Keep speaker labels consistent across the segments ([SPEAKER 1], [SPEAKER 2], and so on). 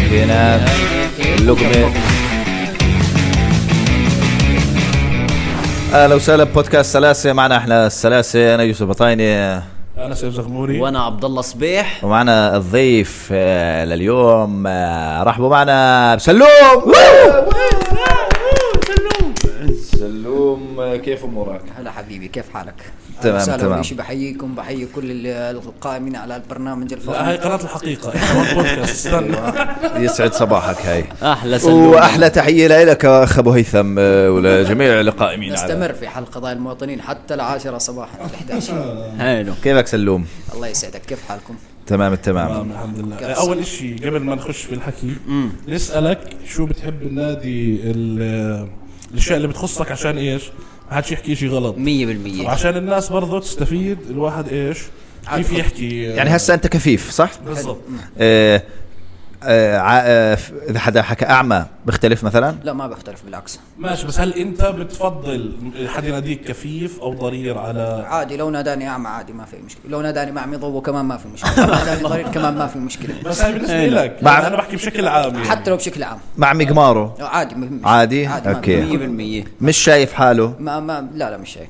[SPEAKER 1] هنا اللقمة اهلا وسهلا بودكاست سلاسة معنا احنا السلاسة انا يوسف بطاينة
[SPEAKER 2] انا سيف زغموري
[SPEAKER 3] وانا عبد الله صبيح
[SPEAKER 1] ومعنا الضيف آه، لليوم آه، رحبوا معنا بسلوم سلوم آه، كيف امورك؟
[SPEAKER 3] هلا حبيبي كيف حالك؟
[SPEAKER 1] تمام،
[SPEAKER 3] أهلا وسهلا
[SPEAKER 1] تمام.
[SPEAKER 3] أول شيء بحييكم بحيي كل ال- القائمين على البرنامج
[SPEAKER 2] لا هاي
[SPEAKER 3] الفضل
[SPEAKER 2] قناة الحقيقة إحنا بودكاست استنى
[SPEAKER 1] يسعد صباحك هاي
[SPEAKER 3] احلى
[SPEAKER 1] واحلى تحيه لك اخ ابو هيثم آه، ولجميع القائمين على
[SPEAKER 3] نستمر في حل قضايا المواطنين حتى العاشرة صباحا في 11
[SPEAKER 4] حلو
[SPEAKER 1] كيفك سلوم؟
[SPEAKER 3] الله يسعدك كيف حالكم؟
[SPEAKER 1] تمام التمام
[SPEAKER 2] تمام الحمد لله أول إشي قبل ما نخش في الحكي نسألك شو بتحب النادي ال- الأشياء اللي بتخصك عشان إيش؟ ما حدش يحكي إشي غلط
[SPEAKER 3] 100%
[SPEAKER 2] وعشان الناس برضه تستفيد الواحد إيش؟ كيف يحكي
[SPEAKER 1] يعني هسه انت كفيف صح؟
[SPEAKER 2] بالضبط
[SPEAKER 1] آه، آه، ع- آه، ف- اذا حدا حكى اعمى بيختلف مثلا؟
[SPEAKER 3] لا ما بختلف بالعكس
[SPEAKER 2] ماشي بس هل أنت بتفضل حد يناديك كفيف أو ضرير على
[SPEAKER 3] عادي لو ناداني اعمى عادي ما في مشكله لو ناداني معمي ضوء كمان ما في مشكله لو ناداني ضرير كمان ما في مشكله
[SPEAKER 2] بس هاي بالنسبة لك يعني
[SPEAKER 1] مع-
[SPEAKER 2] أنا بحكي بشكل عام يعني.
[SPEAKER 3] حتى لو بشكل عام
[SPEAKER 1] مع مقماره
[SPEAKER 3] عادي ما في مشكلة.
[SPEAKER 1] عادي؟
[SPEAKER 3] ما في-
[SPEAKER 1] أوكي.
[SPEAKER 4] 100%
[SPEAKER 1] مش شايف حاله
[SPEAKER 3] ما ما لا لا مش شيء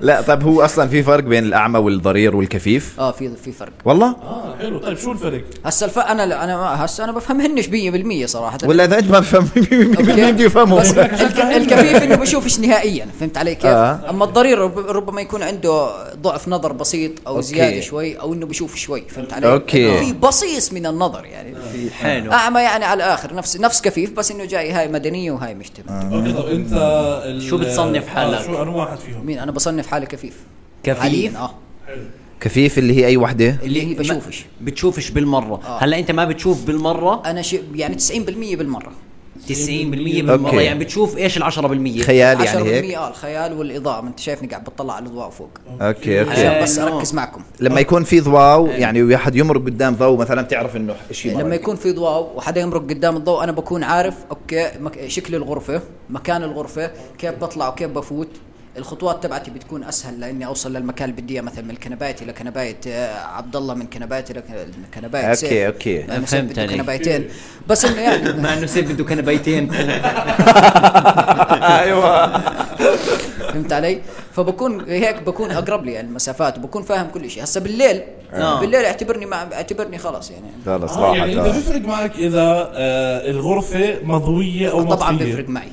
[SPEAKER 1] لا طب هو اصلا في فرق بين الاعمى والضرير والكفيف
[SPEAKER 3] اه في في فرق
[SPEAKER 1] والله
[SPEAKER 2] آه حلو طيب شو الفرق؟
[SPEAKER 3] هسه الف... انا لا انا ما- هسه انا بفهمهنش 100% صراحه
[SPEAKER 1] ولا اذا انت ما بفهم مين بده يفهمه
[SPEAKER 3] بس الك- الكفيف انه بشوفش نهائيا فهمت علي كيف؟
[SPEAKER 1] آه.
[SPEAKER 3] اما الضرير رب- ربما يكون عنده ضعف نظر بسيط او
[SPEAKER 1] أوكي.
[SPEAKER 3] زياده شوي او انه بشوف شوي فهمت علي؟
[SPEAKER 1] أوكي.
[SPEAKER 3] إنه في بصيص من النظر يعني في
[SPEAKER 4] حلو
[SPEAKER 3] اعمى يعني على الاخر نفس نفس كفيف بس انه جاي هاي مدنيه وهاي
[SPEAKER 1] آه.
[SPEAKER 3] مجتمع
[SPEAKER 2] اوكي طب انت ال-
[SPEAKER 4] شو بتصنف حالك؟
[SPEAKER 2] آه، شو انا واحد فيهم؟
[SPEAKER 3] مين انا بصنف حالي كفيف
[SPEAKER 4] كفيف؟
[SPEAKER 3] حاليا اه
[SPEAKER 1] كفيف اللي هي اي وحده
[SPEAKER 3] اللي هي
[SPEAKER 4] ما-
[SPEAKER 3] بشوفش
[SPEAKER 4] بتشوفش بالمره آه. هلا انت ما بتشوف بالمره 90%
[SPEAKER 3] انا شيء يعني 90% بالمره
[SPEAKER 4] بالمره
[SPEAKER 1] أوكي.
[SPEAKER 4] يعني بتشوف ايش ال 10%
[SPEAKER 1] خيال
[SPEAKER 3] 10%
[SPEAKER 1] يعني هيك
[SPEAKER 3] اه الخيال والاضاءه ما انت شايفني قاعد بطلع على الاضواء فوق
[SPEAKER 1] اوكي اوكي
[SPEAKER 3] عشان بس
[SPEAKER 4] حلو.
[SPEAKER 3] اركز معكم
[SPEAKER 1] لما يكون في ضواو يعني واحد يمر قدام ضوء مثلا تعرف انه شيء مرق.
[SPEAKER 3] آه. إيه، لما يكون في ضوء وحدا يمرق قدام الضوء انا بكون عارف اوكي مك... شكل الغرفه مكان الغرفه كيف بطلع وكيف بفوت الخطوات تبعتي بتكون اسهل لاني اوصل للمكان اللي بدي اياه مثلا من كنبايتي لكنبايه آه، عبد الله من كنبايتي لكنبايه
[SPEAKER 1] أوكي، أوكي.
[SPEAKER 3] انا
[SPEAKER 4] فهمت
[SPEAKER 3] فهمت
[SPEAKER 4] عليك.
[SPEAKER 3] كنبايتين بس انه يعني
[SPEAKER 4] مع انه سيف بده كنبايتين
[SPEAKER 3] آه،
[SPEAKER 1] ايوه
[SPEAKER 3] فهمت علي؟ فبكون هيك بكون اقرب لي يعني المسافات وبكون فاهم كل شيء هسه بالليل
[SPEAKER 4] آه.
[SPEAKER 3] بالليل اعتبرني مع... اعتبرني خلاص يعني
[SPEAKER 1] خلص
[SPEAKER 2] آه يعني انت
[SPEAKER 1] راحت
[SPEAKER 2] بيفرق معك اذا آه الغرفه مضويه او
[SPEAKER 3] طبعا
[SPEAKER 2] مطفيه
[SPEAKER 3] بيفرق معي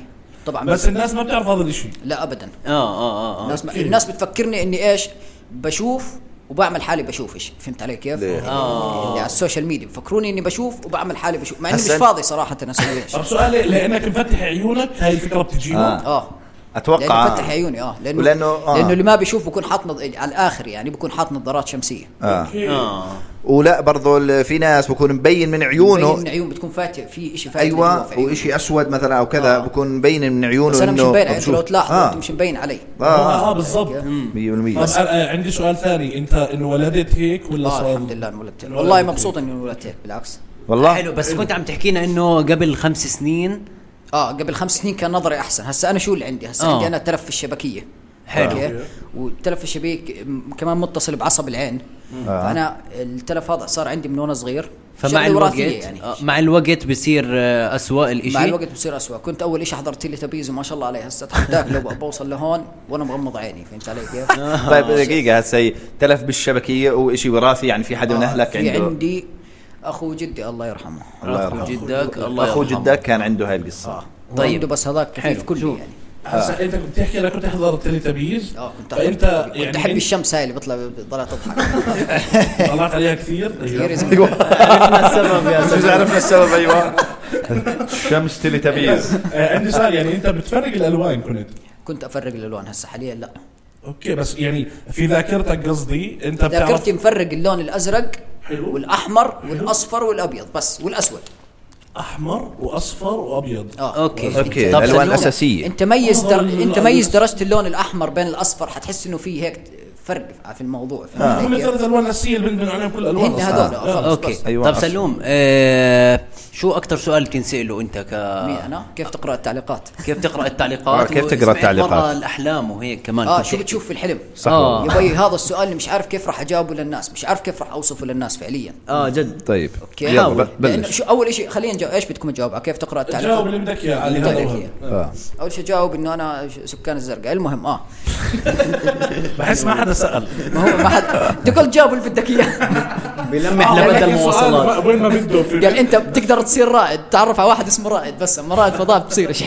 [SPEAKER 3] طبعا
[SPEAKER 2] بس
[SPEAKER 3] بيفرق.
[SPEAKER 2] الناس ما بتعرف هذا الشيء
[SPEAKER 3] لا ابدا
[SPEAKER 4] اه اه اه, آه.
[SPEAKER 3] الناس ما الناس بتفكرني اني ايش بشوف وبعمل حالي بشوفش فهمت علي كيف؟
[SPEAKER 1] ليه؟
[SPEAKER 3] آه. يعني على السوشيال ميديا بفكروني اني بشوف وبعمل حالي بشوف مع اني مش
[SPEAKER 1] هسا-
[SPEAKER 3] فاضي صراحه انا اسوي ايش
[SPEAKER 2] طب سؤالي لانك مفتح عيونك هاي الفكره بتجيهم
[SPEAKER 1] آه.
[SPEAKER 2] آه.
[SPEAKER 3] اه
[SPEAKER 1] اتوقع
[SPEAKER 3] لانه فتح عيوني اه لانه
[SPEAKER 1] ولأنه- آه.
[SPEAKER 3] لانه اللي ما بيشوف بكون حاط نظ... على الاخر يعني بكون حاط نظارات شمسيه
[SPEAKER 1] اه
[SPEAKER 3] آه.
[SPEAKER 4] اه
[SPEAKER 1] ولا برضو ال- في ناس بكون مبين من
[SPEAKER 3] عيونه
[SPEAKER 1] عيونه
[SPEAKER 3] عيون بتكون فاتح في شيء فاتح جوا
[SPEAKER 1] ايوه
[SPEAKER 3] في عيونه.
[SPEAKER 1] وإشي اسود مثلا او كذا
[SPEAKER 3] آه.
[SPEAKER 1] بكون مبين من عيونه
[SPEAKER 3] بس انا مش
[SPEAKER 1] إنه
[SPEAKER 3] مبين انت
[SPEAKER 1] مبسوط.
[SPEAKER 3] لو آه. تلاحظوا انت
[SPEAKER 1] اه
[SPEAKER 3] مش مبين علي
[SPEAKER 2] اه,
[SPEAKER 1] اه
[SPEAKER 2] بالضبط مم.
[SPEAKER 1] 100%
[SPEAKER 2] طب
[SPEAKER 1] بس
[SPEAKER 2] آه عندي سؤال ثاني انت انولدت هيك ولا
[SPEAKER 3] اه
[SPEAKER 2] صار
[SPEAKER 3] الحمد لله انولدت والله مبسوط اني انولدت هيك بالعكس
[SPEAKER 1] والله
[SPEAKER 4] حلو بس كنت عم تحكينا انه قبل خمس سنين
[SPEAKER 3] اه قبل خمس سنين كان نظري احسن هسا انا شو اللي عندي هسا
[SPEAKER 4] آه.
[SPEAKER 3] عندي انا تلف الشبكيه
[SPEAKER 4] حلو.
[SPEAKER 3] أوكي؟ والتلف الشبكي م- كمان متصل بعصب العين فانا التلف هذا صار عندي من وانا صغير
[SPEAKER 4] فمع
[SPEAKER 3] شغلة
[SPEAKER 4] الوقت
[SPEAKER 3] وراثية يعني
[SPEAKER 4] آه، مع الوقت بصير آه، اسوء الاشي
[SPEAKER 3] مع الوقت بصير اسوء كنت اول شيء حضرت لي تبيز وما شاء الله عليه هسه اتحداك لو بوصل لهون وانا مغمض عيني فهمت علي كيف؟
[SPEAKER 1] طيب
[SPEAKER 3] آه.
[SPEAKER 1] دقيقة هسه هي تلف بالشبكية وإشي وراثي يعني في حدا من
[SPEAKER 3] آه،
[SPEAKER 1] أهلك
[SPEAKER 3] في
[SPEAKER 1] عنده
[SPEAKER 3] عندي اخو جدي الله يرحمه
[SPEAKER 1] الله
[SPEAKER 4] اخو
[SPEAKER 1] يرحمه.
[SPEAKER 4] جدك الله
[SPEAKER 1] أخو
[SPEAKER 4] يرحمه.
[SPEAKER 1] جدك كان عنده هاي القصة
[SPEAKER 4] طيب.
[SPEAKER 3] طيب بس هذاك كيف
[SPEAKER 4] حلو.
[SPEAKER 3] كله
[SPEAKER 4] شوف.
[SPEAKER 3] يعني
[SPEAKER 2] آه. هسا انت كنت تحكي انا كنت احضر التليتابيز
[SPEAKER 3] اه
[SPEAKER 4] طيب،
[SPEAKER 3] كنت
[SPEAKER 2] فانت
[SPEAKER 3] أحب- كنت
[SPEAKER 2] يعني
[SPEAKER 3] احب
[SPEAKER 2] عندك-
[SPEAKER 3] الشمس هاي اللي بطلع ضلت اضحك
[SPEAKER 2] طلعت عليها كثير
[SPEAKER 3] كثير يا
[SPEAKER 2] أيوة.
[SPEAKER 3] زلمة.
[SPEAKER 4] عرفنا السبب يا
[SPEAKER 1] بس عرفنا السبب أيوة الشمس تلي تبيز
[SPEAKER 2] آه عندي سؤال يعني انت بتفرق الالوان كنت
[SPEAKER 3] كنت افرق الالوان هسه حاليا لا
[SPEAKER 2] اوكي بس يعني في ذاكرتك قصدي انت بتعرف
[SPEAKER 3] ذاكرتي مفرق اللون الازرق
[SPEAKER 2] حلو.
[SPEAKER 3] والاحمر والاصفر والابيض بس والاسود
[SPEAKER 2] احمر واصفر وابيض
[SPEAKER 3] اه
[SPEAKER 4] اوكي
[SPEAKER 1] أوكي،
[SPEAKER 4] طب
[SPEAKER 1] الألوان
[SPEAKER 4] سلوم.
[SPEAKER 1] أساسية.
[SPEAKER 3] انت ميز در...
[SPEAKER 2] أفضل من
[SPEAKER 3] انت ميز
[SPEAKER 2] الأبيض.
[SPEAKER 3] درجه اللون الاحمر بين الاصفر حتحس انه في هيك فرق في الموضوع فهمت
[SPEAKER 2] هم
[SPEAKER 3] علي كيف؟
[SPEAKER 2] ثلاث الوان نسيه اللي بنبنوا عليهم كل الالوان
[SPEAKER 3] هن
[SPEAKER 2] أصلاً.
[SPEAKER 3] آه. هذول آه، خلص،
[SPEAKER 4] اوكي
[SPEAKER 3] بس.
[SPEAKER 1] أيوة،
[SPEAKER 4] طب
[SPEAKER 1] أصلاً.
[SPEAKER 4] سلوم آه، شو اكثر سؤال تنساله انت ك
[SPEAKER 3] مي انا
[SPEAKER 2] آه.
[SPEAKER 3] كيف تقرا التعليقات
[SPEAKER 4] كيف تقرا التعليقات
[SPEAKER 1] آه، كيف تقرأ
[SPEAKER 4] وسمعت
[SPEAKER 1] التعليقات؟
[SPEAKER 4] مرة الاحلام وهيك كمان
[SPEAKER 3] اه
[SPEAKER 4] كنت
[SPEAKER 3] شو
[SPEAKER 4] تحكي.
[SPEAKER 3] بتشوف في الحلم
[SPEAKER 1] صح
[SPEAKER 4] آه.
[SPEAKER 1] والله.
[SPEAKER 3] يا بي هذا السؤال اللي مش عارف كيف راح اجاوبه للناس مش عارف كيف راح اوصفه للناس فعليا
[SPEAKER 4] اه جد
[SPEAKER 1] طيب
[SPEAKER 3] اوكي
[SPEAKER 1] يلا
[SPEAKER 3] حاول
[SPEAKER 1] ب-
[SPEAKER 3] لانه
[SPEAKER 1] بلش
[SPEAKER 3] شو اول شيء خلينا نجاوب ايش بدكم تجاوب على كيف تقرا
[SPEAKER 2] جاوب
[SPEAKER 3] التعليقات
[SPEAKER 2] اللي بدك اياه علي هذا
[SPEAKER 3] بدك
[SPEAKER 2] وهذا.
[SPEAKER 3] إياه.
[SPEAKER 1] آه.
[SPEAKER 3] اول شيء جاوب انه انا ش- سكان الزرقاء المهم اه
[SPEAKER 2] بحس ما حدا سال
[SPEAKER 3] ما هو ما حد بدك قلت جاوب اللي بدك اياه
[SPEAKER 4] بلمح
[SPEAKER 3] آه،
[SPEAKER 4] لبدل
[SPEAKER 3] لكن
[SPEAKER 4] المواصلات
[SPEAKER 2] وين ما بده في
[SPEAKER 3] قال انت بتقدر تصير رائد تعرف على واحد اسمه رائد بس اما رائد فضاء بتصير ايش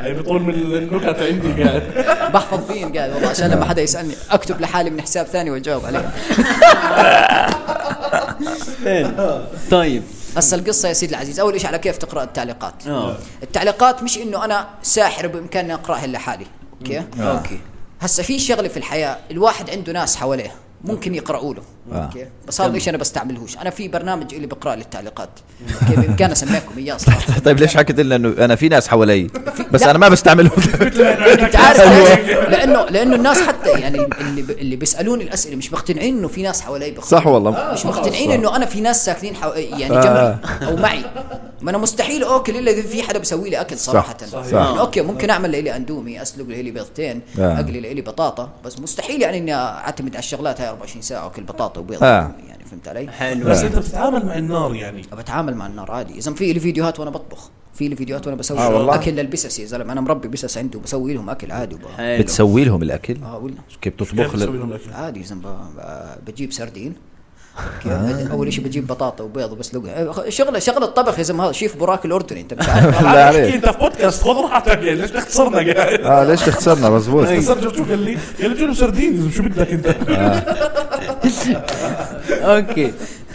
[SPEAKER 2] هي بطول من النكت عندي قاعد
[SPEAKER 3] بحفظ دين قال والله عشان لما حدا يسالني اكتب لحالي من حساب ثاني واجاوب عليه
[SPEAKER 4] طيب
[SPEAKER 3] هسا القصه يا سيدي العزيز اول شيء على كيف تقرا التعليقات
[SPEAKER 4] آه.
[SPEAKER 3] التعليقات مش انه انا ساحر بامكاني اقراها لحالي اوكي
[SPEAKER 4] اوكي
[SPEAKER 3] هسا في شغله في الحياه الواحد عنده ناس حواليه ممكن يقراوا له
[SPEAKER 1] آه.
[SPEAKER 3] اوكي بس هذا الشيء انا بستعملهوش انا في برنامج اللي بقرا لي التعليقات اوكي بامكاني اسميكم اياه صراحه
[SPEAKER 1] طيب ليش حكيت لنا انه انا في ناس حوالي بس انا ما بستعملهم
[SPEAKER 3] انت عارف ليش؟ لانه لانه الناس حتى يعني اللي ب- اللي بيسالوني الاسئله مش مقتنعين انه في ناس حوالي بيقرأوا.
[SPEAKER 1] صح آه. والله
[SPEAKER 3] مش مقتنعين انه انا في ناس ساكنين حو... يعني جنبي او معي ما انا مستحيل اكل الا اذا في حدا بيسوي لي اكل صراحه
[SPEAKER 1] صحيح.
[SPEAKER 3] يعني اوكي ممكن اعمل لي اندومي اسلق لي بيضتين
[SPEAKER 1] آه.
[SPEAKER 3] اقلي لي بطاطا بس مستحيل يعني اني اعتمد على الشغلات هاي 24 ساعه اكل بطاطا وبيض
[SPEAKER 1] آه.
[SPEAKER 3] وأندومي، يعني فهمت علي؟
[SPEAKER 4] حلو
[SPEAKER 2] بس انت بتتعامل مع النار يعني
[SPEAKER 3] بتعامل مع النار عادي اذا في لي فيديوهات وانا بطبخ في لي فيديوهات وانا بسوي
[SPEAKER 1] آه والله.
[SPEAKER 3] اكل للبسس يا زلمه انا مربي بسس عندي وبسوي لهم اكل عادي وب...
[SPEAKER 4] حلو
[SPEAKER 1] بتسوي لهم الاكل
[SPEAKER 3] اه ولا
[SPEAKER 1] كيف
[SPEAKER 2] كيف
[SPEAKER 1] تطبخ
[SPEAKER 2] بتسوي
[SPEAKER 1] لل...
[SPEAKER 2] لهم الاكل
[SPEAKER 3] عادي يا زلمه ب- ب- بجيب سردين أوكي،
[SPEAKER 2] آه.
[SPEAKER 3] اول شيء بجيب بطاطا وبيض وبسلقها شغله شغله الطبخ يا زلمه هذا شيف براك الاردني انت مش عارف
[SPEAKER 1] بالله
[SPEAKER 2] عم
[SPEAKER 1] عليك.
[SPEAKER 2] احكي انت في بودكاست خذ راحتك يعني ليش تختصرنا قاعد
[SPEAKER 3] آه.
[SPEAKER 1] اه ليش تخسرنا مزبوط
[SPEAKER 3] إيه.
[SPEAKER 2] صار شفت شو قال لي؟ قال لي جيب سردين شو بدك انت؟
[SPEAKER 3] آه.
[SPEAKER 4] اوكي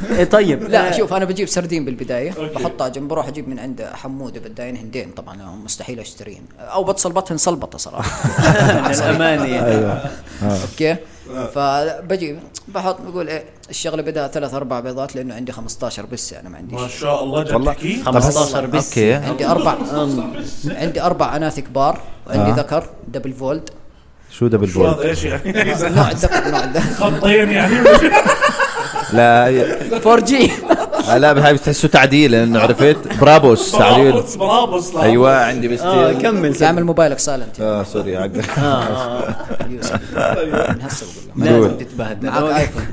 [SPEAKER 4] إيه، طيب
[SPEAKER 3] لا شوف انا بجيب سردين بالبدايه بحطها جنب بروح اجيب من عند حموده بداين هندين طبعا هم مستحيل اشتريهم او بتصلبطهن صلبطه صراحه
[SPEAKER 1] أيوة.
[SPEAKER 4] الامانه
[SPEAKER 2] آه.
[SPEAKER 3] اوكي فبجيب بحط بقول ايه الشغله بدها ثلاث اربع بيضات لانه عندي 15 بس انا ما عنديش
[SPEAKER 2] ما شاء الله جد
[SPEAKER 1] والله.
[SPEAKER 2] تحكي
[SPEAKER 1] طب
[SPEAKER 4] 15 بس
[SPEAKER 1] اوكي
[SPEAKER 3] عندي اربع عندي اربع اناث كبار
[SPEAKER 2] آه.
[SPEAKER 3] عندي ذكر دبل فولد
[SPEAKER 1] شو دبل
[SPEAKER 2] شو هذا
[SPEAKER 1] بول
[SPEAKER 2] ايش يعني؟
[SPEAKER 3] نوع الذكر نوع الذكر
[SPEAKER 2] خطين يعني
[SPEAKER 1] لا ي-
[SPEAKER 3] 4 جي
[SPEAKER 1] لا هاي بتحسه تعديل لانه عرفت برابوس تعديل
[SPEAKER 2] برابوس برابوس لا.
[SPEAKER 3] أيوة.
[SPEAKER 1] ايوه عندي
[SPEAKER 3] آه،
[SPEAKER 4] اه
[SPEAKER 1] بستيل
[SPEAKER 4] كمل
[SPEAKER 3] اعمل موبايلك سايلنت
[SPEAKER 1] اه سوري عقل
[SPEAKER 3] آه. يوسف من هسه بقول لك
[SPEAKER 4] لازم تتبهدل
[SPEAKER 3] معك
[SPEAKER 4] أوكي.
[SPEAKER 3] ايفون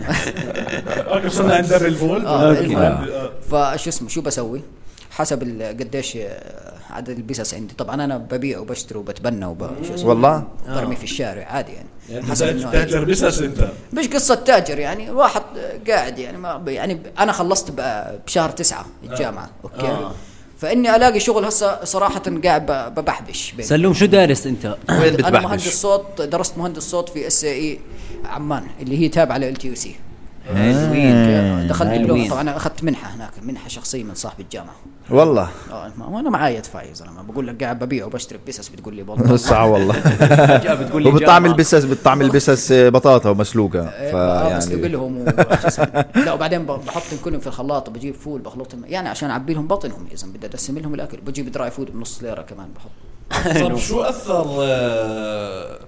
[SPEAKER 2] اوكي وصلنا عند درب الفول
[SPEAKER 3] آه،
[SPEAKER 2] عندي-
[SPEAKER 3] المهم.
[SPEAKER 2] آه.
[SPEAKER 3] فشو اسمه شو بسوي؟ حسب ال- قديش آه، عدد البسس عندي طبعا انا ببيع وبشتري وبتبنى وب شو اسمه
[SPEAKER 1] والله
[SPEAKER 3] برمي في الشارع عادي يعني
[SPEAKER 2] يعني
[SPEAKER 3] حسب
[SPEAKER 2] تاج-
[SPEAKER 3] النوع.
[SPEAKER 2] تاجر بسس انت
[SPEAKER 3] مش قصة تاجر يعني واحد قاعد يعني ما ب- يعني ب- أنا خلصت ب- بشهر تسعة الجامعة أوكي
[SPEAKER 4] آه.
[SPEAKER 3] فإني ألاقي شغل هسه صراحة قاعد ب- ببحبش بين
[SPEAKER 4] سلوم شو دارس انت؟
[SPEAKER 1] وين
[SPEAKER 3] انا مهندس
[SPEAKER 1] بتبحبش؟
[SPEAKER 3] صوت درست مهندس صوت في اس اي عمان اللي هي تابعه لل تي سي
[SPEAKER 4] حلوين
[SPEAKER 3] دخلت اللغه
[SPEAKER 4] حلوين.
[SPEAKER 3] طبعا انا اخذت منحه هناك منحه شخصيه من صاحب الجامعه
[SPEAKER 1] والله
[SPEAKER 3] اه ما- وانا معايا ادفع يا زلمه بقول لك قاعد ببيع وبشتري بسس بتقول لي والله
[SPEAKER 1] صح والله
[SPEAKER 4] فجأة بتقول لي
[SPEAKER 1] وبطعم
[SPEAKER 4] جامعة.
[SPEAKER 1] البسس بطعم البسس آه، بطاطا يعني ومسلوقه
[SPEAKER 3] آه، بس
[SPEAKER 1] فيعني
[SPEAKER 3] لهم وش اسمه. لا وبعدين ب- بحطهم كلهم في الخلاط وبجيب فول بخلطهم يعني عشان اعبي لهم بطنهم اذا بدي ادسم لهم الاكل بجيب دراي فود بنص ليره كمان بحط أيوة.
[SPEAKER 2] طب شو اثر آه،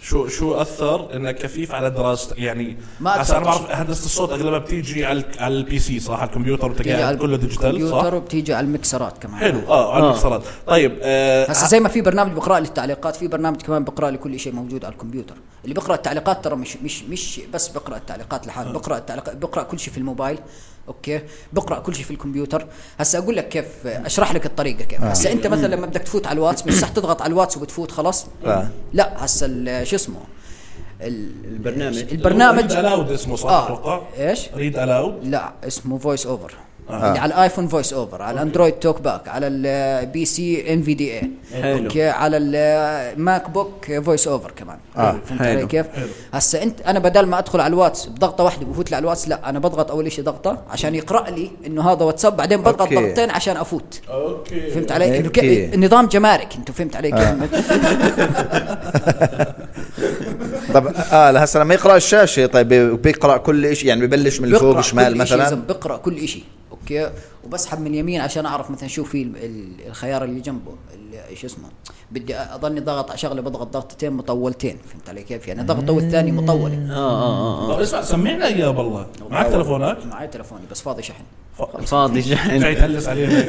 [SPEAKER 2] شو شو اثر انك كفيف على دراستك يعني
[SPEAKER 3] ما
[SPEAKER 2] ما انا
[SPEAKER 3] أثر.
[SPEAKER 2] بعرف هندسه الصوت اغلبها بتيجي على ال- على البي سي صح على الكمبيوتر وانت
[SPEAKER 3] بتيجي على
[SPEAKER 2] قاعد كله ديجيتال صح
[SPEAKER 3] الكمبيوتر وبتيجي على المكسرات كمان
[SPEAKER 2] حلو اه على المكسرات طيب آه،
[SPEAKER 3] هسا زي ما في برنامج بقرا لي التعليقات في برنامج كمان بقرا لي كل شيء موجود على الكمبيوتر اللي بقرا التعليقات ترى مش مش مش بس بقرا التعليقات لحاله بقرا التعليقات بقرا كل شيء في الموبايل اوكي بقرا كل شيء في الكمبيوتر هسا اقول لك كيف اشرح لك الطريقه كيف هسا انت مثلا لما بدك تفوت على الواتس مش صح تضغط على الواتس وبتفوت خلاص
[SPEAKER 1] آه.
[SPEAKER 3] لا هسا ال- شو اسمه ال-
[SPEAKER 4] البرنامج
[SPEAKER 3] البرنامج
[SPEAKER 2] ريد الاود اسمه صح
[SPEAKER 3] آه.
[SPEAKER 2] اتوقع
[SPEAKER 3] إيش؟
[SPEAKER 2] ريد الاود
[SPEAKER 3] لا اسمه فويس اوفر اللي على الايفون فويس اوفر على الاندرويد توك باك على البي سي ان في دي اي
[SPEAKER 4] حلو.
[SPEAKER 3] اوكي على الماك بوك فويس اوفر كمان
[SPEAKER 1] آه،
[SPEAKER 3] فهمت علي
[SPEAKER 4] حلو.
[SPEAKER 3] كيف؟ هسا انت انا بدل ما ادخل على الواتس بضغطه واحده بفوت لي على الواتس لا انا بضغط اول شيء ضغطه عشان يقرا لي انه هذا واتساب بعدين بضغط
[SPEAKER 1] أوكي.
[SPEAKER 3] ضغطتين عشان افوت
[SPEAKER 2] اوكي
[SPEAKER 3] فهمت علي؟ إنه
[SPEAKER 1] أوكي.
[SPEAKER 3] ك- النظام جمارك انتم فهمت علي كيف؟
[SPEAKER 1] طب اه لا، هسه لما يقرا الشاشه طيب بي- بيقرا كل شيء يعني ببلش من
[SPEAKER 3] بقرأ
[SPEAKER 1] فوق
[SPEAKER 3] كل
[SPEAKER 1] شمال
[SPEAKER 3] إشي يا زلمة،
[SPEAKER 1] مثلا
[SPEAKER 3] بقرا كل شيء اوكي وبسحب من اليمين عشان اعرف مثلا شو في ال- ال- الخيار اللي جنبه اللي ايش اسمه بدي اضلني ضغط على شغله بضغط ضغطتين مطولتين فهمت علي كيف يعني ضغطه والثاني مطوله
[SPEAKER 4] اه اه
[SPEAKER 3] آه.
[SPEAKER 2] طب اسمع سمعنا اياه بالله معك تلفونك
[SPEAKER 3] معي تلفوني بس فاضي شحن
[SPEAKER 4] اه فاضي
[SPEAKER 2] جاي
[SPEAKER 4] شحن
[SPEAKER 2] تهلس علينا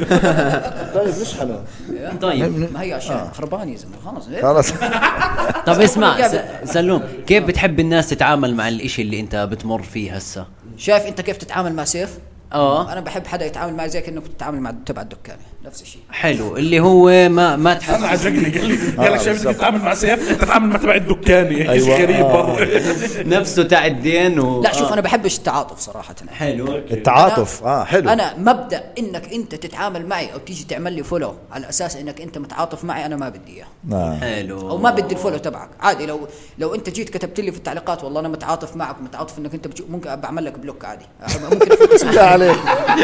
[SPEAKER 5] طيب نشحنه
[SPEAKER 4] طيب
[SPEAKER 3] ما هي عشان خربان يا زلمه خلص
[SPEAKER 1] خلاص
[SPEAKER 4] طب اسمع س- سلوم كيف بتحب الناس تتعامل مع الاشي اللي انت بتمر فيه هسه
[SPEAKER 3] شايف انت كيف تتعامل مع سيف
[SPEAKER 4] آه.
[SPEAKER 3] انا بحب حدا يتعامل معي زي كانك بتتعامل مع تبع الدكان نفس الشيء
[SPEAKER 4] حلو اللي هو ما ما تحس
[SPEAKER 2] انا عجبني قال لي قال لك شايف
[SPEAKER 1] بالظبط.
[SPEAKER 2] انت تتعامل مع سيف انت تتعامل مع تبع الدكاني ايش
[SPEAKER 1] آه، أيوة.
[SPEAKER 2] غريب
[SPEAKER 1] آه.
[SPEAKER 2] برضه
[SPEAKER 4] نفسه تاع الدين و
[SPEAKER 3] لا شوف
[SPEAKER 4] آه.
[SPEAKER 3] انا بحبش التعاطف صراحه
[SPEAKER 4] حلو
[SPEAKER 1] التعاطف اه حلو
[SPEAKER 3] انا مبدا انك انت تتعامل معي او تيجي تعمل لي فولو على اساس انك انت متعاطف معي انا ما بدي اياه
[SPEAKER 1] آه.
[SPEAKER 4] حلو
[SPEAKER 3] او ما بدي الفولو تبعك عادي لو لو انت جيت كتبت لي في التعليقات والله انا متعاطف معك متعاطف انك انت بتشوف ممكن بعمل لك بلوك عادي آه، ممكن أفوت اسمك.
[SPEAKER 1] بالله عليك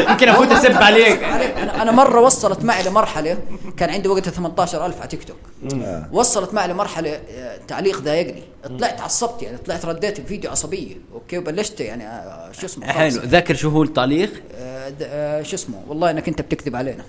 [SPEAKER 4] يمكن افوت اسب عليك
[SPEAKER 3] انا انا مره وصلت معي لمرحله كان عندي وقتها 18000 على تيك توك
[SPEAKER 1] آه.
[SPEAKER 3] وصلت معي لمرحله آه، تعليق ضايقني طلعت عصبت يعني طلعت رديت بفيديو عصبيه اوكي وبلشت يعني آه، شو اسمه خلص.
[SPEAKER 4] حلو ذاكر شو هو التعليق
[SPEAKER 3] آه، د- آه، شو اسمه والله انك انت بتكذب علينا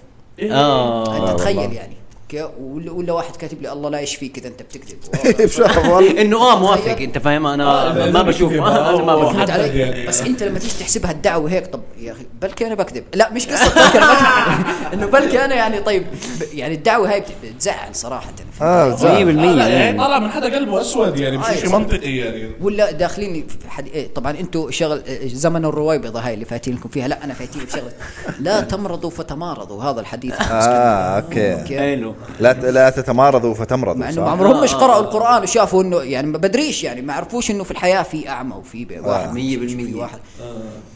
[SPEAKER 4] اه
[SPEAKER 3] انت تخيل يعني اوكي ولا ولا واحد كاتب لي الله لا يشفيك اذا انت بتكذب
[SPEAKER 1] بشرف إيه، والله
[SPEAKER 4] انه اه موافق انت فاهم انا ما بشوف آه، انا ما بشوف
[SPEAKER 3] فهمت
[SPEAKER 2] حدد
[SPEAKER 3] علي؟
[SPEAKER 2] يعني.
[SPEAKER 3] بس انت لما تيجي تحسبها الدعوه هيك طب يا اخي بلكي انا بكذب لا مش قصه بلكي انا بكذب انه بلكي انا يعني طيب ب- يعني الدعوه هاي بت- بتزعل صراحه فهمت
[SPEAKER 1] اه
[SPEAKER 3] علي؟
[SPEAKER 1] زعل.
[SPEAKER 4] 100%
[SPEAKER 2] لا، يعني
[SPEAKER 4] يعني.
[SPEAKER 2] طالع من حدا قلبه اسود يعني مش
[SPEAKER 3] آه،
[SPEAKER 2] شيء
[SPEAKER 3] صح.
[SPEAKER 2] منطقي يعني
[SPEAKER 3] ولا داخلين في حد... إيه طبعا انتم شغل إيه زمن الرويبضه هاي اللي فاتين لكم فيها لا انا فاتيني بشغله لا تمرضوا فتمارضوا هذا الحديث
[SPEAKER 1] اه اوكي
[SPEAKER 4] حلو
[SPEAKER 1] لا ت- لا تتمارضوا فتمرضوا
[SPEAKER 3] مع انه
[SPEAKER 1] صح؟
[SPEAKER 3] ما عمرهم
[SPEAKER 4] آه.
[SPEAKER 3] مش قرأوا القرآن وشافوا انه يعني ما بدريش يعني ما عرفوش انه في الحياة في اعمى وفي
[SPEAKER 1] آه.
[SPEAKER 3] بي- واحد
[SPEAKER 4] مية
[SPEAKER 3] مش-
[SPEAKER 4] بالمية.
[SPEAKER 3] في واحد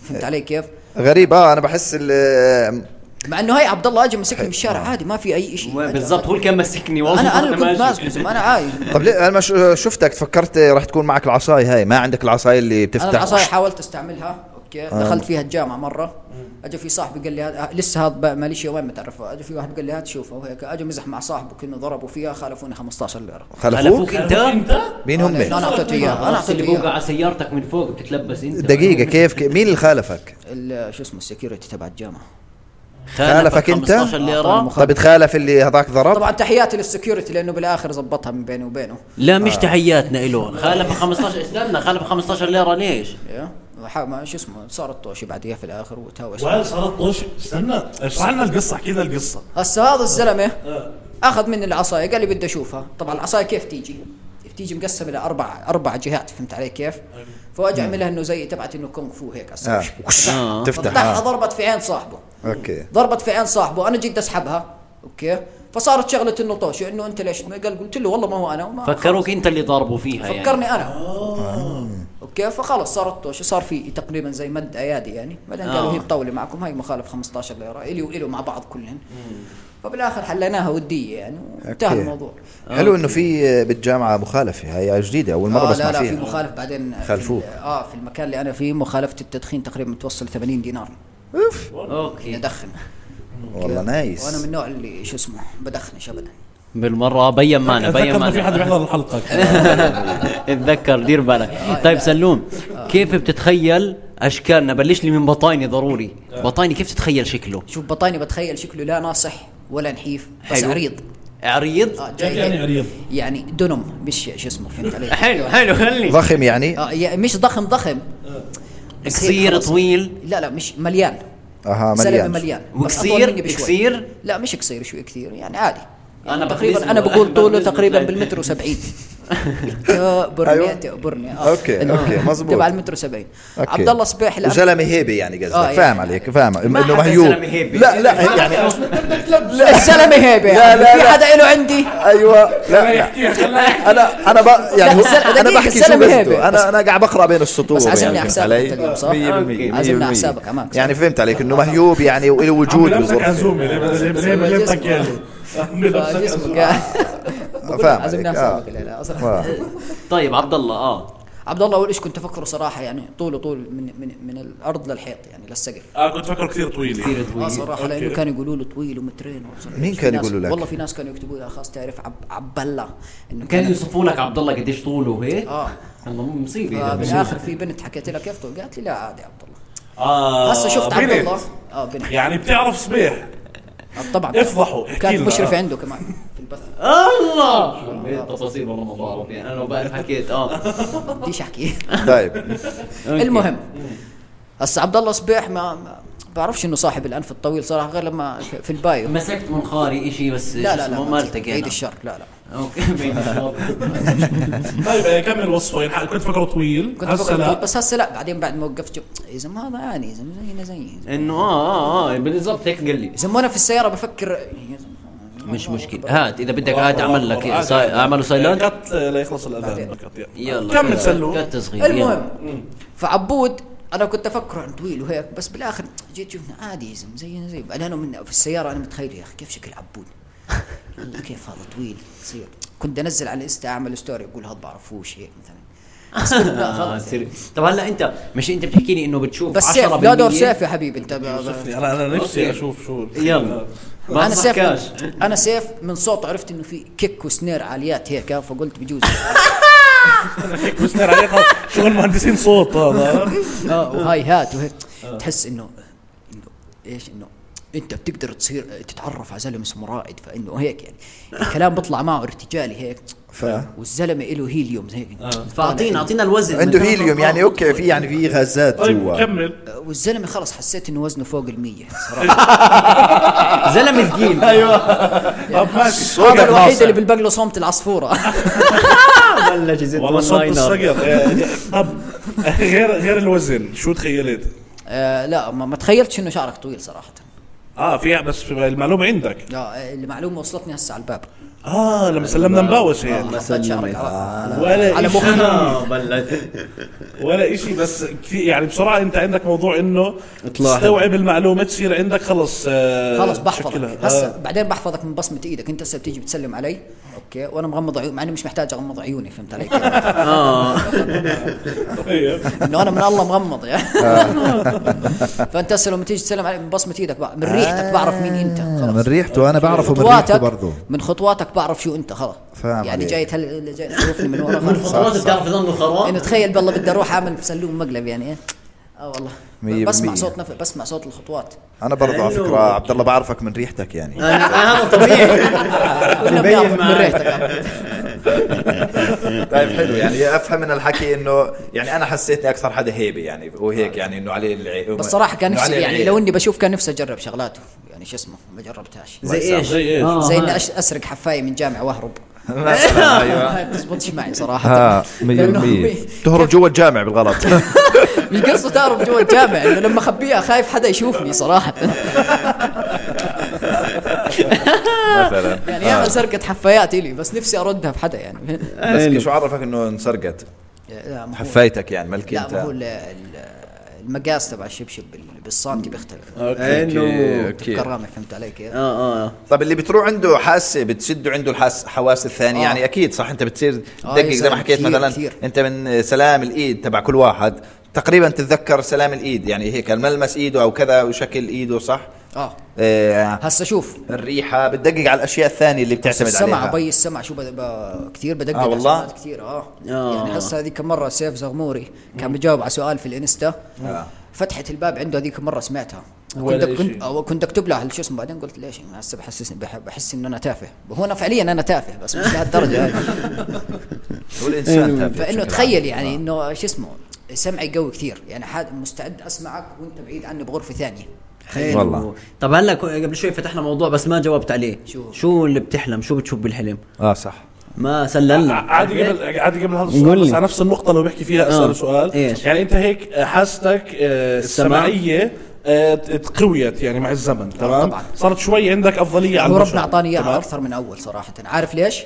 [SPEAKER 3] فهمت علي كيف؟
[SPEAKER 1] غريب اه انا بحس ال-
[SPEAKER 3] مع انه هاي عبد الله اجى مسكني من الشارع
[SPEAKER 1] آه.
[SPEAKER 3] عادي ما في اي شيء
[SPEAKER 4] بالضبط هو اللي كان ماسكني والله
[SPEAKER 3] انا انا كنت
[SPEAKER 4] ماشي.
[SPEAKER 3] ماسك انا عادي
[SPEAKER 1] طب ليه انا ما ش- شفتك فكرت راح تكون معك العصاي هاي ما عندك العصاي اللي
[SPEAKER 3] انا
[SPEAKER 1] بتفتح
[SPEAKER 3] العصاية حاولت استعملها اوكي
[SPEAKER 1] آه.
[SPEAKER 3] دخلت فيها الجامعة مرة اجى في صاحبي قال لي هذا آه، لسه هذا ماليش يومين متعرفه اجى في واحد قال لي هات شوفه وهيك اجى مزح مع صاحبه كنا ضربوا فيها خالفوني 15 ليرة
[SPEAKER 1] خلفوك
[SPEAKER 4] خلفوك انت
[SPEAKER 1] مين
[SPEAKER 3] آه، لأنه
[SPEAKER 1] هم
[SPEAKER 3] انا اعطيته اياها
[SPEAKER 4] انا
[SPEAKER 3] انا
[SPEAKER 4] اللي
[SPEAKER 3] اعطيته
[SPEAKER 4] فوق
[SPEAKER 3] اياها
[SPEAKER 4] على سيارتك من فوق بتتلبس انت
[SPEAKER 1] دقيقة كيف كيف- مين اللي خالفك
[SPEAKER 3] ال- شو اسمه السكيورتي تبع الجامعة
[SPEAKER 1] خالفك انت
[SPEAKER 4] 15
[SPEAKER 3] أعطاني
[SPEAKER 4] ليرة
[SPEAKER 1] طب تخالف اللي هذاك ضرب
[SPEAKER 3] طبعا تحياتي للسكيورتي لانه بالاخر زبطها من بيني وبينه
[SPEAKER 4] لا مش تحياتنا له خالف 15 استنى خالف 15 ليرة ليش؟
[SPEAKER 3] يا وح- ما شو اسمه صارت طوشي بعديها في الاخر وتهاوش
[SPEAKER 2] وهل صارت طوش استنى اشرح لنا القصه احكي لنا آه. القصه
[SPEAKER 3] هسه هذا الزلمه اخذ مني العصايه قال لي بدي اشوفها طبعا العصايه كيف تيجي بتيجي مقسمه لاربع اربع جهات فهمت علي كيف فوجع عملها انه زي تبعت انه كونغ فو هيك
[SPEAKER 1] آه.
[SPEAKER 3] هسه
[SPEAKER 1] وش-
[SPEAKER 4] آه.
[SPEAKER 1] تفتح
[SPEAKER 3] فتحها
[SPEAKER 1] آه.
[SPEAKER 3] ضربت في عين صاحبه
[SPEAKER 1] اوكي
[SPEAKER 3] ضربت في عين صاحبه انا جيت اسحبها اوكي فصارت شغله انه طوشي انه انت ليش ما- قال قلت له والله ما هو انا وما
[SPEAKER 4] فكروك انت اللي ضربوا فيها يعني
[SPEAKER 3] فكرني انا
[SPEAKER 2] آه.
[SPEAKER 1] آه.
[SPEAKER 3] اوكي فخلص صارت طوشه صار في تقريبا زي مد ايادي يعني بعدين قالوا
[SPEAKER 4] آه.
[SPEAKER 3] هي بطوله معكم هاي مخالف 15 ليره الي والي مع بعض كلهن فبالاخر حليناها وديه يعني وانتهى
[SPEAKER 1] أوكي.
[SPEAKER 3] الموضوع
[SPEAKER 1] حلو انه في بالجامعه مخالفه هي جديده اول مره
[SPEAKER 3] آه
[SPEAKER 1] بسمع
[SPEAKER 3] لا لا في
[SPEAKER 1] فيها
[SPEAKER 3] مخالف بعدين في
[SPEAKER 1] خلفوك.
[SPEAKER 3] ال- اه في المكان اللي انا فيه مخالفه التدخين تقريبا متوصل 80 دينار
[SPEAKER 2] إيه.
[SPEAKER 3] إني
[SPEAKER 4] اوكي
[SPEAKER 3] ادخن
[SPEAKER 1] والله
[SPEAKER 3] وانا من
[SPEAKER 1] نايس
[SPEAKER 3] النوع اللي شو اسمه بدخنش ابدا
[SPEAKER 4] بالمرة بين معنا
[SPEAKER 2] اتذكر
[SPEAKER 4] بين
[SPEAKER 2] إنه في
[SPEAKER 4] معنا
[SPEAKER 2] حدا بيحضر الحلقه
[SPEAKER 4] اتذكر دير بالك طيب سلوم كيف بتتخيل اشكالنا بلش لي من بطايني ضروري بطايني كيف تتخيل شكله؟
[SPEAKER 3] شوف بطاني بتخيل شكله لا ناصح ولا نحيف بس
[SPEAKER 4] حلو.
[SPEAKER 3] عريض
[SPEAKER 4] عريض
[SPEAKER 3] آه
[SPEAKER 2] كيف
[SPEAKER 3] جاي
[SPEAKER 2] يعني
[SPEAKER 3] هيك.
[SPEAKER 2] عريض
[SPEAKER 3] يعني دنم مش شو اسمه فهمت علي
[SPEAKER 4] حلو حلو خلي
[SPEAKER 1] ضخم يعني
[SPEAKER 3] آه يا- مش ضخم ضخم بس
[SPEAKER 4] آه. قصير
[SPEAKER 3] هيك خلص.
[SPEAKER 4] طويل
[SPEAKER 3] لا لا مش مليان
[SPEAKER 1] اها
[SPEAKER 3] زلمه
[SPEAKER 1] مليان
[SPEAKER 3] مليان بس
[SPEAKER 4] وقصير؟
[SPEAKER 3] أطول مني بشوي.
[SPEAKER 4] قصير؟
[SPEAKER 3] لا مش قصير شوي كثير يعني عادي يعني
[SPEAKER 4] أنا
[SPEAKER 3] تقريبا
[SPEAKER 4] بخبزنه.
[SPEAKER 3] انا بقول طوله
[SPEAKER 4] بخبزنه.
[SPEAKER 3] تقريبا بالمتر و70
[SPEAKER 1] أيوة.
[SPEAKER 3] برني تقبرني آه.
[SPEAKER 1] أوكي، أوكي، مزبوط.
[SPEAKER 3] تبع المتر و70 عبد الله صبيح الآن-
[SPEAKER 1] وزلمه هيبه يعني قصدك
[SPEAKER 3] آه،
[SPEAKER 1] آه
[SPEAKER 3] يعني-
[SPEAKER 1] فاهم عليك فاهم انه
[SPEAKER 4] حدا
[SPEAKER 1] مهيوب
[SPEAKER 4] زلمة هيبة.
[SPEAKER 1] لا لا يعني
[SPEAKER 3] الزلمه هيبه
[SPEAKER 1] لا،
[SPEAKER 3] يعني.
[SPEAKER 1] لا،
[SPEAKER 3] في
[SPEAKER 1] لا.
[SPEAKER 3] حدا له عندي
[SPEAKER 1] ايوه لا لا.
[SPEAKER 2] يحكيها خليها
[SPEAKER 1] انا انا ب... يعني هو
[SPEAKER 3] الزل-
[SPEAKER 1] انا
[SPEAKER 3] دقيقة،
[SPEAKER 1] بحكي شو
[SPEAKER 3] الزلمة هيبة.
[SPEAKER 1] قصده انا انا قاعد بقرا بين السطور
[SPEAKER 3] بس عزمني
[SPEAKER 1] يعني
[SPEAKER 3] على
[SPEAKER 1] فهمت
[SPEAKER 3] حسابك
[SPEAKER 1] علي؟
[SPEAKER 3] أنت اليوم، صح؟
[SPEAKER 1] 100%
[SPEAKER 3] عزمنا
[SPEAKER 1] 100%.
[SPEAKER 3] على حسابك آه، امامك
[SPEAKER 1] يعني فهمت عليك انه مهيوب يعني وله وجود
[SPEAKER 2] بنفسك
[SPEAKER 1] بالغرفه
[SPEAKER 2] عزومه ليه ليه- ليه ليه يعني؟
[SPEAKER 3] جسمه.
[SPEAKER 2] بتكالي
[SPEAKER 3] آه،
[SPEAKER 2] بنفسك عزومه
[SPEAKER 1] فاهم
[SPEAKER 3] عزمنا
[SPEAKER 1] عليك،
[SPEAKER 3] على حسابك
[SPEAKER 1] آه.
[SPEAKER 3] لا، لا، أصلاً.
[SPEAKER 1] آه.
[SPEAKER 4] طيب عبد الله اه
[SPEAKER 3] عبد الله اول ايش كنت افكره صراحه يعني طوله طول من من من الارض للحيط يعني للسقف
[SPEAKER 2] اه كنت فاكره كثير طويل
[SPEAKER 4] كثير
[SPEAKER 3] اه
[SPEAKER 4] طويل
[SPEAKER 3] صراحه لانه كانوا يقولوا له طويل ومترين وصراحة
[SPEAKER 1] مين
[SPEAKER 3] في
[SPEAKER 1] كان
[SPEAKER 3] ناس-
[SPEAKER 1] يقولوا لك؟
[SPEAKER 3] والله في ناس كانوا يكتبوا لي اشخاص تعرف عب عبله انه
[SPEAKER 4] كانوا يوصفوا لك عبد الله قديش طوله وهيك
[SPEAKER 3] اه
[SPEAKER 4] والله مصيبه هذا.
[SPEAKER 3] آه،
[SPEAKER 1] إيه،
[SPEAKER 3] فبالاخر في بنت حكيت لها كيف طول؟ قالت لي لا عادي يا عبد الله
[SPEAKER 4] آه
[SPEAKER 3] هسه شفت عبد
[SPEAKER 2] بنت.
[SPEAKER 3] الله اه بنت
[SPEAKER 2] يعني بتعرف صبيح
[SPEAKER 3] آه، طبعا
[SPEAKER 2] افضحوا احكي
[SPEAKER 3] كانت
[SPEAKER 2] لنا آه.
[SPEAKER 3] مشرفه عنده كمان في البث
[SPEAKER 4] الله تفاصيل والله ما بعرف يعني انا لو بعرف حكيت اه
[SPEAKER 3] بديش احكي
[SPEAKER 1] طيب
[SPEAKER 3] المهم هسه عبد الله صبيح ما, ما بعرفش انه صاحب الانف الطويل صراحه غير لما في في البايو
[SPEAKER 4] مسكت منخاري شيء بس
[SPEAKER 3] لا لا لا
[SPEAKER 4] ما
[SPEAKER 2] يعني.
[SPEAKER 3] بعيد
[SPEAKER 4] التقينا
[SPEAKER 3] الشر لا لا
[SPEAKER 4] اوكي بعيد الشر
[SPEAKER 2] طيب آه، كمل وصفه ينحق. كنت فكره طويل
[SPEAKER 3] كنت
[SPEAKER 2] هسه
[SPEAKER 3] بفكر
[SPEAKER 2] لا
[SPEAKER 3] بس هسه لا بعدين بعد ما وقفت شو- يا زلمه هذا يعني يا زلمه زينا زيي
[SPEAKER 4] انه اه اه اه بالضبط هيك قال لي
[SPEAKER 3] يا زلمه وانا في السياره بفكر يا زلمة
[SPEAKER 4] مش مشكلة هات اذا بدك هات اعمل لك
[SPEAKER 3] آه،
[SPEAKER 4] إيه، ساي- اعمله سايلنت
[SPEAKER 2] قط لا يخلص الاذان فقط، يلا.
[SPEAKER 4] يلا
[SPEAKER 2] كمل سلو.
[SPEAKER 4] كت صغير يلا.
[SPEAKER 3] المهم فعبود انا كنت افكره عن طويل وهيك بس بالاخر جيت شفنا عادي يا زلمه زينا زي انا من في السياره انا متخيل يا اخي كيف شكل عبود والله كيف هذا طويل صير كنت انزل على الانستا اعمل ستوري اقول هذا بعرفوش هيك مثلا بس كنت- لا،
[SPEAKER 4] آه،
[SPEAKER 3] خلاص يعني.
[SPEAKER 4] سيري. طب هلا انت مش انت بتحكي لي انه بتشوف
[SPEAKER 3] بس
[SPEAKER 4] 10%
[SPEAKER 3] سيف لا دور سيف يا حبيبي انت
[SPEAKER 2] شوفني، انا انا يعني نفسي
[SPEAKER 4] أوكي.
[SPEAKER 2] اشوف شو
[SPEAKER 4] يلا ما
[SPEAKER 3] انا سيف
[SPEAKER 4] تضحكاش
[SPEAKER 3] انا سيف من صوت عرفت انه في كيك وسنير عاليات هيك فقلت بجوز
[SPEAKER 2] مستر عليك شغل مهندسين صوت هذا
[SPEAKER 3] اه وهاي هات وهيك تحس انه انه ايش انه انت بتقدر تصير تتعرف على زلمه اسمه رائد فانه هيك يعني الكلام بيطلع معه ارتجالي هيك
[SPEAKER 1] ف
[SPEAKER 3] والزلمه له هيليوم هيك
[SPEAKER 4] آه. فاعطينا اعطينا الوزن
[SPEAKER 1] عنده
[SPEAKER 3] طيب،
[SPEAKER 4] مثلاً.
[SPEAKER 1] هيليوم يعني اوكي في يعني في غازات
[SPEAKER 2] طيب
[SPEAKER 1] جوا
[SPEAKER 2] كمل
[SPEAKER 3] والزلمه خلص حسيت انه وزنه فوق ال 100
[SPEAKER 4] زلمه ثقيل
[SPEAKER 3] أيوه.
[SPEAKER 4] ايوه
[SPEAKER 2] طب ماشي
[SPEAKER 3] هذا
[SPEAKER 1] صوتك
[SPEAKER 3] الوحيد
[SPEAKER 1] ناصع.
[SPEAKER 3] اللي بالبق له صمت العصفوره
[SPEAKER 4] بلش يزت
[SPEAKER 2] والله صوت
[SPEAKER 4] اللاينر.
[SPEAKER 2] الصقر آه، طب غير غير الوزن شو تخيلت؟
[SPEAKER 3] آه لا ما, ما تخيلتش انه شعرك طويل صراحه
[SPEAKER 2] اه في بس في المعلومه عندك
[SPEAKER 3] لا المعلومه وصلتني هسه على الباب
[SPEAKER 2] اه لما سلمنا مباوس هي
[SPEAKER 3] ما حطيت شعرك آه. على
[SPEAKER 2] ولا
[SPEAKER 3] على
[SPEAKER 2] إشي
[SPEAKER 3] مخي.
[SPEAKER 4] آه، بلش
[SPEAKER 2] ولا إشي بس كثير يعني بسرعه انت عندك موضوع انه
[SPEAKER 4] اطلاع.
[SPEAKER 2] تستوعب المعلومه تصير عندك خلص آه،
[SPEAKER 3] خلص
[SPEAKER 2] شكلها.
[SPEAKER 3] بحفظك
[SPEAKER 2] آه.
[SPEAKER 3] هسه بعدين بحفظك من بصمه ايدك انت هسه بتيجي بتسلم علي اوكي وانا مغمض عيوني مع اني مش محتاج اغمض عيوني فهمت علي؟
[SPEAKER 2] إيه.
[SPEAKER 3] انه انا من الله مغمض يعني
[SPEAKER 1] آه.
[SPEAKER 3] فانت هسه لما تيجي تسلم علي من بصمه ايدك بقى من ريحتك بعرف مين انت
[SPEAKER 1] آه، من
[SPEAKER 3] خلاص
[SPEAKER 1] ريحته انا بعرفه من ريحته برضه
[SPEAKER 3] من خطواتك بعرف شو انت خلاص
[SPEAKER 1] فاهم
[SPEAKER 3] يعني
[SPEAKER 1] عليك.
[SPEAKER 3] جاي تل... جاي تشوفني من ورا
[SPEAKER 4] من
[SPEAKER 3] خلاص
[SPEAKER 4] خطوات بتعرف انه
[SPEAKER 3] يعني
[SPEAKER 4] خراب
[SPEAKER 3] تخيل بالله بدي اروح اعمل في سلوم مقلب يعني إيه. اه والله
[SPEAKER 1] مية
[SPEAKER 3] بسمع
[SPEAKER 1] بالمية.
[SPEAKER 3] صوت نفس بسمع صوت الخطوات
[SPEAKER 1] انا برضه على
[SPEAKER 4] حلو.
[SPEAKER 1] فكره عبد الله بعرفك من ريحتك يعني
[SPEAKER 4] أنا- هذا آه، طبيعي
[SPEAKER 3] كلنا
[SPEAKER 4] ببين
[SPEAKER 3] بنعرف من
[SPEAKER 4] معك.
[SPEAKER 3] ريحتك
[SPEAKER 1] طيب حلو
[SPEAKER 3] إيه.
[SPEAKER 1] يعني افهم من الحكي انه يعني انا حسيتني اكثر حدا هيبه يعني وهيك يعني انه عليه العيب
[SPEAKER 3] آه. بس صراحة كان نفسي يعني لو اني بشوف كان نفسي اجرب شغلاته يعني شو اسمه ما جربتهاش
[SPEAKER 4] زي ايش؟
[SPEAKER 2] زي إيش؟
[SPEAKER 4] آه،
[SPEAKER 3] زي
[SPEAKER 4] هاي.
[SPEAKER 3] اني أش- اسرق حفاية من جامعة واهرب
[SPEAKER 1] ايوه
[SPEAKER 3] هاي بتزبطش معي صراحة
[SPEAKER 1] ها 100% تهرب جوا الجامع بالغلط
[SPEAKER 3] مش قصة تهرب جوا الجامع انه لما اخبيها خايف حدا يشوفني صراحة
[SPEAKER 1] مثلا
[SPEAKER 3] يعني ياما سرقة حفايات الي بس نفسي اردها في حدا يعني
[SPEAKER 4] آه،
[SPEAKER 1] بس شو عرفك انه انسرقت
[SPEAKER 3] لا ما هو-
[SPEAKER 1] حفايتك يعني ملكي
[SPEAKER 3] لا ما هو
[SPEAKER 1] انت
[SPEAKER 3] ال- ال- المقاس تبع الشبشب بال- بالسانتي بيختلف
[SPEAKER 4] انه
[SPEAKER 3] كرامة فهمت علي كيف؟
[SPEAKER 1] آه.
[SPEAKER 4] اه اه
[SPEAKER 1] طب طيب، اللي بتروح عنده حاسه بتسده عنده الحس حواس الثانيه
[SPEAKER 3] آه.
[SPEAKER 1] آه. يعني اكيد صح انت بتصير
[SPEAKER 3] آه،
[SPEAKER 1] دقق زي
[SPEAKER 3] يا
[SPEAKER 1] ما
[SPEAKER 3] زلمة،
[SPEAKER 1] حكيت
[SPEAKER 3] كثير-
[SPEAKER 1] مثلا
[SPEAKER 3] كثير.
[SPEAKER 1] انت من سلام الايد تبع كل واحد تقريبا تتذكر سلام الايد يعني هيك الملمس ايده او كذا وشكل ايده صح
[SPEAKER 3] اه
[SPEAKER 1] آه
[SPEAKER 3] هسا شوف
[SPEAKER 1] الريحه بتدقق على الاشياء الثانيه اللي بتعتمد
[SPEAKER 3] السمع
[SPEAKER 1] عليها
[SPEAKER 3] بي السمع شو بد- ب- كثير بدقق
[SPEAKER 1] آه
[SPEAKER 3] على
[SPEAKER 1] والله؟
[SPEAKER 3] السمعات كثير اه
[SPEAKER 4] آه.
[SPEAKER 3] يعني هسه هذيك مره سيف زغموري كان بجاوب على سؤال في الانستا
[SPEAKER 1] آه.
[SPEAKER 3] فتحت الباب عنده هذيك مره سمعتها
[SPEAKER 2] ولا
[SPEAKER 3] كنت كنت
[SPEAKER 2] شيء.
[SPEAKER 3] آه، كنت اكتب لها شو اسمه بعدين قلت ليش يعني هسه بحسسني بح- بحس ان انا تافه هو انا فعليا انا تافه بس مش لهالدرجه يعني.
[SPEAKER 1] هو الانسان تافه بشكل
[SPEAKER 3] فانه
[SPEAKER 1] عام.
[SPEAKER 3] أيوة.
[SPEAKER 1] آه.
[SPEAKER 3] تخيل يعني انه شو اسمه سمعي قوي كثير يعني حاد مستعد اسمعك وانت بعيد عني بغرفه ثانيه
[SPEAKER 4] حلو
[SPEAKER 1] والله.
[SPEAKER 4] طب هلا ك- قبل شوي فتحنا موضوع بس ما جاوبت عليه
[SPEAKER 3] شو؟
[SPEAKER 4] شو اللي بتحلم شو بتشوف بالحلم
[SPEAKER 1] اه صح
[SPEAKER 4] ما سللنا
[SPEAKER 2] عادي قبل عادي قبل هذا
[SPEAKER 4] قول
[SPEAKER 2] السؤال
[SPEAKER 4] لي.
[SPEAKER 2] بس على نفس النقطة لو بحكي فيها
[SPEAKER 4] آه.
[SPEAKER 2] اسأل سؤال
[SPEAKER 4] إيش؟
[SPEAKER 2] يعني أنت هيك حاستك آه،
[SPEAKER 4] السمع؟
[SPEAKER 2] السمعية آه، ت- قويت يعني مع الزمن
[SPEAKER 4] آه،
[SPEAKER 2] تمام؟
[SPEAKER 3] طبعاً.
[SPEAKER 2] صارت شوي عندك أفضلية على
[SPEAKER 3] هو
[SPEAKER 2] البشر
[SPEAKER 3] ربنا اعطاني اياها
[SPEAKER 2] تمام؟
[SPEAKER 3] اكثر من اول صراحه عارف ليش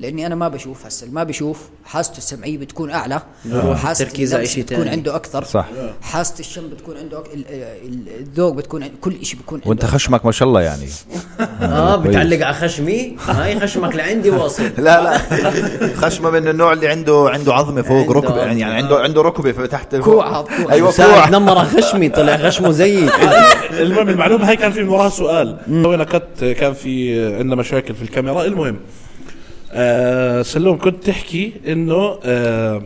[SPEAKER 3] لاني انا ما بشوف هسه اللي ما بشوف حاسته السمعيه بتكون اعلى وحاسه
[SPEAKER 4] تركيزه
[SPEAKER 3] اللمس
[SPEAKER 4] إشي
[SPEAKER 3] بتكون
[SPEAKER 4] تاني.
[SPEAKER 3] عنده اكثر
[SPEAKER 1] صح.
[SPEAKER 3] حاسه الشم بتكون عنده أك... ال- ال- الذوق بتكون عن- كل شيء بيكون عنده
[SPEAKER 1] وانت خشمك ما شاء الله يعني
[SPEAKER 2] آه،
[SPEAKER 4] اه بتعلق على خشمي هاي خشمك لعندي واصل
[SPEAKER 1] لا لا خشمه من النوع اللي عنده عنده عظمه فوق
[SPEAKER 4] عنده
[SPEAKER 1] ركبه
[SPEAKER 4] عظمة.
[SPEAKER 1] يعني عنده عنده ركبه فتحت
[SPEAKER 3] كوع، كوع.
[SPEAKER 2] أيوة،
[SPEAKER 1] ايوه
[SPEAKER 4] ساعد
[SPEAKER 1] كوع
[SPEAKER 4] نمر على خشمي طلع خشمه زيي
[SPEAKER 2] المهم المعلومة هاي كان في من وراها سؤال سوينا كت كان في عندنا مشاكل في الكاميرا المهم آه سلوم كنت تحكي انه آه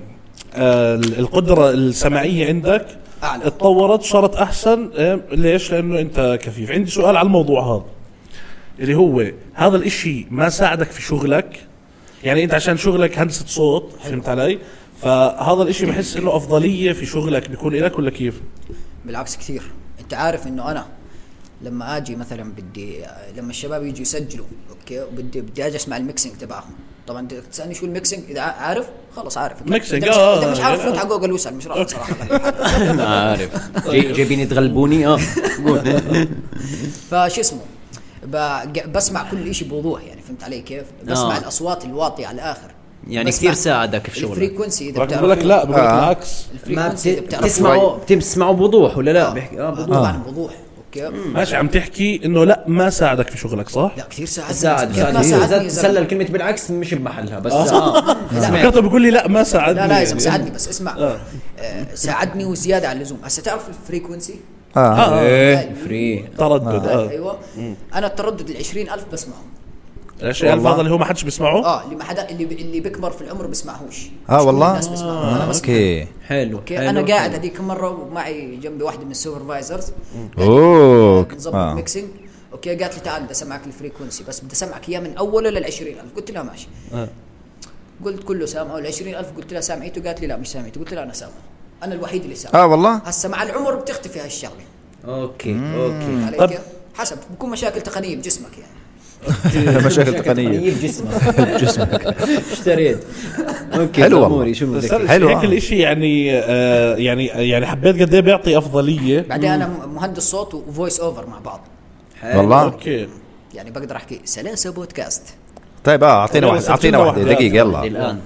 [SPEAKER 2] آه القدرة السمعية عندك
[SPEAKER 3] اعلى
[SPEAKER 2] اتطورت صارت احسن آه، ليش لانه انت كفيف عندي سؤال على الموضوع هذا اللي هو هذا الاشي ما ساعدك في شغلك يعني انت عشان شغلك هندسه صوت فهمت علي فهذا الاشي بحس له افضليه في شغلك بيكون لك ولا كيف
[SPEAKER 3] بالعكس كثير انت عارف انه انا لما اجي مثلا بدي لما الشباب يجوا يسجلوا اوكي وبدي بدي اجي اسمع الميكسينج تبعهم طبعا انت تسالني شو الميكسينج اذا عارف خلص عارف إذا
[SPEAKER 2] ميكسينج،
[SPEAKER 3] مش-
[SPEAKER 2] آه،
[SPEAKER 3] اذا مش عارف
[SPEAKER 2] يعني-
[SPEAKER 3] فوت على جوجل واسال مش راح صراحه
[SPEAKER 4] ما عارف جاي- جايبين يتغلبوني اه قول
[SPEAKER 3] فشو اسمه بق- بسمع كل شيء بوضوح يعني فهمت علي كيف؟ بسمع
[SPEAKER 4] آه.
[SPEAKER 3] الاصوات الواطيه على الاخر
[SPEAKER 4] يعني
[SPEAKER 3] بسمع
[SPEAKER 4] كثير ساعدك في شغلك
[SPEAKER 3] الفريكونسي اذا
[SPEAKER 2] بقول لك
[SPEAKER 3] بتعرف
[SPEAKER 2] لا بقول طيب. لك
[SPEAKER 1] آه.
[SPEAKER 2] العكس
[SPEAKER 4] ما
[SPEAKER 3] الفريكونسي اذا بتعرف
[SPEAKER 4] بتسمعوا بتسمعوا بوضوح ولا لا بيحكي اه بوضوح
[SPEAKER 3] طبعا آه، بوضوح اوكي
[SPEAKER 2] ماشي عم تحكي انه لا ما ساعدك في شغلك صح؟
[SPEAKER 3] لا كثير ساعدني
[SPEAKER 4] ساعد
[SPEAKER 3] كيف
[SPEAKER 4] ساعد إيه،
[SPEAKER 3] ما ساعدني
[SPEAKER 4] ساعد
[SPEAKER 3] يا زلمة؟
[SPEAKER 4] سلل كلمة بالعكس مش بمحلها بس اه سمعت.
[SPEAKER 2] فكرته بيقول لي لا ما ساعدني
[SPEAKER 3] لا لا يا
[SPEAKER 2] يعني.
[SPEAKER 3] زلمه ساعدني بس اسمع آه، ساعدني وزياده عن اللزوم هسه تعرف الفريكونسي
[SPEAKER 2] آه.
[SPEAKER 1] اه
[SPEAKER 4] ايه فري
[SPEAKER 2] تردد اه
[SPEAKER 3] ايوه انا التردد ال 20000 بسمعه
[SPEAKER 2] الاشياء
[SPEAKER 1] والله.
[SPEAKER 2] الفاضه اللي هو ما حدش بيسمعه
[SPEAKER 3] اه اللي ما حدا اللي اللي بيكبر في العمر بسمعهوش
[SPEAKER 1] اه
[SPEAKER 3] مش كل
[SPEAKER 1] والله آه،
[SPEAKER 3] الناس بسمعه انا بسمع
[SPEAKER 1] اوكي
[SPEAKER 4] حلو
[SPEAKER 3] اوكي انا قاعد هذيك مره ومعي جنبي واحده من يعني السوبرفايزرز
[SPEAKER 1] اوه
[SPEAKER 3] نظبط
[SPEAKER 1] آه.
[SPEAKER 3] ميكسينج اوكي قالت لي تعال بدي اسمعك الفريكونسي بس بدي اسمعك اياه من اوله لل 20000 قلت لها ماشي
[SPEAKER 1] آه.
[SPEAKER 3] قلت كله سامعه ال 20000 قلت لها سامعيته قالت لي لا مش سامعيته قلت لها انا سامعه انا الوحيد اللي سامع
[SPEAKER 1] اه والله
[SPEAKER 3] هسه مع العمر بتختفي هالشغله
[SPEAKER 4] اوكي اوكي
[SPEAKER 3] علي
[SPEAKER 2] طب.
[SPEAKER 3] كيف؟ حسب بكون مشاكل تقنيه بجسمك يعني
[SPEAKER 1] مشاكل تقنية
[SPEAKER 4] جسمك جسمك اشتريت اوكي
[SPEAKER 1] حلو والله.
[SPEAKER 4] ضموري، شو
[SPEAKER 2] بس
[SPEAKER 4] بدك
[SPEAKER 2] هذا
[SPEAKER 1] حلو،
[SPEAKER 2] الشيء- هيك
[SPEAKER 1] آه.
[SPEAKER 2] الاشي يعني آه يعني يعني حبيت قد ايه بيعطي افضليه
[SPEAKER 3] بعدين انا مهندس صوت وفويس اوفر مع بعض
[SPEAKER 4] حلو.
[SPEAKER 1] والله
[SPEAKER 2] اوكي
[SPEAKER 3] يعني بقدر احكي سلاسه بودكاست
[SPEAKER 1] طيب اه اعطينا
[SPEAKER 2] يلا
[SPEAKER 1] واحدة
[SPEAKER 2] سجلنا
[SPEAKER 1] اعطينا واحدة
[SPEAKER 2] واحدة.
[SPEAKER 1] دقيقة
[SPEAKER 4] آه.
[SPEAKER 1] يلا
[SPEAKER 4] الان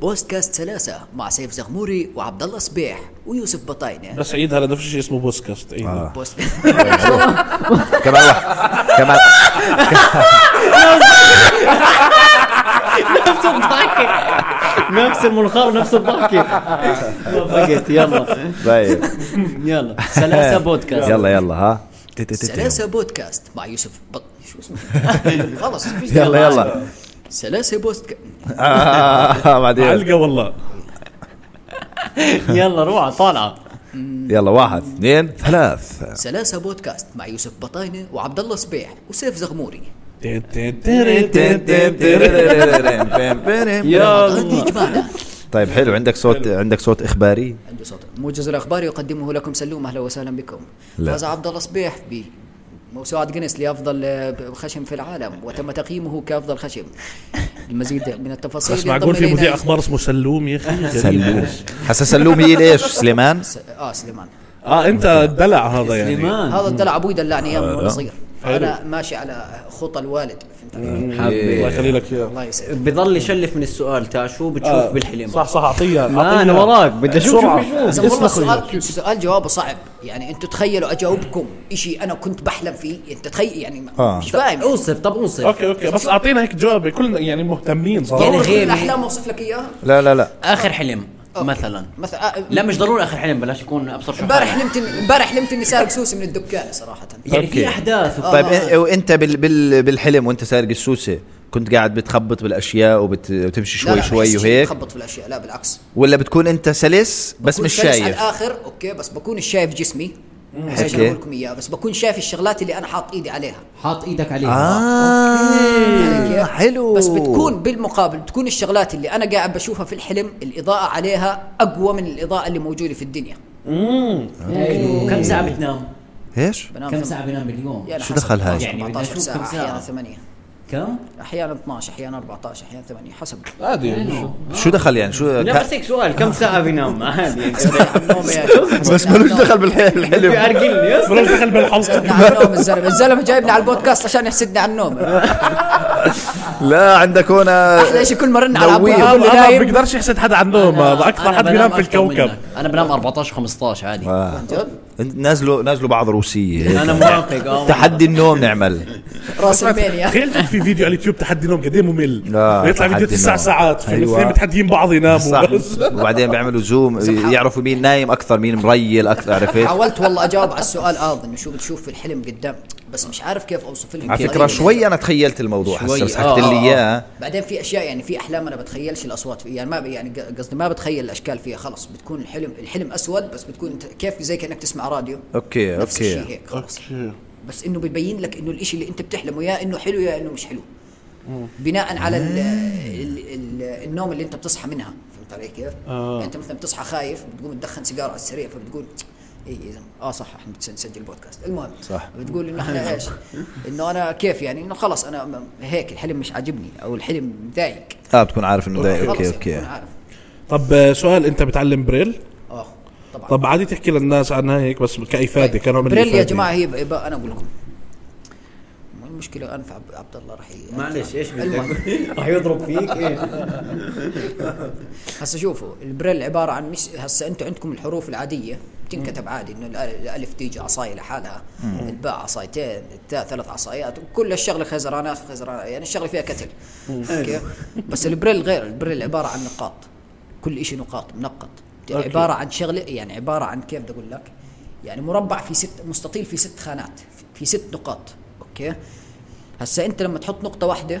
[SPEAKER 3] بودكاست سلاسه مع سيف زغموري وعبد الله صبيح ويوسف بطاينه
[SPEAKER 2] بس عيدها لانه في شيء اسمه بودكاست عيدها آه.
[SPEAKER 3] بوست
[SPEAKER 1] كمان واحد كمان
[SPEAKER 4] نفس الضحكة نفس المنخار نفس الضحكة وافقت يلا
[SPEAKER 1] طيب
[SPEAKER 4] يلا سلاسة بودكاست
[SPEAKER 1] يلا يلا ها تي- تي- تي- تي.
[SPEAKER 3] سلاسه بودكاست مع يوسف بط شو اسمه خلص مفيش داعي.
[SPEAKER 1] يلا يلا
[SPEAKER 3] سلاسه بودكاست
[SPEAKER 1] آه، آه، آه، بعدين
[SPEAKER 2] علقه والله
[SPEAKER 4] يلا روعة طالعة
[SPEAKER 1] يلا واحد اثنين ثلاث
[SPEAKER 3] سلاسه بودكاست مع يوسف بطاينه وعبد الله صبيح وسيف زغموري
[SPEAKER 2] تن- تن- تن- تن- تن- تن.
[SPEAKER 1] يلا.
[SPEAKER 3] رمضان يجمعنا
[SPEAKER 1] طيب حلو عندك صوت عندك صوت اخباري
[SPEAKER 3] عنده صوت موجز الاخبار يقدمه لكم سلوم اهلا وسهلا بكم
[SPEAKER 1] لا.
[SPEAKER 3] فاز عبد الله صبيح ب موسوعة جينيس لأفضل آه، خشم في العالم وتم تقييمه كأفضل خشم المزيد من التفاصيل
[SPEAKER 2] بس معقول
[SPEAKER 3] ينضم
[SPEAKER 2] في
[SPEAKER 3] إلينا-
[SPEAKER 2] مذيع اخبار اسمه سلوم يا اخي
[SPEAKER 1] سلوم هسا سلوم هي ليش سليمان
[SPEAKER 3] س- اه سليمان
[SPEAKER 2] اه انت الدلع هذا يعني
[SPEAKER 4] سليمان
[SPEAKER 3] هذا الدلع ابوي دلعني اياه من وانا صغير انا ماشي على خطى الوالد فهمت علي؟
[SPEAKER 2] الله
[SPEAKER 4] حبيبي
[SPEAKER 2] يخلي لك اياه
[SPEAKER 3] الله يسعدك
[SPEAKER 4] بضل يشوف من السؤال تا شو بتشوف
[SPEAKER 1] آه.
[SPEAKER 4] بالحلم
[SPEAKER 2] صح صح اعطيه
[SPEAKER 4] ما
[SPEAKER 2] أعطيه.
[SPEAKER 4] انا وراك بدي اشوف شو
[SPEAKER 2] بسرعة.
[SPEAKER 4] بشوف
[SPEAKER 3] بس والله
[SPEAKER 2] اسمح لي.
[SPEAKER 3] السؤال السؤال جوابه صعب يعني انتوا تخيلوا اجاوبكم شيء انا كنت بحلم فيه انت تخيل يعني
[SPEAKER 1] آه.
[SPEAKER 3] مش فاهم
[SPEAKER 4] اوصف طب اوصف
[SPEAKER 2] اوكي اوكي بس اعطينا هيك جواب كلنا يعني مهتمين
[SPEAKER 3] يعني
[SPEAKER 4] يعني
[SPEAKER 2] صراحه
[SPEAKER 3] كل
[SPEAKER 4] غيري.
[SPEAKER 3] الاحلام اوصف لك اياها
[SPEAKER 1] لا لا لا
[SPEAKER 4] اخر حلم مثلا
[SPEAKER 3] مثلا آه،
[SPEAKER 4] لا مش ضروري اخر حلم بلاش يكون ابصر شو
[SPEAKER 3] امبارح
[SPEAKER 4] حالك.
[SPEAKER 3] حلمت إني- امبارح حلمت اني سارق سوسي من الدكان صراحه
[SPEAKER 4] يعني في
[SPEAKER 1] أوكي.
[SPEAKER 4] احداث
[SPEAKER 1] طيب إن- وانت بال بال بالحلم وانت سارق السوسه كنت قاعد بتخبط بالاشياء وبت- وبتمشي
[SPEAKER 3] لا، لا،
[SPEAKER 1] شوي
[SPEAKER 3] ما
[SPEAKER 1] شوي
[SPEAKER 3] يحسش
[SPEAKER 1] وهيك
[SPEAKER 3] بخبط في الاشياء لا بالعكس
[SPEAKER 1] ولا بتكون انت سلس بس
[SPEAKER 3] بكون
[SPEAKER 1] مش
[SPEAKER 3] سلس على
[SPEAKER 1] شايف
[SPEAKER 3] الاخر اوكي بس بكون شايف جسمي بس عشان
[SPEAKER 1] أوكي.
[SPEAKER 3] اقول لكم اياه بس بكون شايف الشغلات اللي انا حاط ايدي عليها
[SPEAKER 4] حاط ايدك
[SPEAKER 1] آه.
[SPEAKER 4] عليها
[SPEAKER 3] على
[SPEAKER 1] اه
[SPEAKER 3] كيف؟
[SPEAKER 1] حلو
[SPEAKER 3] بس بتكون بالمقابل بتكون الشغلات اللي انا قاعد بشوفها في الحلم الاضاءه عليها اقوى من الاضاءه اللي موجوده في الدنيا
[SPEAKER 4] حلو كم ساعة بتنام؟
[SPEAKER 1] ايش؟
[SPEAKER 3] بنام
[SPEAKER 4] كم
[SPEAKER 3] ثم-
[SPEAKER 4] ساعة بنام باليوم؟
[SPEAKER 3] يعني
[SPEAKER 1] شو
[SPEAKER 3] حسب
[SPEAKER 1] دخل هاي؟
[SPEAKER 3] 12
[SPEAKER 4] يعني بدنا
[SPEAKER 3] 14
[SPEAKER 4] نشوف
[SPEAKER 3] ساعه
[SPEAKER 4] كم ساعة.
[SPEAKER 3] احيانا 8
[SPEAKER 4] كم؟
[SPEAKER 3] احيانا 12 احيانا 14 احيانا 8 حسب
[SPEAKER 2] عادي
[SPEAKER 1] شو دخل يعني شو
[SPEAKER 4] لا بس هيك سؤال كم ساعة بنام؟ عادي يعني
[SPEAKER 3] نوم يا أخي.
[SPEAKER 1] بس ملوش دخل بالحلم
[SPEAKER 4] بيعرقلني يس.
[SPEAKER 2] بروح دخل بالحلقه
[SPEAKER 3] على النوم الزلمه الزلمه جايبني على البودكاست عشان يحسدني على النوم
[SPEAKER 1] لا عندك هنا
[SPEAKER 3] احلى شيء كل ما رن على
[SPEAKER 1] نوير.
[SPEAKER 3] ابوي
[SPEAKER 2] أنا
[SPEAKER 3] أقول له
[SPEAKER 2] ما
[SPEAKER 3] نايم
[SPEAKER 2] بقدرش يحسد حدا عن النوم هذا اكثر
[SPEAKER 4] أنا
[SPEAKER 2] حد بينام في
[SPEAKER 4] أكتر
[SPEAKER 2] الكوكب
[SPEAKER 4] منك. انا بنام 14 15 عادي
[SPEAKER 1] آه.
[SPEAKER 3] جد؟
[SPEAKER 1] نازلوا نازلوا بعض روسيه
[SPEAKER 4] انا مراقب اه
[SPEAKER 1] تحدي النوم نعمل
[SPEAKER 3] راس المانيا
[SPEAKER 2] تخيل جد في فيديو على اليوتيوب تحدي نوم قد ايه ممل
[SPEAKER 1] لا،
[SPEAKER 2] ويطلع
[SPEAKER 1] تحدي
[SPEAKER 2] فيديو تسع
[SPEAKER 1] نوم.
[SPEAKER 2] ساعات في
[SPEAKER 1] أيوة.
[SPEAKER 2] الاثنين متحديين بعض
[SPEAKER 1] صح
[SPEAKER 2] يناموا بس
[SPEAKER 1] وبعدين بيعملوا زوم يعرفوا مين نايم اكثر مين مريل اكثر عرفت
[SPEAKER 3] حاولت والله اجاوب على السؤال اه انه شو بتشوف في الحلم قدام بس مش عارف كيف اوصف لهم
[SPEAKER 1] على فكره
[SPEAKER 3] طريقة.
[SPEAKER 1] شوي انا تخيلت الموضوع
[SPEAKER 4] شوي،
[SPEAKER 1] هسه بس
[SPEAKER 4] آه،
[SPEAKER 1] حكيت
[SPEAKER 4] آه،
[SPEAKER 1] لي
[SPEAKER 4] آه.
[SPEAKER 1] اياه
[SPEAKER 3] بعدين في اشياء يعني في احلام انا بتخيلش الاصوات فيها يعني ما ب- يعني ق- قصدي ما بتخيل الاشكال فيها خلص بتكون الحلم الحلم اسود بس بتكون انت كيف زي كانك تسمع راديو
[SPEAKER 1] اوكي
[SPEAKER 3] نفس
[SPEAKER 1] اوكي
[SPEAKER 3] الشيء هيك خلص بس انه ببين لك انه الاشي اللي انت بتحلمه يا انه حلو يا انه مش حلو بناء على ال ال ال النوم اللي انت بتصحى منها فهمت علي كيف؟
[SPEAKER 2] آه.
[SPEAKER 3] يعني انت مثلا بتصحى خايف بتقوم تدخن سيجاره على السريع فبتقول اي اذا اه صح احنا بس- نسجل بودكاست المهم
[SPEAKER 1] صح.
[SPEAKER 3] بتقول انه احنا ايش؟ انه انا كيف يعني انه خلص انا م- هيك الحلم مش عاجبني او الحلم مضايق
[SPEAKER 1] اه بتكون عارف انه ده
[SPEAKER 3] خلص
[SPEAKER 1] اوكي
[SPEAKER 3] يعني أنا
[SPEAKER 1] اوكي
[SPEAKER 3] عارف
[SPEAKER 2] طب آه، سؤال انت بتعلم بريل
[SPEAKER 3] اه طبعا
[SPEAKER 2] طب عادي تحكي للناس عنها هيك بس كإفادة كنوع من
[SPEAKER 3] بريل طيب. يا
[SPEAKER 2] الإفادة.
[SPEAKER 3] جماعه هي ب- ب- انا اقول لكم المشكله انف عب- عبد الله راح ي-
[SPEAKER 4] معلش ايش
[SPEAKER 3] المهم.
[SPEAKER 4] بدك راح يضرب فيك ايه
[SPEAKER 3] هسه شوفوا البريل عباره عن مش هسه انتم عندكم الحروف العاديه بتنكتب عادي انه الأ- الالف تيجي عصايه لحالها الباء عصايتين التاء ثلاث عصايات وكل الشغله خزرانات في خزرانات يعني الشغله فيها كتل اوكي بس البريل غير البريل عباره عن نقاط كل شيء نقاط منقط
[SPEAKER 2] أوكي.
[SPEAKER 3] عباره عن شغله يعني عباره عن كيف بدي اقول لك يعني مربع في ست مستطيل في ست خانات في ست نقاط اوكي هسه انت لما تحط نقطه واحده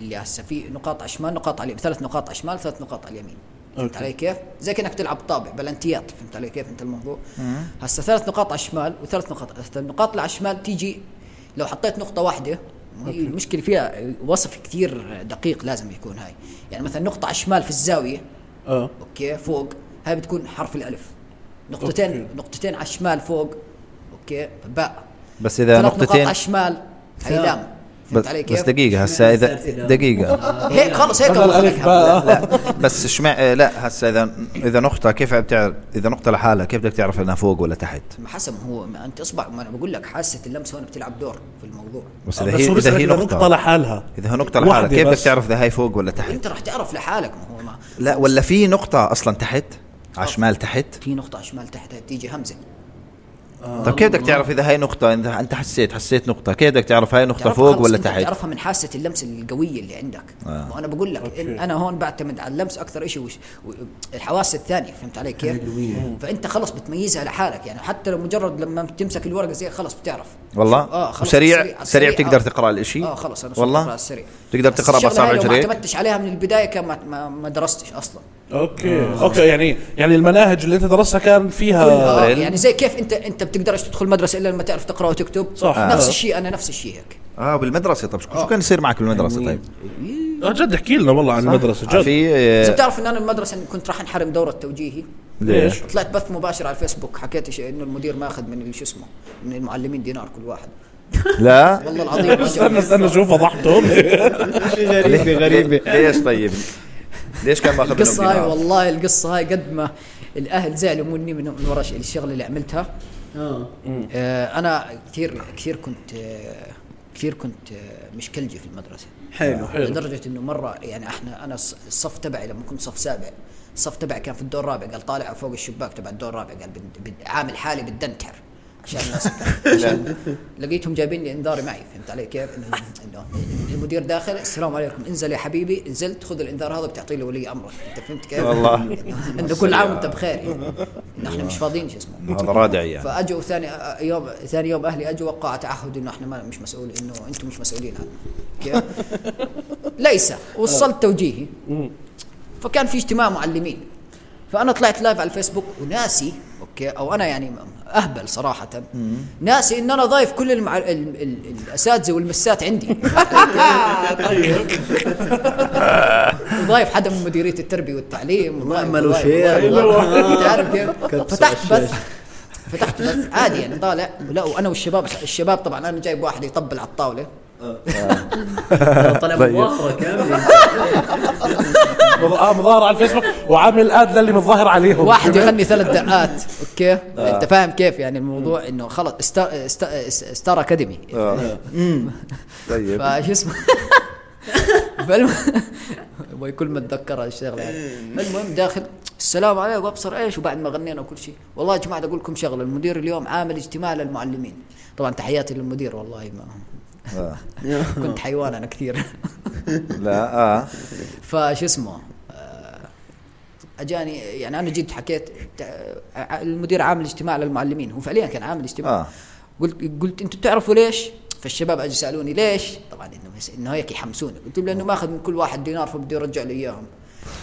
[SPEAKER 3] اللي هسه في نقاط على الشمال نقاط على اليمين ثلاث نقاط على الشمال ثلاث نقاط على اليمين فهمت علي كيف؟ زي كانك تلعب طابع بلنتيات فهمت علي كيف انت الموضوع؟ هسه ثلاث نقاط على الشمال وثلاث نقاط هسه النقاط اللي على الشمال تيجي لو حطيت نقطة واحدة وهي المشكلة فيها وصف كثير دقيق لازم يكون هاي، يعني مثلا نقطة على الشمال في الزاوية
[SPEAKER 2] اه
[SPEAKER 3] اوكي فوق هاي بتكون حرف الألف نقطتين
[SPEAKER 2] أوكي.
[SPEAKER 3] نقطتين على الشمال فوق اوكي باء
[SPEAKER 1] بس اذا
[SPEAKER 3] ثلاث نقاط على
[SPEAKER 1] نقطتين
[SPEAKER 3] الشمال هي لام فهمت
[SPEAKER 1] بس
[SPEAKER 3] علي
[SPEAKER 1] بس
[SPEAKER 3] كيف؟
[SPEAKER 1] دقيقه هسه اذا دقيقه
[SPEAKER 3] هيك خلص هيك
[SPEAKER 2] بدل ألف باء آه.
[SPEAKER 1] لا بس شمع لا هسه اذا اذا نقطه كيف بتعرف اذا نقطه لحالها كيف بدك تعرف انها فوق ولا تحت
[SPEAKER 3] ما حسب ما هو ما انت اصبع ما انا بقول لك حاسه اللمس هون بتلعب دور في الموضوع
[SPEAKER 1] بس
[SPEAKER 2] آه،
[SPEAKER 1] اذا
[SPEAKER 2] بس
[SPEAKER 1] هي
[SPEAKER 2] هو
[SPEAKER 1] اذا
[SPEAKER 2] بيسألك
[SPEAKER 1] هي
[SPEAKER 2] إذا نقطة
[SPEAKER 1] نقطه
[SPEAKER 2] لحالها
[SPEAKER 1] اذا هي نقطه لحالها
[SPEAKER 2] واحدة
[SPEAKER 1] كيف بدك
[SPEAKER 2] بس.
[SPEAKER 1] تعرف اذا هي فوق ولا تحت
[SPEAKER 3] انت راح تعرف لحالك ما هو ما
[SPEAKER 1] لا ولا في نقطه اصلا تحت على شمال تحت
[SPEAKER 3] في نقطه على الشمال تحت هاي بتيجي همزه
[SPEAKER 1] طب كيف بدك تعرف اذا هي نقطه اذا انت حسيت حسيت نقطه كيف بدك تعرف هاي نقطه
[SPEAKER 3] بتعرفها
[SPEAKER 1] فوق
[SPEAKER 3] خلص
[SPEAKER 1] ولا
[SPEAKER 3] انت
[SPEAKER 1] تحت
[SPEAKER 3] بتعرفها من حاسه اللمس القويه اللي عندك
[SPEAKER 1] آه.
[SPEAKER 3] آه. وانا بقول لك إن انا هون بعتمد على اللمس اكثر شيء وش... و... الحواس الثانيه فهمت علي كيف؟ فانت خلص بتميزها لحالك يعني حتى لو مجرد لما تمسك الورقه زي خلص بتعرف
[SPEAKER 1] والله
[SPEAKER 3] اه خلص
[SPEAKER 1] وسريع سريع
[SPEAKER 3] السريع،
[SPEAKER 1] بتقدر
[SPEAKER 3] آه.
[SPEAKER 1] تقرا الاشي
[SPEAKER 3] اه خلص انا
[SPEAKER 1] والله
[SPEAKER 3] بقرا على السريع
[SPEAKER 1] تقدر
[SPEAKER 3] بس
[SPEAKER 1] تقرا
[SPEAKER 3] الشغلة
[SPEAKER 1] باصابع
[SPEAKER 3] هاي لو ما
[SPEAKER 1] رجليك
[SPEAKER 3] اعتمدتش عليها من البدايه كان ما- ما, ما درستش اصلا
[SPEAKER 2] اوكي اوكي يعني يعني المناهج اللي انت درستها كان فيها
[SPEAKER 3] آه
[SPEAKER 1] بريل.
[SPEAKER 3] يعني زي كيف انت انت بتقدرش تدخل مدرسه الا لما تعرف تقرا وتكتب
[SPEAKER 2] صح.
[SPEAKER 3] نفس
[SPEAKER 2] آه.
[SPEAKER 3] الشيء انا نفس الشيء هيك
[SPEAKER 1] اه بالمدرسه طب شو شو
[SPEAKER 3] آه.
[SPEAKER 1] كان يصير معك بالمدرسه طيب
[SPEAKER 2] آه، جد احكي لنا والله عن المدرسة جد
[SPEAKER 1] في
[SPEAKER 3] اذا
[SPEAKER 1] آه،
[SPEAKER 3] بتعرف ان انا المدرسه إن كنت راح انحرم دوره توجيهي
[SPEAKER 1] ليش
[SPEAKER 3] طلعت بث مباشر على الفيسبوك حكيت إيش- انه المدير ماخذ من ال- شو اسمه من المعلمين دينار كل واحد
[SPEAKER 1] لا
[SPEAKER 3] والله العظيم
[SPEAKER 2] استنى استنى شوف فضحتهم
[SPEAKER 4] غريبه غريبه
[SPEAKER 1] ليش طيب ليش كان ماخذ
[SPEAKER 3] القصه هاي
[SPEAKER 1] منهم دينار؟
[SPEAKER 3] والله القصه هاي قد ما الاهل زعلوا مني من من ورا الشغله اللي عملتها آه، انا كثير كثير كنت آه، كثير كنت آه، مشكلجي في آه، المدرسه
[SPEAKER 4] حلو
[SPEAKER 3] لدرجه انه مره يعني احنا انا الص- الصف تبعي لما كنت صف سابع الصف تبعي كان في الدور الرابع قال طالع على فوق الشباك تبع الدور الرابع قال بد- بد- عامل حالي بالدنتر عشان الناس عشان لقيتهم جايبين لي انذاري معي فهمت علي كيف؟ انه انه المدير داخل السلام عليكم انزل يا حبيبي نزلت خذ الانذار هذا بتعطيه لولي امرك انت فهمت كيف؟
[SPEAKER 1] والله.
[SPEAKER 3] انه كل عام وانت بخير يعني انه احنا مش فاضيين شو اسمه
[SPEAKER 1] هذا رادع يعني
[SPEAKER 3] فاجوا ثاني أ- يوم ثاني يوم اهلي اجوا وقع تعهد انه احنا ما مش مسؤول انه انتم مش مسؤولين عنه كيف؟ ليس وصلت توجيهي فكان في اجتماع معلمين فانا طلعت لايف على الفيسبوك وناسي اوكي او انا يعني اهبل صراحه ناسي ان انا ضايف كل المع... ال... ال... الاساتذه والمسات عندي وضايف حدا من مديريه التربيه والتعليم وضايف-
[SPEAKER 4] عملوا
[SPEAKER 3] وضايف-
[SPEAKER 4] شير.
[SPEAKER 3] وضايف- أنت عارف كيف؟
[SPEAKER 4] كبسة
[SPEAKER 3] فتحت
[SPEAKER 4] على
[SPEAKER 3] بث فتحت بث عادي يعني طالع لا وانا والشباب الشباب طبعا انا جايب واحد يطبل على الطاوله
[SPEAKER 4] طلع مظاهره كامله
[SPEAKER 2] اه مظاهرة على الفيسبوك وعامل اد للي متظاهر عليهم
[SPEAKER 3] واحد يغني ثلاث دقات اوكي انت فاهم كيف يعني الموضوع انه خلص ستار ستار, ستار اكاديمي
[SPEAKER 1] طيب
[SPEAKER 3] فشو اسمه فالم... أبوي كل ما اتذكر الشغله يعني المهم داخل السلام عليكم ابصر ايش وبعد ما غنينا وكل شيء والله يا جماعه بدي اقول لكم شغله المدير اليوم عامل اجتماع للمعلمين طبعا تحياتي للمدير والله
[SPEAKER 1] آه.
[SPEAKER 3] ما كنت حيوان انا كثير
[SPEAKER 1] لا اه
[SPEAKER 3] فشو اسمه آه، اجاني آه، يعني انا جيت حكيت تع- المدير عامل اجتماع للمعلمين هو فعليا كان عامل اجتماع
[SPEAKER 1] آه.
[SPEAKER 3] آه. قلت قلت انتم بتعرفوا ليش؟ فالشباب اجوا سالوني ليش؟ طبعا انه مس- انه هيك يحمسوني قلت لهم لانه ماخذ من كل واحد دينار فبده يرجع لي اياهم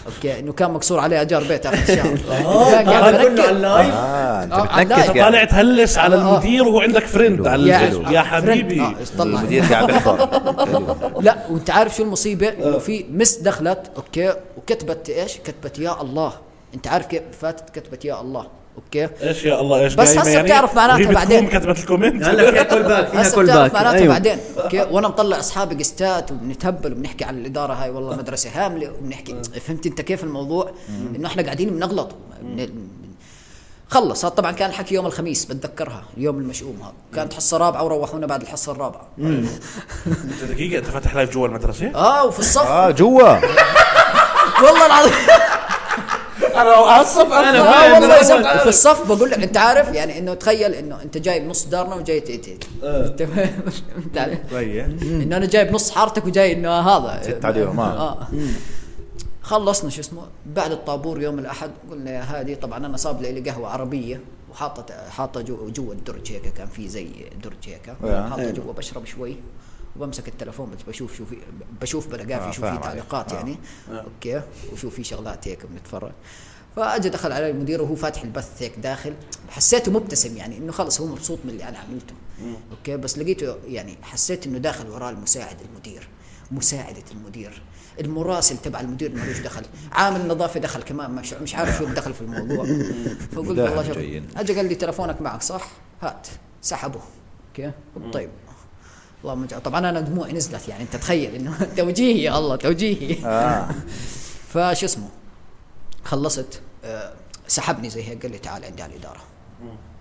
[SPEAKER 3] اوكي انه كان مقصور عليه اجار بيت اخر الشهر
[SPEAKER 2] آه.
[SPEAKER 3] قاعد أفكر.
[SPEAKER 1] اه انت
[SPEAKER 3] آه،
[SPEAKER 1] بتنكش يعني.
[SPEAKER 3] لا،
[SPEAKER 2] طالع
[SPEAKER 1] قاعد.
[SPEAKER 2] تهلس على
[SPEAKER 3] آه.
[SPEAKER 2] المدير وهو عندك فريند على
[SPEAKER 3] يا-
[SPEAKER 2] الفيديو. يا
[SPEAKER 3] فريند.
[SPEAKER 2] حبيبي
[SPEAKER 3] آه، طلع
[SPEAKER 1] المدير قاعد بيحضر
[SPEAKER 3] لا وانت عارف شو المصيبه انه في مس دخلت اوكي وكتبت ايش كتبت يا الله انت عارف كيف فاتت كتبت يا الله اوكي
[SPEAKER 2] ايش يا الله ايش
[SPEAKER 3] بس
[SPEAKER 2] قايمة
[SPEAKER 3] هسه بتعرف معناتها
[SPEAKER 2] وهي
[SPEAKER 3] بعدين.
[SPEAKER 2] بتكون كتبت الكومنت
[SPEAKER 4] هلا فيها كول باك فيها
[SPEAKER 3] هسه
[SPEAKER 4] كول
[SPEAKER 3] بتعرف
[SPEAKER 4] باك
[SPEAKER 3] معناتها بعدين اوكي وانا مطلع اصحابي قستات وبنتهبل وبنحكي على الاداره هاي والله مدرسه هامله وبنحكي فهمت انت كيف الموضوع انه احنا قاعدين بنغلط بن- خلص هذا طبعا كان الحكي يوم الخميس بتذكرها اليوم المشؤوم هذا كانت حصه رابعه وروحونا بعد الحصه الرابعه
[SPEAKER 2] دقيقه انت فاتح لايف جوا المدرسه
[SPEAKER 3] اه وفي الصف
[SPEAKER 1] اه جوا
[SPEAKER 3] والله العظيم
[SPEAKER 2] انا اصف
[SPEAKER 4] أنا
[SPEAKER 3] آه،
[SPEAKER 4] فاهم،
[SPEAKER 3] والله
[SPEAKER 4] أنا
[SPEAKER 3] صدق.
[SPEAKER 4] فاهم.
[SPEAKER 3] وفي الصف بقول لك انت عارف يعني انه تخيل انه انت جاي بنص دارنا وجاي تأتي
[SPEAKER 1] آه.
[SPEAKER 3] تمام فهمت علي؟ انه انا جاي بنص حارتك وجاي انه هذا
[SPEAKER 1] ست عليهم، آه.
[SPEAKER 3] اه خلصنا شو اسمه بعد الطابور يوم الاحد قلنا يا هادي طبعا انا صاب لي قهوه عربيه وحاطط حاطه جو- جوا الدرج هيك كان في زي درج هيك
[SPEAKER 1] آه.
[SPEAKER 3] حاطه جوا بشرب شوي وبمسك التلفون بس بشوف شو في بشوف بلقاه
[SPEAKER 1] آه،
[SPEAKER 3] في شو
[SPEAKER 1] فاهم
[SPEAKER 3] في
[SPEAKER 1] عليك.
[SPEAKER 3] تعليقات يعني اوكي وشو في شغلات هيك بنتفرج فاجى دخل علي المدير وهو فاتح البث هيك داخل حسيته مبتسم يعني انه خلص هو مبسوط من اللي انا عملته اوكي بس لقيته يعني حسيت انه داخل وراه المساعد المدير مساعدة المدير المراسل تبع المدير ملوش دخل عامل النظافة دخل كمان مش, مش عارف شو دخل في الموضوع فقلت والله
[SPEAKER 1] مداهم
[SPEAKER 3] شغل.
[SPEAKER 1] جايين.
[SPEAKER 3] اجى قال لي تلفونك معك صح هات سحبه اوكي قلت طيب اللهم اجعل طبعا انا دموعي نزلت يعني انت تخيل انه توجيهي يا الله توجيهي
[SPEAKER 1] اه
[SPEAKER 3] فش اسمه خلصت آه، سحبني زي هيك قال لي تعال عندي على الاداره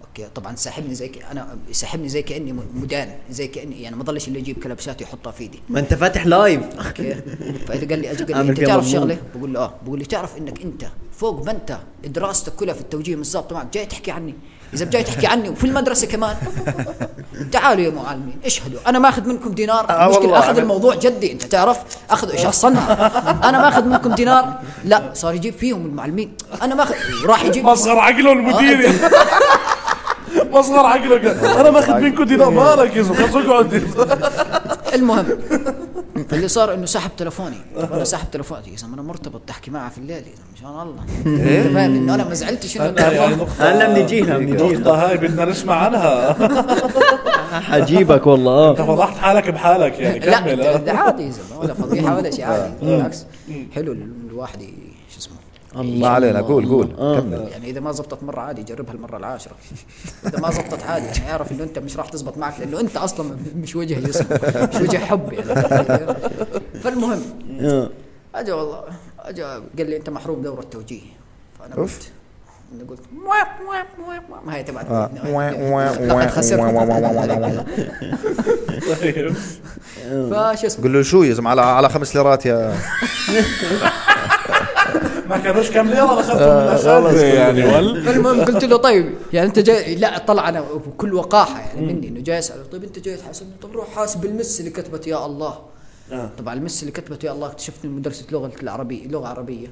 [SPEAKER 3] اوكي طبعا سحبني زي ك... انا سحبني زي كاني مدان زي كاني يعني ما ضلش اللي يجيب كلبساتي يحطها في ايدي
[SPEAKER 4] ما انت فاتح لايف
[SPEAKER 3] اوكي فاذا قال لي اجي قال لي
[SPEAKER 4] عامل
[SPEAKER 3] انت
[SPEAKER 4] فيها
[SPEAKER 3] تعرف
[SPEAKER 4] مضمون.
[SPEAKER 3] شغله؟ بقول له اه بقول لي تعرف انك انت فوق ما انت دراستك كلها في التوجيه من الضابط معك جاي تحكي عني اذا جاي تحكي عني وفي المدرسه كمان تعالوا يا معلمين اشهدوا انا ماخذ منكم دينار
[SPEAKER 1] آه،
[SPEAKER 3] المشكله
[SPEAKER 1] والله
[SPEAKER 3] اخذ
[SPEAKER 1] أنا-
[SPEAKER 3] الموضوع جدي انت تعرف اخذ ايش اصلا انا ماخذ منكم دينار لا صار يجيب فيهم المعلمين انا ماخذ راح يجيب
[SPEAKER 2] مصغر عقله المدير
[SPEAKER 3] آه.
[SPEAKER 2] مصغر عقله قال انا ماخذ منكم دينار مالك يا زلمه خلص اقعد
[SPEAKER 3] المهم اللي صار انه سحب تلفوني طب انا سحب تلفوني يا زلمه انا مرتبط تحكي معه في الليل يا زلمه مشان الله انت فاهم انه انا ما زعلتش انه
[SPEAKER 2] يعني
[SPEAKER 3] التلفون
[SPEAKER 4] هلا بنجيها بنجيها
[SPEAKER 2] النقطة هاي بدنا نسمع عنها
[SPEAKER 4] حجيبك والله
[SPEAKER 2] انت
[SPEAKER 4] اه
[SPEAKER 2] فضحت حالك بحالك يعني
[SPEAKER 3] لا
[SPEAKER 2] كمل
[SPEAKER 3] انت-
[SPEAKER 2] آه.
[SPEAKER 3] ده عادي يا زلمه ولا فضيحه ولا شيء عادي بالعكس حلو ال- الواحد ي- شو اسمه
[SPEAKER 1] ما علينا قول قول كمل
[SPEAKER 3] يعني اذا ما زبطت مره عادي جربها المره العاشره اذا ما زبطت عادي يعني اعرف انه انت مش راح تزبط معك لانه انت اصلا مش وجه الاسم مش وجه حب يعني فالمهم
[SPEAKER 4] آه.
[SPEAKER 3] اجا والله اجا قال لي انت محروم دوره توجيه فانا قلت أنا قلت مواب مواب مواب مواب هاي تبعت
[SPEAKER 1] آه.
[SPEAKER 3] لقد خسرت
[SPEAKER 2] طيب.
[SPEAKER 3] فشو اسمه
[SPEAKER 1] قول له شو يا زلمه على على خمس ليرات يا
[SPEAKER 2] ما كانوش كم ليرة انا اخذتهم من الاساتذة آه، يعني ول
[SPEAKER 3] فالمهم قلت له طيب يعني انت جاي لا طلع انا بكل وقاحه يعني مني انه جاي اساله طيب انت جاي تحاسبني طب روح حاسب المس اللي كتبت يا الله طبعا المس اللي كتبت يا الله اكتشفت من مدرسه لغه العربيه لغه عربيه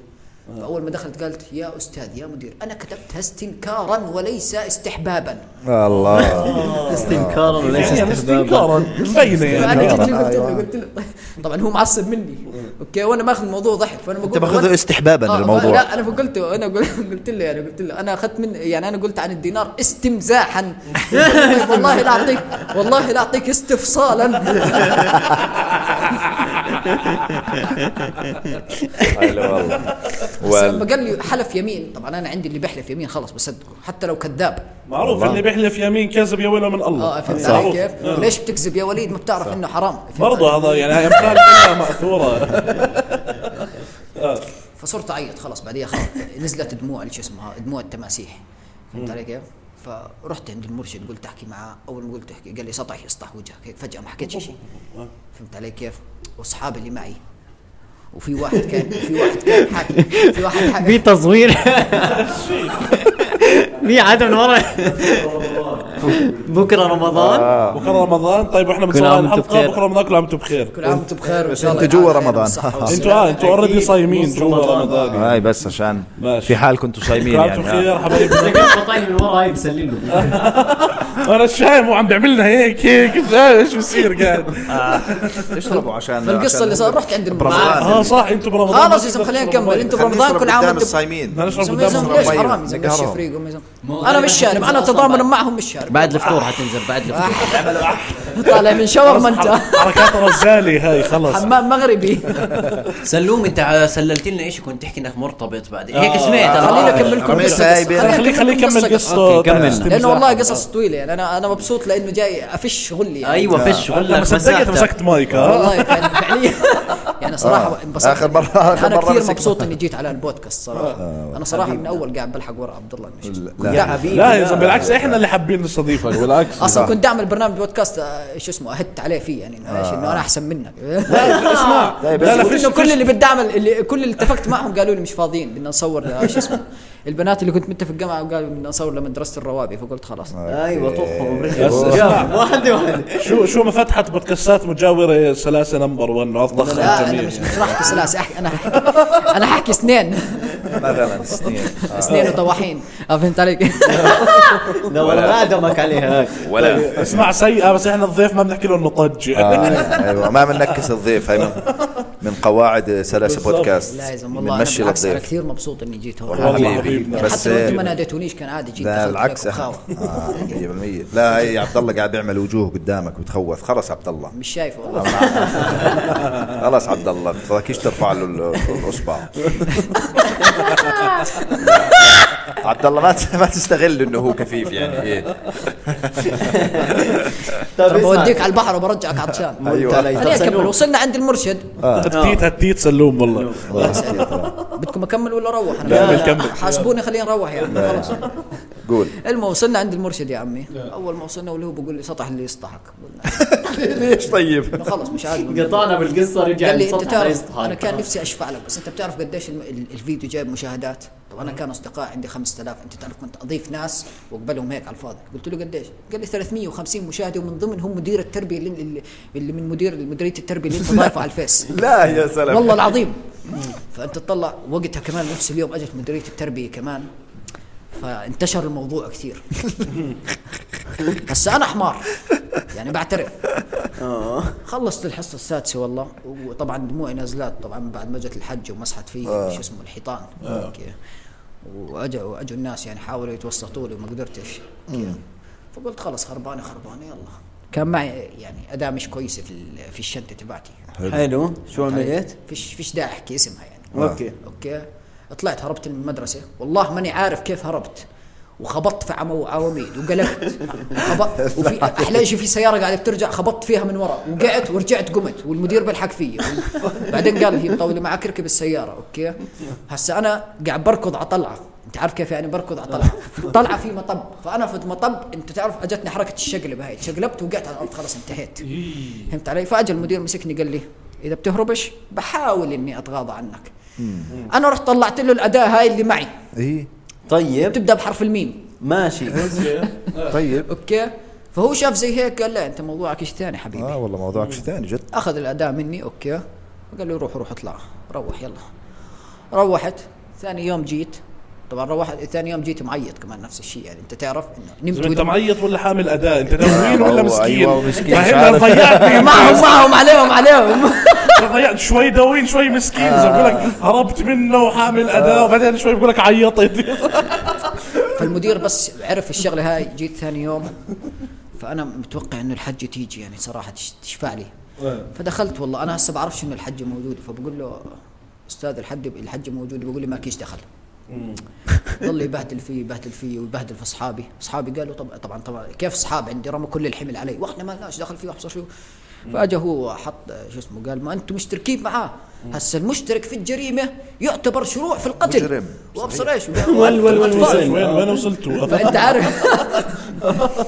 [SPEAKER 3] فاول ما دخلت قالت يا استاذ يا مدير انا كتبتها استنكارا وليس استحبابا
[SPEAKER 1] الله
[SPEAKER 4] استنكارا وليس
[SPEAKER 2] يعني
[SPEAKER 4] استحبابا
[SPEAKER 2] استنكارا مبينة يعني
[SPEAKER 3] فانا قلت له قلت له قلت له طبعا هو معصب مني اوكي وانا ماخذ الموضوع ضحك فانا بقول
[SPEAKER 1] انت باخذه استحبابا
[SPEAKER 3] آه،
[SPEAKER 1] الموضوع
[SPEAKER 3] لا انا فقلت انا قل- قلت له يعني قلت له انا اخذت من يعني انا قلت عن الدينار استمزاحا والله لا اعطيك والله لا اعطيك استفصالا
[SPEAKER 1] حلو والله
[SPEAKER 3] بس لما
[SPEAKER 1] وال-
[SPEAKER 3] قال لي حلف يمين طبعا انا عندي اللي بيحلف يمين خلاص بصدقه حتى لو كذاب
[SPEAKER 2] معروف اللي بيحلف يمين كذب يا ويله من الله
[SPEAKER 3] اه فهمت علي
[SPEAKER 2] معروف.
[SPEAKER 3] كيف؟ ليش بتكذب يا وليد ما بتعرف انه حرام فهمت علي؟
[SPEAKER 2] برضه هذا يعني هاي امثال كلها ماثورة
[SPEAKER 3] فصرت اعيط خلاص بعديها خلاص نزلت دموع شو اسمها دموع التماسيح فهمت علي كيف؟ فرحت عند المرشد قلت احكي معاه اول ما قلت احكي قال لي سطح يسطح وجهك هيك فجاه ما حكيتش شيء فهمت علي كيف؟ واصحابي اللي معي وفي واحد كان في واحد كان حاكي في واحد
[SPEAKER 4] في
[SPEAKER 3] حاكي
[SPEAKER 4] تصوير في عدم من ورا بكره رمضان
[SPEAKER 2] بكره رمضان طيب احنا
[SPEAKER 4] كل
[SPEAKER 2] بنصور
[SPEAKER 4] عام وانتم
[SPEAKER 2] الحلقة
[SPEAKER 4] بخير.
[SPEAKER 2] بكره رمضان كل عام وانتم بخير
[SPEAKER 3] كل عام وانتم بخير وان شاء الله
[SPEAKER 1] أنت جوا
[SPEAKER 3] تعالى
[SPEAKER 1] رمضان.
[SPEAKER 3] بالصحة والسلامة.
[SPEAKER 2] انتوا اه انتوا اوريدي
[SPEAKER 4] أكيد.
[SPEAKER 2] صايمين
[SPEAKER 4] نص
[SPEAKER 2] جوا
[SPEAKER 4] رمضان.
[SPEAKER 2] رمضان
[SPEAKER 1] هاي بس عشان
[SPEAKER 2] ماشي.
[SPEAKER 1] في حال كنتوا صايمين
[SPEAKER 2] كل عام
[SPEAKER 1] يعني
[SPEAKER 2] وانتم بخير حبايبي
[SPEAKER 4] بطاني من ورا هاي بسلم له
[SPEAKER 2] انا مش فاهم هو عم بيعملنا هيك هيك مش فاهم ايش بصير قاعد
[SPEAKER 1] آه، اشربوا عشان
[SPEAKER 3] فالقصه اللي صار رحت عند
[SPEAKER 1] برمضان.
[SPEAKER 3] المعلم
[SPEAKER 2] اه صح انتم برمضان
[SPEAKER 3] خلص يا زلمة، آه، خلينا نكمل. أنتوا برمضان كل عام
[SPEAKER 1] قدام
[SPEAKER 3] وأنت-
[SPEAKER 1] الصايمين
[SPEAKER 2] بدنا نشرب
[SPEAKER 3] يا زلمة،
[SPEAKER 2] قدامهم
[SPEAKER 3] ليش
[SPEAKER 1] ربيع.
[SPEAKER 3] حرام يا زلمة، ليش
[SPEAKER 1] نقهرهم.
[SPEAKER 3] يفرقوا يا زلمة؟
[SPEAKER 4] ما
[SPEAKER 3] انا
[SPEAKER 4] هو
[SPEAKER 3] مش شارب انا
[SPEAKER 4] أصلاً
[SPEAKER 3] تضامن
[SPEAKER 4] بعد-
[SPEAKER 3] معهم مش شارب
[SPEAKER 4] بعد الفطور حتنزل بعد الفطور
[SPEAKER 3] طالع من شاورما انت
[SPEAKER 2] حركات رزالي هاي خلص
[SPEAKER 3] حمام مغربي
[SPEAKER 4] سلوم انت ع- سللت لنا شيء كنت تحكي انك مرتبط بعدين هيك سمعت انا
[SPEAKER 1] آه،
[SPEAKER 3] خلينا اكمل لكم
[SPEAKER 1] عميل
[SPEAKER 3] قصة-
[SPEAKER 1] سايب.
[SPEAKER 3] قصة.
[SPEAKER 2] خليه خليه يكمل قصته
[SPEAKER 4] أوكي، كملنا.
[SPEAKER 2] استمزاح.
[SPEAKER 3] لانه والله قصص طويله يعني انا انا مبسوط لانه جاي افش غلي يعني.
[SPEAKER 1] أيوة.
[SPEAKER 2] آه.
[SPEAKER 4] ايوه فش
[SPEAKER 2] لما
[SPEAKER 4] ولا
[SPEAKER 2] صدقت مسكت مايك ها
[SPEAKER 3] والله كان فعليا يعني صراحه
[SPEAKER 1] آه.
[SPEAKER 3] انبسطت
[SPEAKER 1] آخر مرة- آخر
[SPEAKER 3] انا
[SPEAKER 1] مرة
[SPEAKER 3] كثير
[SPEAKER 1] مسكنا. آه.
[SPEAKER 3] مبسوط اني جيت على البودكاست صراحه انا صراحه من اول قاعد بلحق ورا عبد الله المشي
[SPEAKER 1] لا.
[SPEAKER 3] يا حبيبي
[SPEAKER 2] لا يا زلمه بالعكس احنا اللي حابين نستضيفك بالعكس
[SPEAKER 3] اصلا كنت داعم البرنامج بودكاست آه، شو اسمه اهدت عليه فيه يعني انه
[SPEAKER 1] آه.
[SPEAKER 3] ايش انه انا احسن منك
[SPEAKER 2] اسمع لا
[SPEAKER 1] طيب،
[SPEAKER 2] لا
[SPEAKER 1] بس-
[SPEAKER 2] فيش
[SPEAKER 3] انه كل
[SPEAKER 2] كل
[SPEAKER 3] اللي بتدعم اللي كل اللي اتفقت معهم قالوا لي مش فاضيين بدنا نصور آه، شو اسمه البنات اللي كنت متفق معهم قالوا بدنا نصور لمدرسه الروابي فقلت خلاص
[SPEAKER 1] آه.
[SPEAKER 4] ايوه طخهم
[SPEAKER 2] بس اسمع
[SPEAKER 4] واحده واحده
[SPEAKER 2] شو شو ما فتحت بودكاستات مجاوره سلاسه نمبر 1 اطبخ
[SPEAKER 3] لا انا
[SPEAKER 2] الجميع
[SPEAKER 3] مش
[SPEAKER 1] يعني.
[SPEAKER 3] مش راح احكي سلاسه أحكي- انا انا حاحكي سنين
[SPEAKER 1] آه. مثلا سنين
[SPEAKER 3] سنين وطواحين آه، فهمت عليك
[SPEAKER 4] لو ما ادمك عليها هيك
[SPEAKER 1] ولا
[SPEAKER 2] طيب، اسمع سيئه بس احنا الضيف ما بنحكي له انه طج
[SPEAKER 3] آه،
[SPEAKER 1] ايوه ما بننكس الضيف هاي من من قواعد سلاسه
[SPEAKER 2] بالضبط.
[SPEAKER 1] بودكاست
[SPEAKER 3] لا يا زلمه والله انا
[SPEAKER 1] بنمشي
[SPEAKER 3] بالعكس انا
[SPEAKER 1] للضيف
[SPEAKER 3] كثير مبسوط اني جيت هون
[SPEAKER 1] والله
[SPEAKER 2] والله
[SPEAKER 1] حبيبي
[SPEAKER 2] حبيبنا.
[SPEAKER 1] بس
[SPEAKER 3] حتى لو انتم ما
[SPEAKER 1] آه،
[SPEAKER 3] ناديتونيش كان عادي جيت
[SPEAKER 1] لا
[SPEAKER 3] دخلت
[SPEAKER 1] العكس
[SPEAKER 3] عليكم خاوة.
[SPEAKER 1] آه، 100% لا هي عبد الله قاعد بيعمل وجوه قدامك وتخوف خلص عبد الله
[SPEAKER 3] مش شايف والله
[SPEAKER 1] خلاص عبد الله تراكيش ترفع له ال- الاصبع عبد الله ما ت- ما تستغل انه هو كفيف يعني ايه
[SPEAKER 4] طيب
[SPEAKER 3] ترى بوديك
[SPEAKER 4] اسمع
[SPEAKER 3] على البحر وبرجعك عطشان
[SPEAKER 1] أيوة.
[SPEAKER 3] خليني اكمل
[SPEAKER 4] سلوم.
[SPEAKER 3] وصلنا عند المرشد
[SPEAKER 1] آه.
[SPEAKER 2] هتيت هتيت سلوم والله
[SPEAKER 3] بدكم اكمل ولا اروح انا
[SPEAKER 2] لا،
[SPEAKER 3] لا،
[SPEAKER 2] كمل، كمل.
[SPEAKER 3] حاسبوني خليني اروح يا عمي خلاص
[SPEAKER 1] قول
[SPEAKER 3] المهم وصلنا عند المرشد يا عمي اول ما وصلنا واللي هو بيقول لي سطح اللي يسطحك قلنا
[SPEAKER 1] ليش طيب
[SPEAKER 3] إنه خلص مش عاجبه
[SPEAKER 4] قطعنا بالقصه رجع
[SPEAKER 3] قال لي انت
[SPEAKER 4] ينسطح
[SPEAKER 3] تعرف
[SPEAKER 4] ينسطح.
[SPEAKER 3] انا كان نفسي اشفع لك بس انت بتعرف قديش الم- ال- الفيديو جايب مشاهدات طب انا كان اصدقاء عندي 5000 انت تعرف كنت اضيف ناس واقبلهم هيك على الفاضي قلت له قديش قال لي 350 مشاهده ومن ضمنهم مدير التربيه اللي, اللي- اللي من مدير مديريه التربيه اللي انت ضايفه على الفيس
[SPEAKER 1] لا يا سلام
[SPEAKER 3] والله العظيم فانت تطلع وقتها كمان نفس اليوم اجت مديريه التربيه كمان فانتشر الموضوع كثير بس انا حمار يعني بعترف خلصت الحصه السادسه والله وطبعا دموعي نازلات طبعا بعد ما اجت الحجه ومسحت في شو اسمه الحيطان هيك. واجوا واجوا الناس يعني حاولوا يتوسطوا لي وما قدرتش هيك. فقلت خلص خربانه خربانه يلا كان معي يعني اداه مش كويسه في ال- في الشنطه تبعتي
[SPEAKER 4] حلو شو عملت؟
[SPEAKER 3] طيب. فيش فيش داعي احكي اسمها يعني
[SPEAKER 4] اوكي
[SPEAKER 3] اوكي طلعت هربت من المدرسه والله ماني عارف كيف هربت وخبطت في عمو عواميد وقلبت خبط وفي احلى شيء في سياره قاعده بترجع خبطت فيها من ورا وقعت ورجعت قمت والمدير بلحق فيي بعدين قال هي مطوله معك اركب السياره اوكي هسه انا قاعد بركض على طلعه انت عارف كيف يعني بركض على طلعه طلعه في مطب فانا في المطب انت تعرف اجتني حركه الشقلب هاي شقلبت وقعت على الارض خلاص انتهيت فهمت علي فاجى المدير مسكني قال لي اذا بتهربش بحاول اني اتغاضى عنك انا رحت طلعت له الاداه هاي اللي معي
[SPEAKER 1] ايه
[SPEAKER 4] طيب
[SPEAKER 3] بتبدا بحرف الميم
[SPEAKER 4] ماشي
[SPEAKER 1] طيب
[SPEAKER 3] اوكي فهو شاف زي هيك قال لا انت موضوعك شيء ثاني حبيبي
[SPEAKER 1] اه والله موضوعك شيء ثاني جد
[SPEAKER 3] اخذ الاداه مني اوكي قال لي روح روح اطلع روح يلا روحت ثاني يوم جيت طبعا روحت ثاني يوم جيت معيط كمان نفس الشيء يعني انت تعرف انه
[SPEAKER 2] انت
[SPEAKER 3] نمت ولا-
[SPEAKER 2] معيط ولا حامل اداء انت دوين
[SPEAKER 1] آه،
[SPEAKER 2] ولا
[SPEAKER 1] والله،
[SPEAKER 2] مسكين
[SPEAKER 1] أيوة، مسكين، مش
[SPEAKER 2] فهمنا
[SPEAKER 1] عارف.
[SPEAKER 2] ضيعت
[SPEAKER 3] معهم معهم عليهم عليهم
[SPEAKER 2] ضيعت شوي دوين شوي مسكين زي بقول لك هربت منه وحامل اداء وبعدين شوي بقول لك عيطت
[SPEAKER 3] فالمدير بس عرف الشغله هاي جيت ثاني يوم فانا متوقع انه الحجه تيجي يعني صراحه تش- تشفع لي فدخلت والله انا هسه بعرفش انه الحجه موجوده فبقول له استاذ الحج الحجه موجوده بقول لي ماكيش دخل ضل يبهدل فيه يبهدل فيه ويبهدل في اصحابي اصحابي قالوا طبعا طبعا طبعا كيف اصحاب عندي رموا كل الحمل علي واحنا ما لناش دخل فيه احصر شو فاجا هو حط شو اسمه قال ما انتم مشتركين معاه هسه المشترك في الجريمه يعتبر شروع في القتل
[SPEAKER 1] مجرم.
[SPEAKER 3] وابصر ايش
[SPEAKER 4] وال- وال- وال- وال-
[SPEAKER 3] أطفال.
[SPEAKER 2] وين وين وصلتوا
[SPEAKER 3] فانت عارف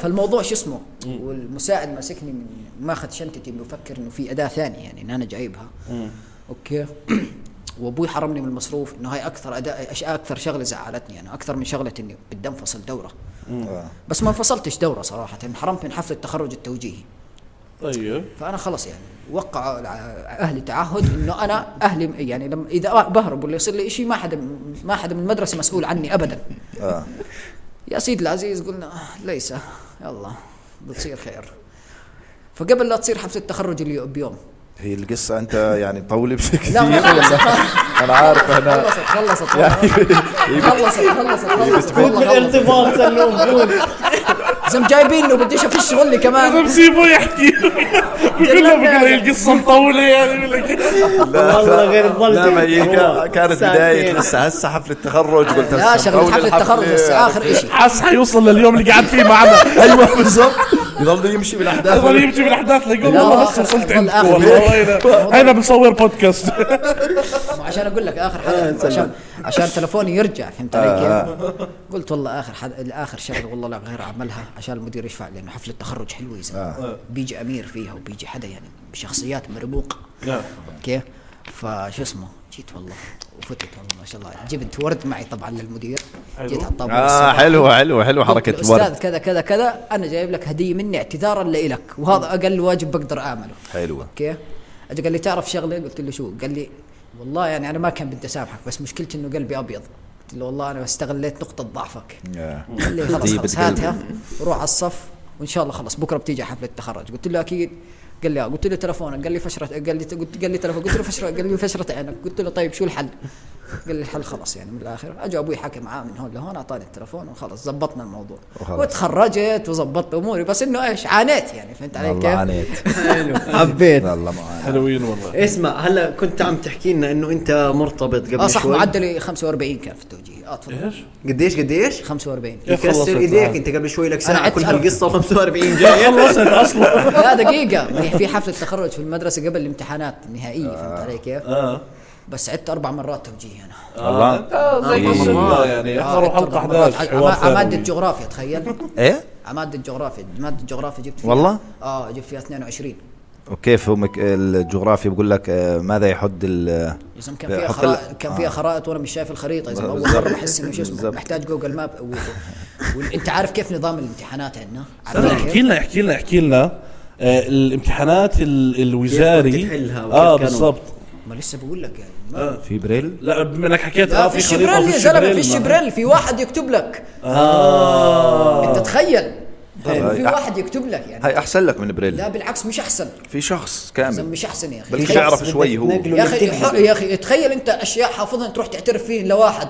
[SPEAKER 3] فالموضوع شو اسمه والمساعد ماسكني من ماخذ شنطتي بفكر انه في اداه ثانيه يعني ان انا جايبها اوكي وابوي حرمني من المصروف انه هاي اكثر اداء أش- اكثر شغله زعلتني انا اكثر من شغله اني بدي انفصل دوره
[SPEAKER 1] آه.
[SPEAKER 3] بس ما انفصلتش دوره صراحه انحرمت من حفله التخرج التوجيهي
[SPEAKER 2] طيب
[SPEAKER 3] فانا خلص يعني وقع الع- اهلي تعهد انه انا اهلي يعني لما اذا بهرب ولا يصير لي شيء ما حدا ما حدا من المدرسه مسؤول عني ابدا
[SPEAKER 1] اه
[SPEAKER 3] يا سيد العزيز قلنا آه، ليس يلا بتصير خير فقبل لا تصير حفله التخرج اليو- بيوم
[SPEAKER 1] هي القصه انت يعني طولي بشكل كثير
[SPEAKER 3] لا ما
[SPEAKER 1] ولا انا عارف انا
[SPEAKER 3] خلصت خلصت خلصت خلصت خلصت خلصت
[SPEAKER 4] فوت
[SPEAKER 3] والله خلصت
[SPEAKER 4] بالارتباط سلوم فوت
[SPEAKER 3] زم جايبينه بديش افش شغلي كمان
[SPEAKER 2] بسيبه يحكي بقول له بقول له القصه مطوله يعني بقول لك
[SPEAKER 4] والله غير الظل
[SPEAKER 1] لا ما هي كا-
[SPEAKER 4] تحكي.
[SPEAKER 1] كانت
[SPEAKER 4] ساعتين.
[SPEAKER 1] بدايه لسه هسه حفله تخرج قلت
[SPEAKER 3] لا
[SPEAKER 1] هسه
[SPEAKER 3] شغلة
[SPEAKER 1] مطول
[SPEAKER 3] حفلة التخرج هسه اخر شيء
[SPEAKER 2] حاس حيوصل لليوم اللي قاعد فيه معنا
[SPEAKER 1] ايوه بالضبط يضل يمشي بالاحداث
[SPEAKER 2] يضل يمشي بالاحداث ليقول
[SPEAKER 3] لا،
[SPEAKER 2] والله بس
[SPEAKER 3] آخر-
[SPEAKER 2] وصلت
[SPEAKER 3] والله
[SPEAKER 2] عندكم
[SPEAKER 3] آخر.
[SPEAKER 2] والله هينا- هينا بنصور بودكاست
[SPEAKER 3] عشان اقول لك اخر حلقه عشان عشان تلفوني يرجع فهمت علي كيف؟ قلت والله اخر حد... اخر شغله والله لا غير اعملها عشان المدير يشفع لانه حفله تخرج حلوه يا زلمه بيجي امير فيها وبيجي حدا يعني بشخصيات مرموقه اوكي فشو اسمه جيت والله وفتت والله ما شاء الله جبت ورد معي طبعا للمدير جيت على الطابور
[SPEAKER 1] اه
[SPEAKER 3] الصباح.
[SPEAKER 1] حلوه حلوه حلوه
[SPEAKER 3] قلت
[SPEAKER 1] حركه
[SPEAKER 3] الأستاذ
[SPEAKER 1] الورد
[SPEAKER 3] كذا كذا كذا انا جايب لك هديه مني اعتذارا لك وهذا اقل واجب بقدر اعمله
[SPEAKER 1] حلوه
[SPEAKER 3] اوكي اجى قال لي تعرف شغله قلت له شو قال لي والله يعني انا ما كان بدي اسامحك بس مشكلتي انه قلبي ابيض قلت له والله انا استغليت نقطه ضعفك
[SPEAKER 1] يا.
[SPEAKER 3] قال لي خلص
[SPEAKER 1] طيب
[SPEAKER 3] خلص
[SPEAKER 1] بتقلب.
[SPEAKER 3] هاتها وروح على الصف وان شاء الله خلص بكره بتيجي حفله التخرج قلت له اكيد قال لي آه. قلت له تلفونك قال لي فشره قال لي قلت قال لي تلفون قلت له فشره قال لي فشره عينك قلت له طيب شو الحل قال لي الحل خلص يعني من الاخر اجى ابوي حكى معاه من هون لهون اعطاني التلفون وخلص زبطنا الموضوع
[SPEAKER 1] وخلص.
[SPEAKER 3] وتخرجت وزبطت اموري بس انه ايش عانيت يعني فهمت علي
[SPEAKER 1] والله
[SPEAKER 3] كيف؟
[SPEAKER 1] عانيت
[SPEAKER 4] حبيت
[SPEAKER 1] والله ما عانيت.
[SPEAKER 2] حلوين والله
[SPEAKER 4] اسمع هلا كنت عم تحكي لنا انه انت مرتبط
[SPEAKER 3] اه
[SPEAKER 4] قبل
[SPEAKER 3] صح
[SPEAKER 4] شوي
[SPEAKER 3] معدلي 45 كان في التوجيه اه تفضل
[SPEAKER 2] ايش؟
[SPEAKER 4] قديش قديش
[SPEAKER 3] 45
[SPEAKER 2] كيف خلصت
[SPEAKER 4] يكسر
[SPEAKER 2] معك؟
[SPEAKER 4] ايديك انت قبل شوي لك ساعه
[SPEAKER 3] عدت
[SPEAKER 4] كل
[SPEAKER 3] أربعة.
[SPEAKER 4] هالقصه و45 جاي
[SPEAKER 2] خلصت اصلا
[SPEAKER 3] لا دقيقة ما هي في حفلة تخرج في المدرسة قبل الامتحانات النهائية فهمت علي كيف؟
[SPEAKER 2] آه.
[SPEAKER 3] بس عدت أربع مرات توجيه أنا آه،
[SPEAKER 1] والله إيه.
[SPEAKER 2] والله يعني احضروا
[SPEAKER 3] عدت
[SPEAKER 2] حلقه
[SPEAKER 3] أربع مرات.
[SPEAKER 2] 11
[SPEAKER 3] ع-
[SPEAKER 2] حوار
[SPEAKER 3] ع- مادة
[SPEAKER 2] ثانوي.
[SPEAKER 3] جغرافيا تخيل
[SPEAKER 1] ايه
[SPEAKER 3] مادة جغرافيا مادة جغرافيا جبت فيها
[SPEAKER 1] والله؟
[SPEAKER 3] اه جبت فيها 22
[SPEAKER 1] وكيف هم ك- الجغرافيا بقول لك آه، ماذا يحد ال
[SPEAKER 3] يا زلمه كان فيها
[SPEAKER 1] حط
[SPEAKER 3] خرائط
[SPEAKER 1] ال-
[SPEAKER 3] كان فيها خرائط وانا مش شايف الخريطه يا زلمه اول
[SPEAKER 1] بالظبط.
[SPEAKER 3] مره بحس انه شو اسمه
[SPEAKER 1] بالظبط.
[SPEAKER 3] محتاج جوجل ماب و- و- وانت عارف كيف نظام الامتحانات عندنا؟
[SPEAKER 2] استنى،
[SPEAKER 3] عارفين
[SPEAKER 2] احكي
[SPEAKER 3] كيف؟
[SPEAKER 2] لنا احكي لنا احكي لنا آه، الامتحانات ال-
[SPEAKER 4] كيف
[SPEAKER 2] الوزاري
[SPEAKER 4] كنت تحلها وكيف
[SPEAKER 2] اه
[SPEAKER 4] كانوا؟
[SPEAKER 2] بالضبط
[SPEAKER 3] ما لسه بقول لك يعني ما
[SPEAKER 1] في بريل
[SPEAKER 2] لا بما انك حكيت
[SPEAKER 3] لا
[SPEAKER 2] اه
[SPEAKER 3] فيش
[SPEAKER 2] في خريطه
[SPEAKER 3] بريل يا
[SPEAKER 2] وفيش
[SPEAKER 3] زلمه فيش
[SPEAKER 2] ما-
[SPEAKER 3] بريل في واحد يكتب لك
[SPEAKER 2] اه
[SPEAKER 3] انت تخيل
[SPEAKER 1] طيب.
[SPEAKER 3] في واحد يكتب لك يعني
[SPEAKER 1] هاي احسن لك من
[SPEAKER 3] لا
[SPEAKER 1] بريل
[SPEAKER 3] بالعكس مش احسن
[SPEAKER 1] في شخص
[SPEAKER 3] زلمة
[SPEAKER 1] كامل
[SPEAKER 3] مش احسن يا اخي
[SPEAKER 1] بلكي
[SPEAKER 3] تخيل-
[SPEAKER 1] يعرف شوي هو
[SPEAKER 4] تنقله.
[SPEAKER 3] يا اخي ح- يا اخي تخيل انت اشياء حافظها تروح تعترف فيه لواحد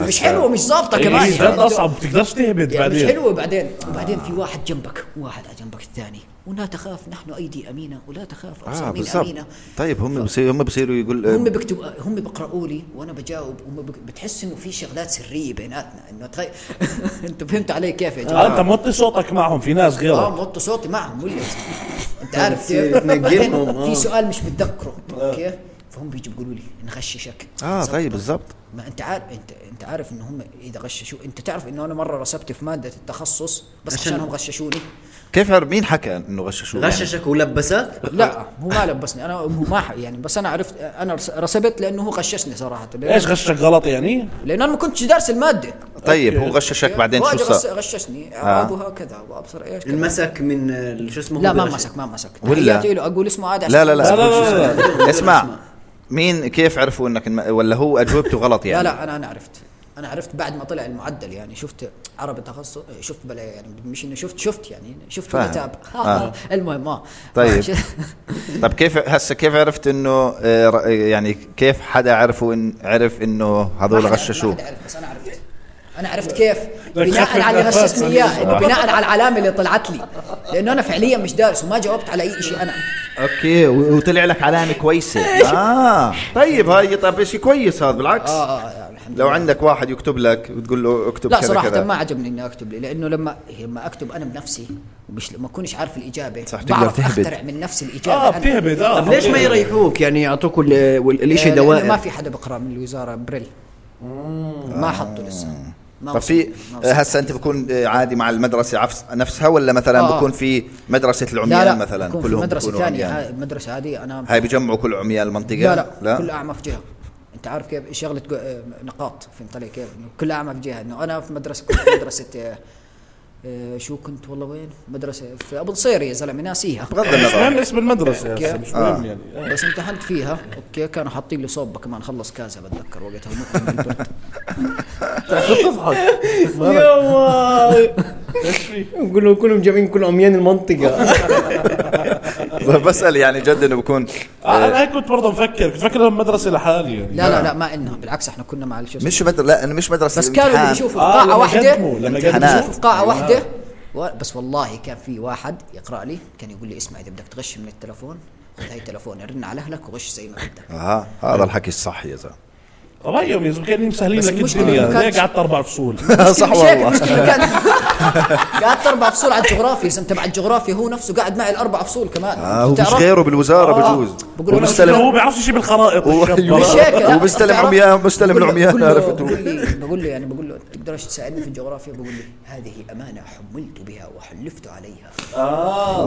[SPEAKER 3] مش حلوه مش ظابطه
[SPEAKER 2] إيه،
[SPEAKER 3] كمان
[SPEAKER 2] جد
[SPEAKER 3] يعني.
[SPEAKER 2] اصعب بتقدرش تهبد
[SPEAKER 3] يعني مش
[SPEAKER 2] بعدين
[SPEAKER 3] حلوه بعدين وبعدين في واحد جنبك وواحد على جنبك الثاني ولا تخاف نحن ايدي امينه ولا تخاف
[SPEAKER 1] اه
[SPEAKER 3] اقسامين
[SPEAKER 1] بالضبط
[SPEAKER 3] امينه
[SPEAKER 1] طيب هم بصير هم بصيروا يقول
[SPEAKER 3] هم بيكتب هم بيقرأوا لي وانا بجاوب هم بك- بتحس انه في شغلات سريه بيناتنا انه تخيل انت فهمت علي كيف يا جماعه
[SPEAKER 2] آه، انت موطي صوتك معهم في ناس
[SPEAKER 3] اه
[SPEAKER 2] غيرك
[SPEAKER 3] موطي صوتي معهم ولا انت عارف
[SPEAKER 4] بتصير
[SPEAKER 3] كيف
[SPEAKER 4] تنقلهم،
[SPEAKER 3] بعدين
[SPEAKER 4] آه.
[SPEAKER 3] في سؤال مش متذكره اوكي فهم بيجوا بيقولوا لي نغششك
[SPEAKER 1] اه
[SPEAKER 3] صح؟
[SPEAKER 1] طيب بالضبط
[SPEAKER 3] ما انت عارف انت انت عارف ان هم اذا غششوا انت تعرف انه انا مره رسبت في ماده التخصص بس
[SPEAKER 4] عشان-
[SPEAKER 3] عشانهم غششوني
[SPEAKER 1] كيف عرف مين حكى انه غششوه يعني؟
[SPEAKER 4] غششك ولبسك
[SPEAKER 3] لا هو ما لبسني انا هو ما ح- يعني بس انا عرفت انا رس- رسبت لانه هو غششني صراحه لأن-
[SPEAKER 2] ايش غشك غلط يعني؟
[SPEAKER 3] لأن انا ما كنتش دارس الماده
[SPEAKER 1] طيب هو غششك بعدين
[SPEAKER 3] هو
[SPEAKER 1] شو
[SPEAKER 3] اجى غش-
[SPEAKER 1] صار؟
[SPEAKER 3] غششني
[SPEAKER 1] آه.
[SPEAKER 3] ابوها كذا وابصر ايش كذا.
[SPEAKER 4] انمسك من ال- شو اسمه
[SPEAKER 3] لا
[SPEAKER 4] هو
[SPEAKER 3] ما
[SPEAKER 4] غشش.
[SPEAKER 3] مسك ما مسك
[SPEAKER 1] ولا؟
[SPEAKER 3] تحياتي له اقول اسمه عادي
[SPEAKER 1] لا
[SPEAKER 3] عشان
[SPEAKER 1] لا لا,
[SPEAKER 2] لا، لا، لا،
[SPEAKER 1] اسمع مين كيف عرفوا انك الم- ولا هو اجوبته غلط يعني؟
[SPEAKER 3] لا لا انا انا عرفت انا عرفت بعد ما طلع المعدل يعني شفت عربي تخصص شفت بلا يعني مش انه شفت شفت يعني شفت
[SPEAKER 1] فاهم.
[SPEAKER 3] كتاب
[SPEAKER 1] آه.
[SPEAKER 3] المهم اه
[SPEAKER 1] طيب. طيب كيف هسه كيف عرفت انه آه، ر- يعني كيف حدا عرفوا ان عرف انه هذول
[SPEAKER 3] ما حدا- ما
[SPEAKER 1] غششوه؟
[SPEAKER 3] حدا عرف، بس انا عرفت انا عرفت كيف
[SPEAKER 2] بدك
[SPEAKER 3] بناء
[SPEAKER 2] تخفف
[SPEAKER 3] على اللي
[SPEAKER 2] نفسك.
[SPEAKER 3] غششني اياه إنه بناء على العلامه اللي طلعت لي لانه انا فعليا مش دارس وما جاوبت على اي شيء انا
[SPEAKER 1] اوكي و- وطلع لك علامه كويسه اه طيب هاي طيب شيء كويس هذا بالعكس
[SPEAKER 3] اه اه آه، الحمد
[SPEAKER 1] لو عندك واحد يكتب لك وتقول له اكتب
[SPEAKER 3] لا
[SPEAKER 1] كذا
[SPEAKER 3] صراحة
[SPEAKER 1] كذا
[SPEAKER 3] ما عجبني اني اكتب لي لانه لما إيه، لما اكتب انا بنفسي ومش ما اكونش عارف الاجابة
[SPEAKER 1] صح، تقدر
[SPEAKER 3] بعرف
[SPEAKER 1] تهبد.
[SPEAKER 3] اخترع من نفسي الاجابة
[SPEAKER 2] اه
[SPEAKER 3] أنا.
[SPEAKER 2] بتهبد اه
[SPEAKER 4] طب ليش ما يريحوك يعني يعطوك ال- وال- الاشي
[SPEAKER 3] آه، لأنه ما
[SPEAKER 4] دوائر
[SPEAKER 3] في حدا بقرا من الوزاره بريل ما حطوا لسه ما
[SPEAKER 1] آه. طب طيب، في آه،
[SPEAKER 3] وصلوا- ما وصلوا.
[SPEAKER 1] هسه انت بكون آه، عادي مع المدرسه عفس- نفسها ولا مثلا
[SPEAKER 3] آه.
[SPEAKER 1] بكون في مدرسه العميان
[SPEAKER 3] لا لا
[SPEAKER 1] مثلا
[SPEAKER 3] بكون في
[SPEAKER 1] كلهم
[SPEAKER 3] مدرسه
[SPEAKER 1] بيكونوا
[SPEAKER 3] ثانيه
[SPEAKER 1] عميان
[SPEAKER 3] ع- مدرسه عاديه انا
[SPEAKER 1] هاي بجمعوا كل عميان المنطقه
[SPEAKER 3] لا لا, لا كل
[SPEAKER 1] لا
[SPEAKER 3] اعمى في جهه انت عارف كيف شغله جو- آه، نقاط فهمت علي كيف إنه كل اعمى في جهه انه انا في مدرسه كنت في مدرسه آه، آه، شو كنت والله وين مدرسه في ابو نصير يا زلمه ناسيها
[SPEAKER 1] بغض
[SPEAKER 2] المهم
[SPEAKER 1] النظر
[SPEAKER 2] اسم المدرسه يا أخي، مش
[SPEAKER 1] آه.
[SPEAKER 2] مهم يعني
[SPEAKER 3] بس امتحنت فيها اوكي كانوا حاطين لي صوبه كمان خلص كازا بتذكر وقتها مت من البرد.
[SPEAKER 2] تضحك
[SPEAKER 5] يا الله نقول لهم كلهم جايين كل عميان المنطقه
[SPEAKER 1] بسال يعني جد انه بكون
[SPEAKER 2] آه، انا هيك كنت برضه مفكر كنت فاكر انها مدرسه لحالي يعني
[SPEAKER 3] لا لا لا ما انها بالعكس احنا كنا مع الشو اسمه.
[SPEAKER 1] مش مدرسه لا انه مش مدرسه
[SPEAKER 3] بس كانوا اللي
[SPEAKER 1] الامتحان.
[SPEAKER 3] بيشوفوا في
[SPEAKER 2] آه،
[SPEAKER 3] قاعه
[SPEAKER 2] لما
[SPEAKER 3] واحده
[SPEAKER 2] قدموا- لما
[SPEAKER 1] قدموا.
[SPEAKER 3] اللي بيشوفوا في قاعه
[SPEAKER 2] أيوة.
[SPEAKER 3] واحده و- بس والله كان في واحد يقرا لي كان يقول لي اسمع اذا بدك تغش من التلفون خذ هاي تلفون رن على اهلك وغش زي ما بدك
[SPEAKER 1] آه هذا الحكي الصح يا زلمه
[SPEAKER 2] طبعا يا زلمه كانوا مسهلين
[SPEAKER 3] بس
[SPEAKER 2] لك
[SPEAKER 3] المشكلة إنه
[SPEAKER 2] الدنيا
[SPEAKER 3] كان-
[SPEAKER 2] ليه قعدت اربع فصول
[SPEAKER 1] صح
[SPEAKER 3] مش هيك
[SPEAKER 1] والله
[SPEAKER 3] المشكله كان قعدت اربع فصول على الجغرافيا اسم تبع الجغرافيا هو نفسه قاعد معي الاربع فصول كمان
[SPEAKER 1] آه هو مش
[SPEAKER 3] بتعرف؟
[SPEAKER 1] غيره بالوزاره
[SPEAKER 3] آه،
[SPEAKER 1] بجوز
[SPEAKER 3] بقول له
[SPEAKER 2] هو
[SPEAKER 1] ومستلم
[SPEAKER 2] بيعرفش شيء بالخرائط
[SPEAKER 1] و-
[SPEAKER 2] الشاب.
[SPEAKER 3] مش هيك لا،
[SPEAKER 1] وبستلم
[SPEAKER 3] بتعرف؟
[SPEAKER 1] عميان- بستلم
[SPEAKER 3] بقول له-
[SPEAKER 1] العميان،
[SPEAKER 3] بقول له-
[SPEAKER 1] عرفت هو.
[SPEAKER 3] بقول لي بقول له يعني بقول له تقدرش تساعدني في الجغرافيا بقول لي هذه امانه حملت بها وحلفت عليها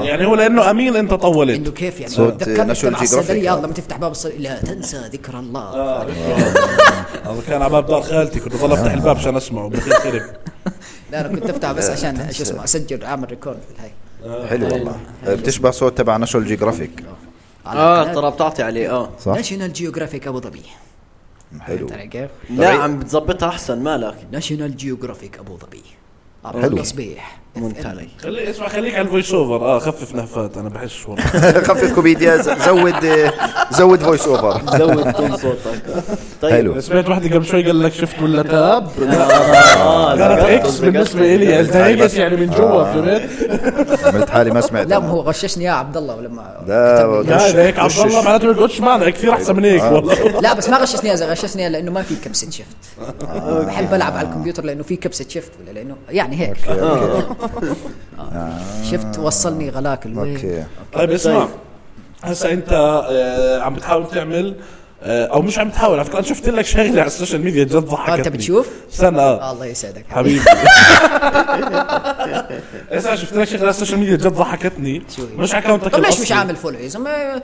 [SPEAKER 2] يعني هو لانه امين انت
[SPEAKER 3] انه
[SPEAKER 2] طولت
[SPEAKER 3] كيف يعني
[SPEAKER 1] صوت
[SPEAKER 3] تذكرت
[SPEAKER 1] ناشونال
[SPEAKER 3] تبع
[SPEAKER 1] جيوغرافيك.
[SPEAKER 3] الصيدليه لما تفتح باب الصيدليه لا تنسى ذكر الله
[SPEAKER 2] هذا كان على باب دار خالتي كنت بضل افتح الباب عشان اسمعه بدي خرب
[SPEAKER 3] لا انا كنت افتح بس عشان شو اسمه اسجل اعمل ريكورد هاي
[SPEAKER 1] حلو
[SPEAKER 3] آه،
[SPEAKER 1] والله آه، بتشبه صوت تبع ناشونال جيوغرافيك
[SPEAKER 4] اه ترى بتعطي عليه اه
[SPEAKER 1] صح
[SPEAKER 3] ناشونال جيوغرافيك ابو ظبي
[SPEAKER 1] حلو
[SPEAKER 3] فهمت علي كيف؟
[SPEAKER 1] طيب.
[SPEAKER 4] لا عم بتظبطها احسن مالك
[SPEAKER 3] ناشونال جيوغرافيك ابو ظبي
[SPEAKER 1] حلو.
[SPEAKER 3] حلو صبيح
[SPEAKER 4] ممتاز علي
[SPEAKER 2] خلي اسمع خليك على الفويس اوفر اه خفف نهفات انا بحس والله
[SPEAKER 1] خفف كوميديا ز- زود آه، زود فويس اوفر
[SPEAKER 4] زود تون صوتك طيب
[SPEAKER 1] حلو
[SPEAKER 2] سمعت واحدة قبل شوي قال لك شفت ولا تاب
[SPEAKER 4] اه
[SPEAKER 2] قالت
[SPEAKER 4] ذكرت،
[SPEAKER 2] اكس بالنسبه لي التهيأت يعني من جوا فهمت
[SPEAKER 1] عملت حالي ما سمعت
[SPEAKER 3] لا ما
[SPEAKER 1] أنا.
[SPEAKER 3] هو غششني يا عبد الله ولما
[SPEAKER 1] لا،
[SPEAKER 3] كتب لي.
[SPEAKER 1] وغش-
[SPEAKER 2] لا، اذا هيك إيه، عبد الله
[SPEAKER 1] وشش.
[SPEAKER 2] معناته ما يقعدش معنا كثير احسن من هيك والله طيب،
[SPEAKER 3] لا بس ما غششني اذا غششني إياه لانه ما في كبسه شيفت بحب العب على الكمبيوتر لانه في كبسه شيفت ولا لانه يعني هيك شفت وصلني غلاك الوين
[SPEAKER 1] اوكي
[SPEAKER 2] طيب اسمع هسا انت آه، عم بتحاول تعمل آه، او مش عم تحاول على فكره انا شفت لك شغله على السوشيال ميديا جد ضحكتني
[SPEAKER 3] آه، أنت بتشوف؟
[SPEAKER 2] استنى
[SPEAKER 3] آه،
[SPEAKER 2] اه
[SPEAKER 3] الله يسعدك
[SPEAKER 2] حبيبي اسمع شفت لك شغله على السوشيال ميديا جد ضحكتني
[SPEAKER 3] شو هي؟
[SPEAKER 2] مش اكونتك
[SPEAKER 3] طب ليش
[SPEAKER 2] الأصلي.
[SPEAKER 3] مش عامل إيه، فولو يا زلمه يا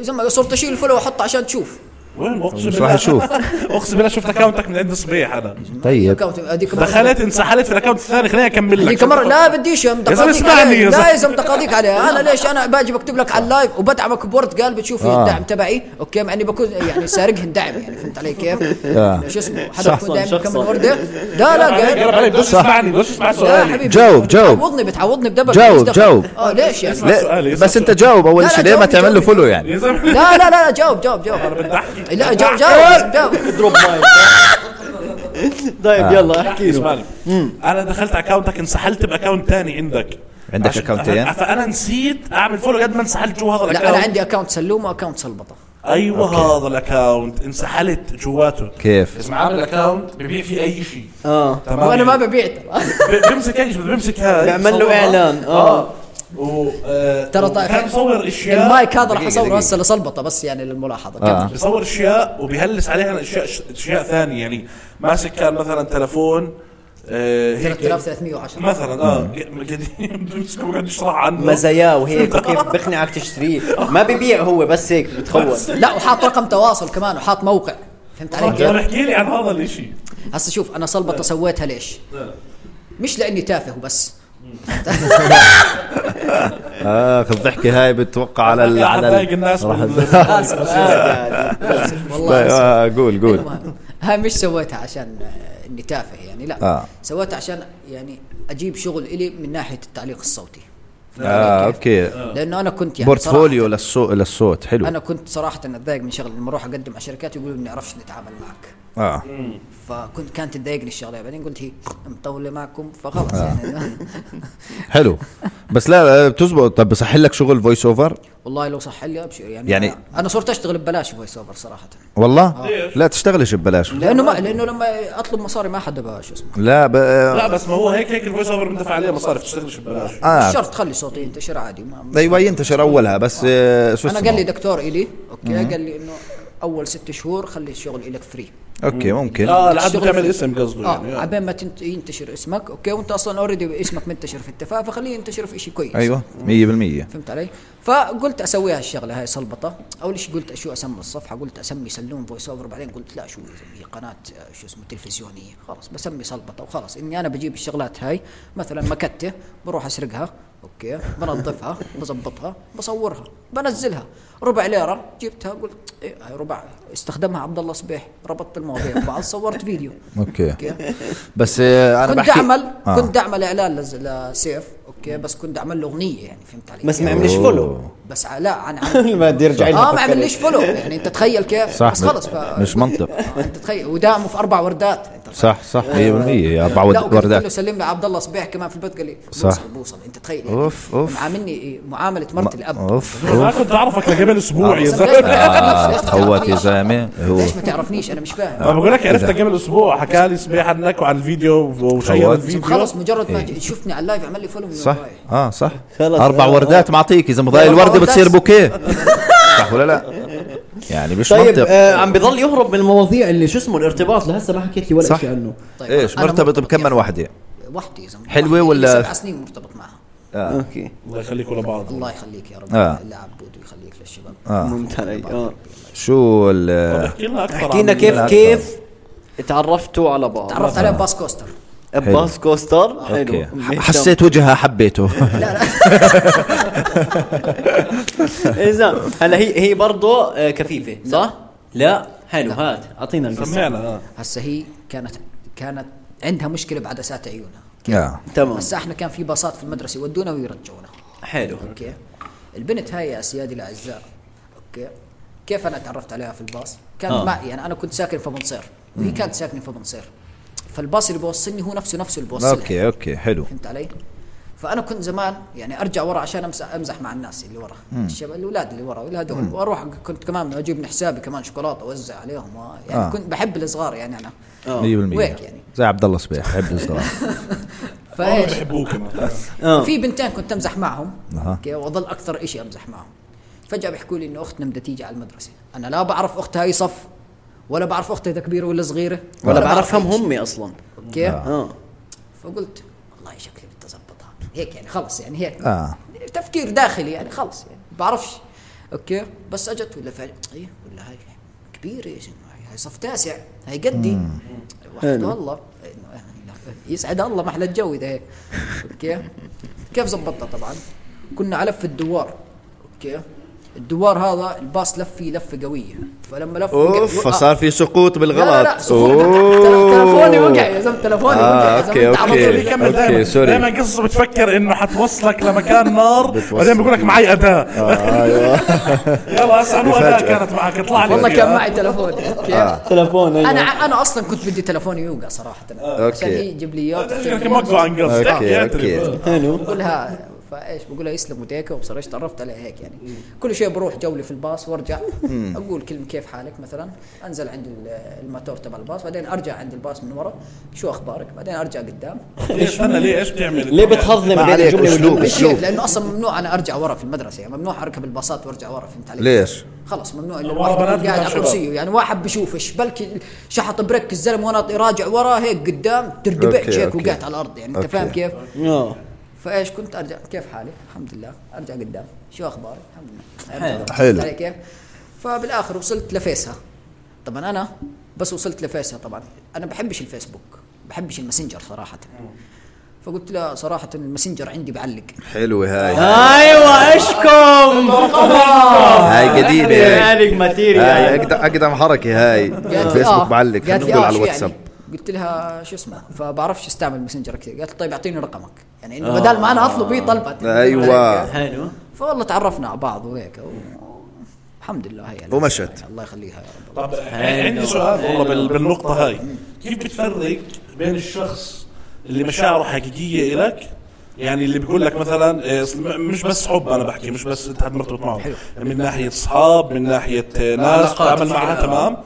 [SPEAKER 3] زلمه صرت اشيل الفولو واحطه عشان تشوف
[SPEAKER 2] وين اقسم
[SPEAKER 1] مش
[SPEAKER 2] بالله
[SPEAKER 1] راح اشوف
[SPEAKER 2] اقسم بالله شفت اكونتك من عند صبيح انا
[SPEAKER 1] طيب
[SPEAKER 3] أكاونت- هذيك مرة-
[SPEAKER 2] دخلت انسحلت في الاكونت الثاني خليني اكمل لك
[SPEAKER 3] هذيك مرة لا بديش يا
[SPEAKER 2] يا زلمة
[SPEAKER 3] متقاضيك
[SPEAKER 2] اسمعني يا
[SPEAKER 3] عليه
[SPEAKER 2] زلمة. آه.
[SPEAKER 3] لا يا زلمة تقاضيك عليه انا ليش انا باجي بكتب لك على اللايف وبدعمك بورد قال بتشوف
[SPEAKER 1] آه.
[SPEAKER 3] الدعم تبعي اوكي مع اني بكون يعني سارقهن دعم يعني فهمت علي كيف؟
[SPEAKER 1] آه.
[SPEAKER 3] شو اسمه حدا
[SPEAKER 4] شخصاً-
[SPEAKER 3] بكون داعم
[SPEAKER 4] شخصاً.
[SPEAKER 3] كم ورده لا لا
[SPEAKER 2] عليك، قرب
[SPEAKER 3] قال
[SPEAKER 2] علي بدوش اسمعني بدوش اسمع
[SPEAKER 3] لا
[SPEAKER 2] سؤالي
[SPEAKER 3] حبيبي
[SPEAKER 1] جاوب، جاوب.
[SPEAKER 3] بتعوضني بتعوضني بدبل
[SPEAKER 1] جاوب،
[SPEAKER 3] ماليش دخل.
[SPEAKER 1] جاوب.
[SPEAKER 3] اه ليش يعني؟
[SPEAKER 2] اسمع سؤالي،
[SPEAKER 1] لا
[SPEAKER 2] اسمع
[SPEAKER 1] بس انت
[SPEAKER 2] سؤالي.
[SPEAKER 1] جاوب
[SPEAKER 3] لا،
[SPEAKER 1] اول شيء
[SPEAKER 3] لا،
[SPEAKER 1] ليه ما
[SPEAKER 3] جاوب،
[SPEAKER 1] تعمل له
[SPEAKER 3] جاوب.
[SPEAKER 1] فولو يعني
[SPEAKER 2] يا زلمه
[SPEAKER 3] لا لا لا لا جاوب جاوب جاوب لا جاوب جاوب جاوب
[SPEAKER 4] اضرب ماي طيب
[SPEAKER 2] آه.
[SPEAKER 4] يلا احكي له
[SPEAKER 2] اسمعني انا دخلت اكونتك انسحلت باكونت تاني عندك
[SPEAKER 1] عندك إيه؟
[SPEAKER 2] عشان-
[SPEAKER 1] أكاونتين؟
[SPEAKER 2] أف- فانا نسيت اعمل فولو قد ما انسحلت جوا هذا
[SPEAKER 3] لا انا
[SPEAKER 2] الاكونت
[SPEAKER 3] عندي اكونت سلوم واكونت سلبطه
[SPEAKER 2] ايوه هذا الاكونت انسحلت جواته
[SPEAKER 1] كيف
[SPEAKER 2] اسمع عامل اكونت ببيع فيه اي شيء
[SPEAKER 1] آه.
[SPEAKER 4] اه
[SPEAKER 2] تمام
[SPEAKER 3] وانا ما
[SPEAKER 2] يعني.
[SPEAKER 3] ببيع ترى
[SPEAKER 2] ب- بمسك اي شيء بمسك هاي
[SPEAKER 4] بيعمل له
[SPEAKER 2] بصورها.
[SPEAKER 4] اعلان اه
[SPEAKER 2] و آه،
[SPEAKER 3] ترى
[SPEAKER 2] وكان
[SPEAKER 3] طيب
[SPEAKER 2] بصور اشياء
[SPEAKER 3] المايك هذا راح
[SPEAKER 1] دقيقة،
[SPEAKER 3] اصوره
[SPEAKER 1] دقيقة.
[SPEAKER 3] هسه لسلبطه بس يعني للملاحظه
[SPEAKER 1] آه.
[SPEAKER 3] كمل.
[SPEAKER 2] بصور اشياء وبيهلس عليها اشياء اشياء ثانيه يعني ماسك كان مثلا تلفون آه، هيك
[SPEAKER 3] 3310
[SPEAKER 2] مثلا اه قاعدين بمسكه وقاعد يشرح عنه
[SPEAKER 4] مزاياه وهيك وكيف بقنعك تشتريه ما ببيع هو بس هيك بتخون
[SPEAKER 3] لا وحاط رقم تواصل كمان وحاط موقع فهمت علي
[SPEAKER 2] طب
[SPEAKER 3] كيف؟
[SPEAKER 2] احكي لي عن هذا الاشي
[SPEAKER 3] هسه شوف انا سلبطه سويتها ليش؟ مش لاني تافه وبس
[SPEAKER 1] اخ الضحكه هاي بتوقع على ال...
[SPEAKER 2] لا
[SPEAKER 1] على
[SPEAKER 2] حتضايق
[SPEAKER 1] ال...
[SPEAKER 2] الناس
[SPEAKER 4] اسف
[SPEAKER 5] يعني
[SPEAKER 4] آه،
[SPEAKER 1] لا،
[SPEAKER 3] والله
[SPEAKER 1] آه، قول قول
[SPEAKER 3] المهم هاي مش سويتها عشان آه، اني تافه يعني لا
[SPEAKER 1] آه.
[SPEAKER 3] سويتها عشان يعني اجيب شغل الي من ناحيه التعليق الصوتي
[SPEAKER 1] اه اوكي
[SPEAKER 3] لانه انا كنت يعني
[SPEAKER 1] بورتفوليو للصوت للصوت
[SPEAKER 3] صراحة-
[SPEAKER 1] حلو
[SPEAKER 3] انا كنت صراحه اتضايق من شغل لما اروح اقدم على شركات يقولوا لي ما بنعرفش نتعامل معك
[SPEAKER 1] اه
[SPEAKER 3] فكنت كانت تضايقني الشغله بعدين قلت هي مطوله معكم فخلص
[SPEAKER 1] آه.
[SPEAKER 3] يعني
[SPEAKER 1] حلو بس لا لا، آه، بتزبط طب بصح لك شغل فويس اوفر
[SPEAKER 3] والله لو صح لي ابشر يعني
[SPEAKER 1] يعني-
[SPEAKER 3] أنا- انا صرت اشتغل ببلاش فويس اوفر صراحه
[SPEAKER 1] والله
[SPEAKER 3] آه.
[SPEAKER 1] لا تشتغلش ببلاش
[SPEAKER 3] لانه ما لانه لما اطلب مصاري ما حدا بقى شو اسمه
[SPEAKER 1] لا ب... آه،
[SPEAKER 2] لا بس ما هو هيك هيك الفويس اوفر بندفع عليه مصاري بتشتغلش ببلاش
[SPEAKER 1] اه
[SPEAKER 3] مش شرط تخلي صوتي ينتشر عادي ما
[SPEAKER 1] ايوه ينتشر اولها بس آه، شو
[SPEAKER 3] انا
[SPEAKER 1] اسمه؟
[SPEAKER 3] قال لي دكتور الي اوكي قال لي انه اول ست شهور خلي الشغل الك فري
[SPEAKER 1] اوكي ممكن
[SPEAKER 2] اه لحد
[SPEAKER 3] تشتغل
[SPEAKER 2] تعمل
[SPEAKER 3] فيه.
[SPEAKER 2] اسم قصده يعني
[SPEAKER 3] اه
[SPEAKER 2] آه.
[SPEAKER 3] عبين ما تنت... ينتشر اسمك اوكي وانت اصلا اوريدي اسمك منتشر في التفاهه فخليه ينتشر في شيء كويس
[SPEAKER 2] أيوه.
[SPEAKER 1] ايوه 100%
[SPEAKER 3] فهمت علي؟ فقلت اسويها الشغله هاي سلبطه، اول شيء قلت شو اسمي الصفحه؟ قلت اسمي سلون فويس اوفر بعدين قلت لا شو اسمي قناه آه، شو اسمه تلفزيونيه، خلاص بسمي سلبطه وخلاص اني انا بجيب الشغلات هاي مثلا مكته بروح اسرقها اوكي بنظفها بظبطها بصورها بنزلها ربع ليره جبتها قلت إيه هاي ربع استخدمها عبد الله صبيح ربطت المواضيع ببعض صورت فيديو
[SPEAKER 1] اوكي
[SPEAKER 3] اوكي
[SPEAKER 1] بس آه، انا
[SPEAKER 3] كنت
[SPEAKER 1] بحكي
[SPEAKER 3] اعمل
[SPEAKER 1] آه.
[SPEAKER 3] كنت اعمل اعلان لز- لسيف اوكي بس كنت اعمل له اغنيه يعني فهمت علي؟
[SPEAKER 5] بس ما عملش فولو آه،
[SPEAKER 3] بس ع- لا عن عن
[SPEAKER 5] ما بدي ارجع لها
[SPEAKER 3] اه ما
[SPEAKER 5] فكرت.
[SPEAKER 3] عملناش فولو يعني انت تخيل كيف
[SPEAKER 1] صح
[SPEAKER 3] بس خلص ف...
[SPEAKER 1] مش منطق
[SPEAKER 3] آه، انت تخيل ودعمه في اربع وردات انت
[SPEAKER 1] صح صح 100% يا اربع
[SPEAKER 3] لا وكان قال له
[SPEAKER 1] وردات
[SPEAKER 3] سلم لي عبد الله صبيح كمان في البيت قال لي
[SPEAKER 1] صح.
[SPEAKER 3] بوصل بوصل انت تخيل يعني
[SPEAKER 1] أوف، أوف.
[SPEAKER 3] معاملني معامله مرت الاب
[SPEAKER 1] اوف
[SPEAKER 2] ما
[SPEAKER 1] اوف
[SPEAKER 2] كنت اعرفك لقبل اسبوع يا
[SPEAKER 3] بس
[SPEAKER 2] زلمه
[SPEAKER 1] آه،
[SPEAKER 3] ليش ما تعرفنيش؟ ليش
[SPEAKER 1] تخوت يا زلمه هو
[SPEAKER 3] ما تعرفنيش؟ ليش ما تعرفنيش انا مش فاهم
[SPEAKER 2] ما بقول لك عرفتك قبل اسبوع حكى لي صبيح عنك وعن الفيديو وشير
[SPEAKER 1] تفوت.
[SPEAKER 2] الفيديو
[SPEAKER 3] خلص مجرد ما ج- شفتني على اللايف عمل لي فولو من
[SPEAKER 1] إيه. صح
[SPEAKER 3] وراي.
[SPEAKER 1] اه صح
[SPEAKER 5] خلص.
[SPEAKER 1] اربع
[SPEAKER 5] آه.
[SPEAKER 1] وردات معطيك اذا مضايق
[SPEAKER 3] أربع
[SPEAKER 1] الورده
[SPEAKER 3] وردات.
[SPEAKER 1] بتصير بوكيه صح ولا لا يعني مش
[SPEAKER 5] طيب
[SPEAKER 1] منطق
[SPEAKER 5] آه عم بضل يهرب من المواضيع اللي شو اسمه الارتباط لهسه ما حكيت لي ولا
[SPEAKER 1] صح.
[SPEAKER 5] شيء عنه
[SPEAKER 3] طيب،
[SPEAKER 1] ايش
[SPEAKER 3] أنا
[SPEAKER 1] مرتبط بكم من وحده
[SPEAKER 3] وحدي يا زلمه
[SPEAKER 1] حلوة
[SPEAKER 3] وحدي. لي
[SPEAKER 1] ولا-
[SPEAKER 3] سبع سنين مرتبط معها
[SPEAKER 5] اوكي
[SPEAKER 2] الله يخليكم لبعض
[SPEAKER 3] الله يخليك يا رب
[SPEAKER 1] آه.
[SPEAKER 3] لا عبود ويخليك للشباب
[SPEAKER 5] فهمت علي اه
[SPEAKER 1] شو ال-
[SPEAKER 2] طب احكي لنا اكثر
[SPEAKER 5] حكينا
[SPEAKER 2] عن-
[SPEAKER 5] كيف
[SPEAKER 1] لا،
[SPEAKER 5] كيف تعرفتوا على بعض
[SPEAKER 3] تعرفت
[SPEAKER 1] آه.
[SPEAKER 3] عليها باس كوستر
[SPEAKER 5] باس كوستر حلو
[SPEAKER 1] اوكي ح- حسيت وجهها حبيته
[SPEAKER 5] اذا
[SPEAKER 4] هلا هي هي برضه آه، كفيفه صح؟ لا حلو هات اعطينا القصه
[SPEAKER 2] سمعنا آه.
[SPEAKER 3] هسه هي كانت كانت عندها مشكله بعدسات عيونها
[SPEAKER 1] آه.
[SPEAKER 5] تمام
[SPEAKER 3] هسه احنا كان في باصات في المدرسه يودونا ويرجعونا
[SPEAKER 4] حلو
[SPEAKER 3] اوكي البنت هاي يا سيادي الاعزاء اوكي كيف انا تعرفت عليها في الباص كانت
[SPEAKER 4] آه.
[SPEAKER 3] آه. معي يعني انا كنت ساكن في منصير وهي كانت ساكنه في منصير فالباص اللي بوصلني هو نفسه نفسه اللي بوصلها
[SPEAKER 1] اوكي اوكي حلو
[SPEAKER 3] فهمت علي؟ فانا كنت زمان يعني ارجع ورا عشان امزح امزح مع الناس اللي ورا الشباب الاولاد اللي ورا هذول واروح كنت كمان اجيب من حسابي كمان شوكولاته اوزع عليهم و... يعني
[SPEAKER 1] آه.
[SPEAKER 3] آه. كنت بحب الصغار يعني انا
[SPEAKER 1] 100%
[SPEAKER 3] ويك يعني.
[SPEAKER 1] زي عبد الله صبيح حب الصغار
[SPEAKER 2] والله
[SPEAKER 3] فايش
[SPEAKER 2] بحبوك كمان
[SPEAKER 5] آه.
[SPEAKER 3] في بنتين كنت امزح معهم
[SPEAKER 1] أها.
[SPEAKER 3] اوكي واظل اكثر شيء امزح معهم فجاه بيحكوا لي انه اختنا بدها تيجي على المدرسه انا لا بعرف اختها اي صف ولا بعرف اختها اذا كبيره ولا صغيره
[SPEAKER 5] ولا
[SPEAKER 3] بعرف
[SPEAKER 5] بعرفهم
[SPEAKER 3] إيش.
[SPEAKER 5] هم اصلا
[SPEAKER 3] اوكي
[SPEAKER 5] اه
[SPEAKER 3] فقلت والله شكلي بدي اظبطها هيك يعني خلص يعني هيك
[SPEAKER 1] آه.
[SPEAKER 3] تفكير داخلي يعني خلص يعني بعرفش اوكي بس اجت ولا فعلا ايه ولا هاي كبيره يا زلمة، هاي صف تاسع هاي قدي واحد والله إنه يسعد الله ما احلى الجو اذا هيك اوكي كيف زبطتها طبعا كنا على لف الدوار اوكي الدوار هذا الباص لف فيه لفه قويه فلما لف وقع-
[SPEAKER 1] اوف
[SPEAKER 3] آه.
[SPEAKER 1] فصار في سقوط بالغلط
[SPEAKER 3] لا لا لا صفر. تلفوني وقع يا زلمه تلفوني وقع
[SPEAKER 1] آه،
[SPEAKER 3] يا زلمه
[SPEAKER 1] أوكي،
[SPEAKER 3] أنت على طول
[SPEAKER 1] أوكي.
[SPEAKER 2] بيكمل
[SPEAKER 1] أوكي،
[SPEAKER 2] دائما
[SPEAKER 1] سوري.
[SPEAKER 2] دائما قصص بتفكر انه حتوصلك لمكان نار بعدين بقول لك معي اداه يلا هسه انه اداه
[SPEAKER 1] آه. بفاجأة.
[SPEAKER 2] كانت معك اطلع لي
[SPEAKER 3] والله
[SPEAKER 2] فيها.
[SPEAKER 3] كان معي تلفون أوكي.
[SPEAKER 1] آه.
[SPEAKER 5] تلفون
[SPEAKER 3] انا انا اصلا كنت بدي تلفوني يوقع صراحه عشان
[SPEAKER 1] آه، أوكي.
[SPEAKER 3] هي تجيب لي اياه
[SPEAKER 2] شكلك موقع عن قصد
[SPEAKER 1] اوكي
[SPEAKER 2] احكي
[SPEAKER 1] اوكي
[SPEAKER 2] اعترف.
[SPEAKER 5] حلو
[SPEAKER 3] بقولها فايش بقولها يسلم وديك وبصراحه ايش تعرفت عليها هيك يعني كل شيء بروح جوله في الباص وارجع اقول كلمه كيف حالك مثلا انزل عند ال- الماتور تبع الباص بعدين ارجع عند الباص من ورا شو اخبارك بعدين ارجع قدام
[SPEAKER 2] إيه، استنى ليه ايش بتعمل
[SPEAKER 5] ليه بتهضم
[SPEAKER 1] ما
[SPEAKER 5] بين
[SPEAKER 1] عليك
[SPEAKER 5] الجمله
[SPEAKER 1] اسلوب
[SPEAKER 5] والجمله
[SPEAKER 3] مش هيك
[SPEAKER 1] اسلوب
[SPEAKER 3] لانه اصلا ممنوع انا ارجع ورا في المدرسه يعني ممنوع اركب الباصات وارجع ورا فهمت علي؟
[SPEAKER 1] ليش؟
[SPEAKER 3] خلص ممنوع الا
[SPEAKER 2] ورا
[SPEAKER 3] الواحد
[SPEAKER 2] بنات
[SPEAKER 3] يكون قاعد
[SPEAKER 2] وبنات
[SPEAKER 3] على
[SPEAKER 2] شباب.
[SPEAKER 3] كرسيه يعني واحد بشوفش بلكي شحط بريك الزلمه وانا راجع وراه هيك قدام
[SPEAKER 1] أوكي،
[SPEAKER 3] تردبعش هيك
[SPEAKER 1] أوكي.
[SPEAKER 3] وقعت على الارض يعني
[SPEAKER 1] أوكي.
[SPEAKER 3] انت فاهم كيف؟
[SPEAKER 5] اه
[SPEAKER 3] فايش كنت ارجع كيف حالي؟ الحمد لله ارجع قدام شو اخبارك؟ الحمد لله أرجع.
[SPEAKER 1] حلو.
[SPEAKER 3] فهمت علي كيف؟ فبالاخر وصلت لفيسها طبعا انا بس وصلت لفيسها طبعا انا بحبش الفيسبوك بحبش الماسنجر صراحه فقلت لها صراحه الماسنجر عندي بعلق
[SPEAKER 1] حلوه هاي
[SPEAKER 3] أيوة،
[SPEAKER 4] ايوه اشكم
[SPEAKER 1] آه، هاي قديمه هاي
[SPEAKER 4] مالك ماتيريال
[SPEAKER 1] هاي أقد- اقدم حركه هاي
[SPEAKER 3] قالت لي
[SPEAKER 1] الفيسبوك يعني معلق
[SPEAKER 3] قالت
[SPEAKER 1] خلينا نقول
[SPEAKER 3] لي آه،
[SPEAKER 1] على
[SPEAKER 3] شو
[SPEAKER 1] الواتساب
[SPEAKER 3] يعني؟ قلت لها شو اسمه فبعرفش استعمل ماسنجر كثير قالت لي طيب اعطيني رقمك يعني انه بدل ما انا اطلب هي طلبت
[SPEAKER 1] آه. أيوة.
[SPEAKER 4] حلو
[SPEAKER 3] فوالله تعرفنا على بعض وهيك و- الحمد لله هي
[SPEAKER 1] ومشت.
[SPEAKER 3] الله يخليها يا رب
[SPEAKER 2] طب عندي سؤال والله بال- بالنقطة هاي كيف بتفرق بين الشخص اللي مشاعره حقيقية إلك يعني اللي بيقول لك مثلا إيه، س- م- مش بس حب انا بحكي مش بس انت حد مرتبط معه يعني من ناحيه اصحاب من ناحيه آه، ناس
[SPEAKER 4] علاقات.
[SPEAKER 2] تعامل معها تمام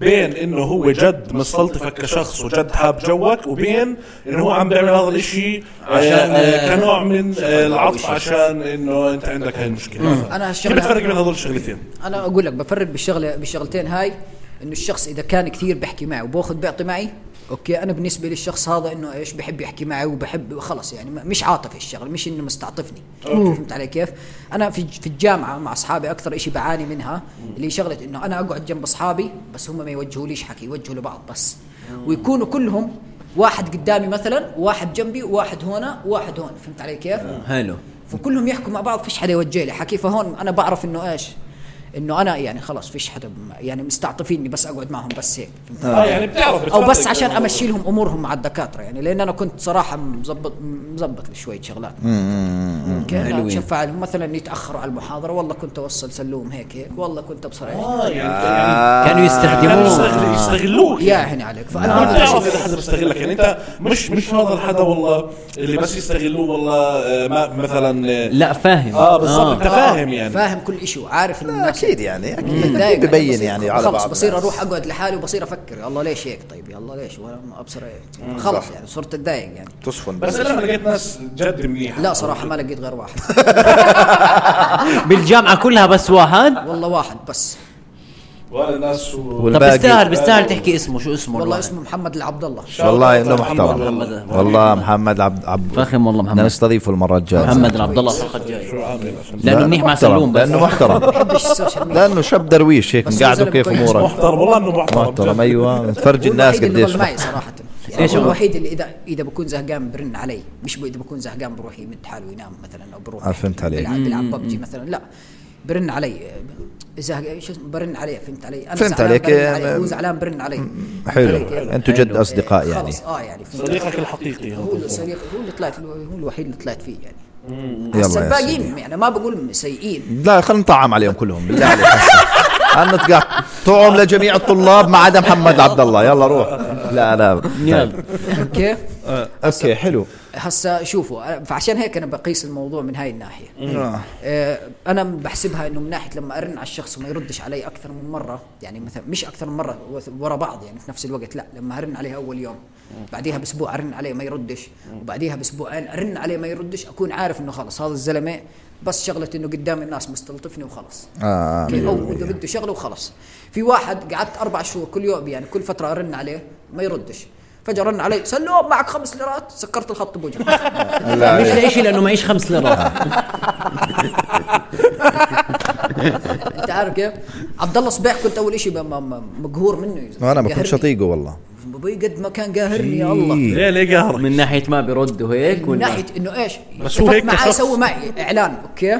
[SPEAKER 2] بين انه هو جد مستلطفك كشخص وجد حاب جوك وبين انه هو عم بيعمل هذا الاشي عشان
[SPEAKER 4] عشان، آه،
[SPEAKER 2] كنوع من آه، العطف عشان انه انت عندك هاي المشكله مثلاً.
[SPEAKER 3] أنا
[SPEAKER 2] كيف
[SPEAKER 3] هالشغلة-
[SPEAKER 2] بتفرق بين هذول الشغلتين؟
[SPEAKER 3] انا اقول لك بفرق بالشغله بالشغلتين هاي انه الشخص اذا كان كثير بحكي معي وباخذ بيعطي معي اوكي انا بالنسبه للشخص هذا انه ايش بحب يحكي معي وبحب خلص يعني م- مش عاطفي الشغل مش انه مستعطفني فهمت علي كيف انا في في الجامعه مع اصحابي اكثر شيء بعاني منها اللي هي شغله انه انا اقعد جنب اصحابي بس هم ما يوجهوليش حكي يوجهوا لبعض بس ويكونوا كلهم واحد قدامي مثلا واحد جنبي واحد هنا واحد هون فهمت علي كيف
[SPEAKER 4] حلو
[SPEAKER 3] فكلهم يحكوا مع بعض فيش حدا يوجه لي حكي فهون انا بعرف انه ايش انه انا يعني خلاص فيش حدا بم- يعني مستعطفيني بس اقعد معهم بس هيك فهمت؟
[SPEAKER 2] اه يعني بتعرف
[SPEAKER 3] او
[SPEAKER 2] بتفرق
[SPEAKER 3] آه.
[SPEAKER 2] يعني
[SPEAKER 3] بس عشان
[SPEAKER 2] الموضوع.
[SPEAKER 3] امشي لهم امورهم مع الدكاتره يعني لان انا كنت صراحه مزبط مزبط لشويه شغلات كان
[SPEAKER 4] حلوين.
[SPEAKER 3] شفع مثلا يتاخروا على المحاضره والله كنت اوصل سلوم هيك هيك والله كنت ابصر هيك
[SPEAKER 2] اه يعني يعني
[SPEAKER 4] كانوا
[SPEAKER 2] كانوا
[SPEAKER 4] يستخدموه
[SPEAKER 2] يستغل- يستغلوك
[SPEAKER 3] آه. يا عيني عليك فانا
[SPEAKER 2] ما
[SPEAKER 3] هذا الشيء-
[SPEAKER 2] بتعرف اذا حدا بيستغلك يعني انت مش مش هذا الحدا والله اللي بس يستغلوه والله آه، ما مثلا آه،
[SPEAKER 4] لا فاهم
[SPEAKER 2] اه بالضبط انت فاهم يعني
[SPEAKER 3] آه. فاهم كل شيء وعارف انه الناس
[SPEAKER 1] اكيد يعني اكيد
[SPEAKER 3] متضايق
[SPEAKER 1] أكيد ببين
[SPEAKER 3] بصير-
[SPEAKER 1] يعني على
[SPEAKER 3] خلص
[SPEAKER 1] بعض
[SPEAKER 3] بصير
[SPEAKER 1] الناس.
[SPEAKER 3] اروح اقعد لحالي وبصير افكر يا الله ليش هيك طيب يا الله ليش وانا ما ابصر هيك خلص
[SPEAKER 1] صح.
[SPEAKER 3] يعني صرت اتضايق يعني
[SPEAKER 1] تصفن
[SPEAKER 2] بس انا لما لقيت ناس جد منيحه
[SPEAKER 3] لا صراحه ما لقيت غير واحد
[SPEAKER 4] بالجامعه آه. كلها بس واحد
[SPEAKER 3] والله واحد بس
[SPEAKER 2] ولا ناس و...
[SPEAKER 4] طب
[SPEAKER 1] والباقي-
[SPEAKER 4] بيستاهل بيستاهل تحكي اسمه شو اسمه
[SPEAKER 3] والله
[SPEAKER 4] الواحد؟
[SPEAKER 3] اسمه محمد العبد الله
[SPEAKER 1] والله انه محترم
[SPEAKER 4] محمد- محمد.
[SPEAKER 1] والله محمد عبد عبد
[SPEAKER 4] فخم والله
[SPEAKER 1] بدنا
[SPEAKER 4] محمد
[SPEAKER 1] نستضيفه المره الجايه
[SPEAKER 4] محمد العبد الله الحلقه الجايه
[SPEAKER 2] شو عامل عشان
[SPEAKER 4] لانه منيح مع
[SPEAKER 1] محترم،
[SPEAKER 4] سلوم بس
[SPEAKER 1] لانه محترم
[SPEAKER 3] بحبش السوشيال ميديا
[SPEAKER 1] لانه شاب درويش هيك
[SPEAKER 3] بس
[SPEAKER 1] مقعده
[SPEAKER 3] زلمة
[SPEAKER 1] كيف
[SPEAKER 3] كويس.
[SPEAKER 1] امورك
[SPEAKER 2] محترم والله انه محترم
[SPEAKER 1] محترم
[SPEAKER 2] جد.
[SPEAKER 1] ايوه بتفرج الناس
[SPEAKER 3] الوحيد اللي
[SPEAKER 1] قديش
[SPEAKER 3] ظل معي صراحه يعني
[SPEAKER 4] إيش
[SPEAKER 3] هو
[SPEAKER 4] هو؟
[SPEAKER 3] الوحيد اللي اذا اذا بكون زهقان برن علي مش ب- اذا بكون زهقان بروح يمد حاله وينام مثلا او بروح
[SPEAKER 1] آه، فهمت عليك.
[SPEAKER 3] بيلعب, بيلعب ببجي مثلا لا برن علي زهق شو اسمه برن عليه فهمت علي انا
[SPEAKER 1] فهمت
[SPEAKER 3] زعلان
[SPEAKER 1] عليك.
[SPEAKER 3] برن علي هو
[SPEAKER 1] آه،
[SPEAKER 3] زعلان برن علي فهمت
[SPEAKER 1] حلو
[SPEAKER 3] علي كيف؟
[SPEAKER 1] انتوا جد اصدقاء
[SPEAKER 3] إيه،
[SPEAKER 1] يعني
[SPEAKER 3] خلاص اه يعني فهمت علي؟
[SPEAKER 2] صديقك الحقيقي
[SPEAKER 3] هو
[SPEAKER 2] هذا.
[SPEAKER 3] الصديق هو اللي طلعت له- هو الوحيد اللي طلعت فيه يعني
[SPEAKER 1] يا
[SPEAKER 3] هسه الباقيين
[SPEAKER 1] سيدي.
[SPEAKER 3] يعني ما بقول سيئين
[SPEAKER 1] لا خلينا نطعم عليهم كلهم بالله عليك انا تقع طعم لجميع الطلاب ما عدا محمد عبد الله يلا روح لا لا
[SPEAKER 4] يلا.
[SPEAKER 3] اوكي
[SPEAKER 1] اوكي حلو
[SPEAKER 3] هسا شوفوا أنا- فعشان هيك انا بقيس الموضوع من هاي الناحيه
[SPEAKER 1] آه.
[SPEAKER 3] آه، انا بحسبها انه من ناحيه لما ارن على الشخص وما يردش علي اكثر من مره يعني مثلا مش اكثر من مره وث- ورا بعض يعني في نفس الوقت لا لما ارن عليها اول يوم بعديها باسبوع ارن عليه ما يردش وبعديها باسبوعين ارن عليه ما يردش اكون عارف انه خلص هذا الزلمه بس شغله انه قدام الناس مستلطفني وخلص
[SPEAKER 1] آه.
[SPEAKER 3] اوكي او بده بده شغله وخلص في واحد قعدت اربع شهور كل يوم يعني كل فتره ارن عليه ما يردش فجاه رن علي سلوم معك خمس ليرات سكرت الخط بوجهه
[SPEAKER 4] طيب، مش لإشي لانه معيش خمس ليرات
[SPEAKER 3] انت عارف كيف؟ عبد الله صبيح كنت اول شيء مقهور منه
[SPEAKER 1] انا بكون
[SPEAKER 3] قاهرني.
[SPEAKER 1] شطيقه والله إيه.
[SPEAKER 3] بابي قد ما كان قاهرني يا الله
[SPEAKER 2] ليه ليه قهرك
[SPEAKER 4] من ناحيه ما بيرد وهيك
[SPEAKER 3] من
[SPEAKER 4] ولا-
[SPEAKER 3] ناحيه انه ايش؟
[SPEAKER 2] بس هو
[SPEAKER 3] اتفقت
[SPEAKER 2] هيك
[SPEAKER 3] معاه
[SPEAKER 2] كشخص.
[SPEAKER 3] سوى معي اعلان اوكي؟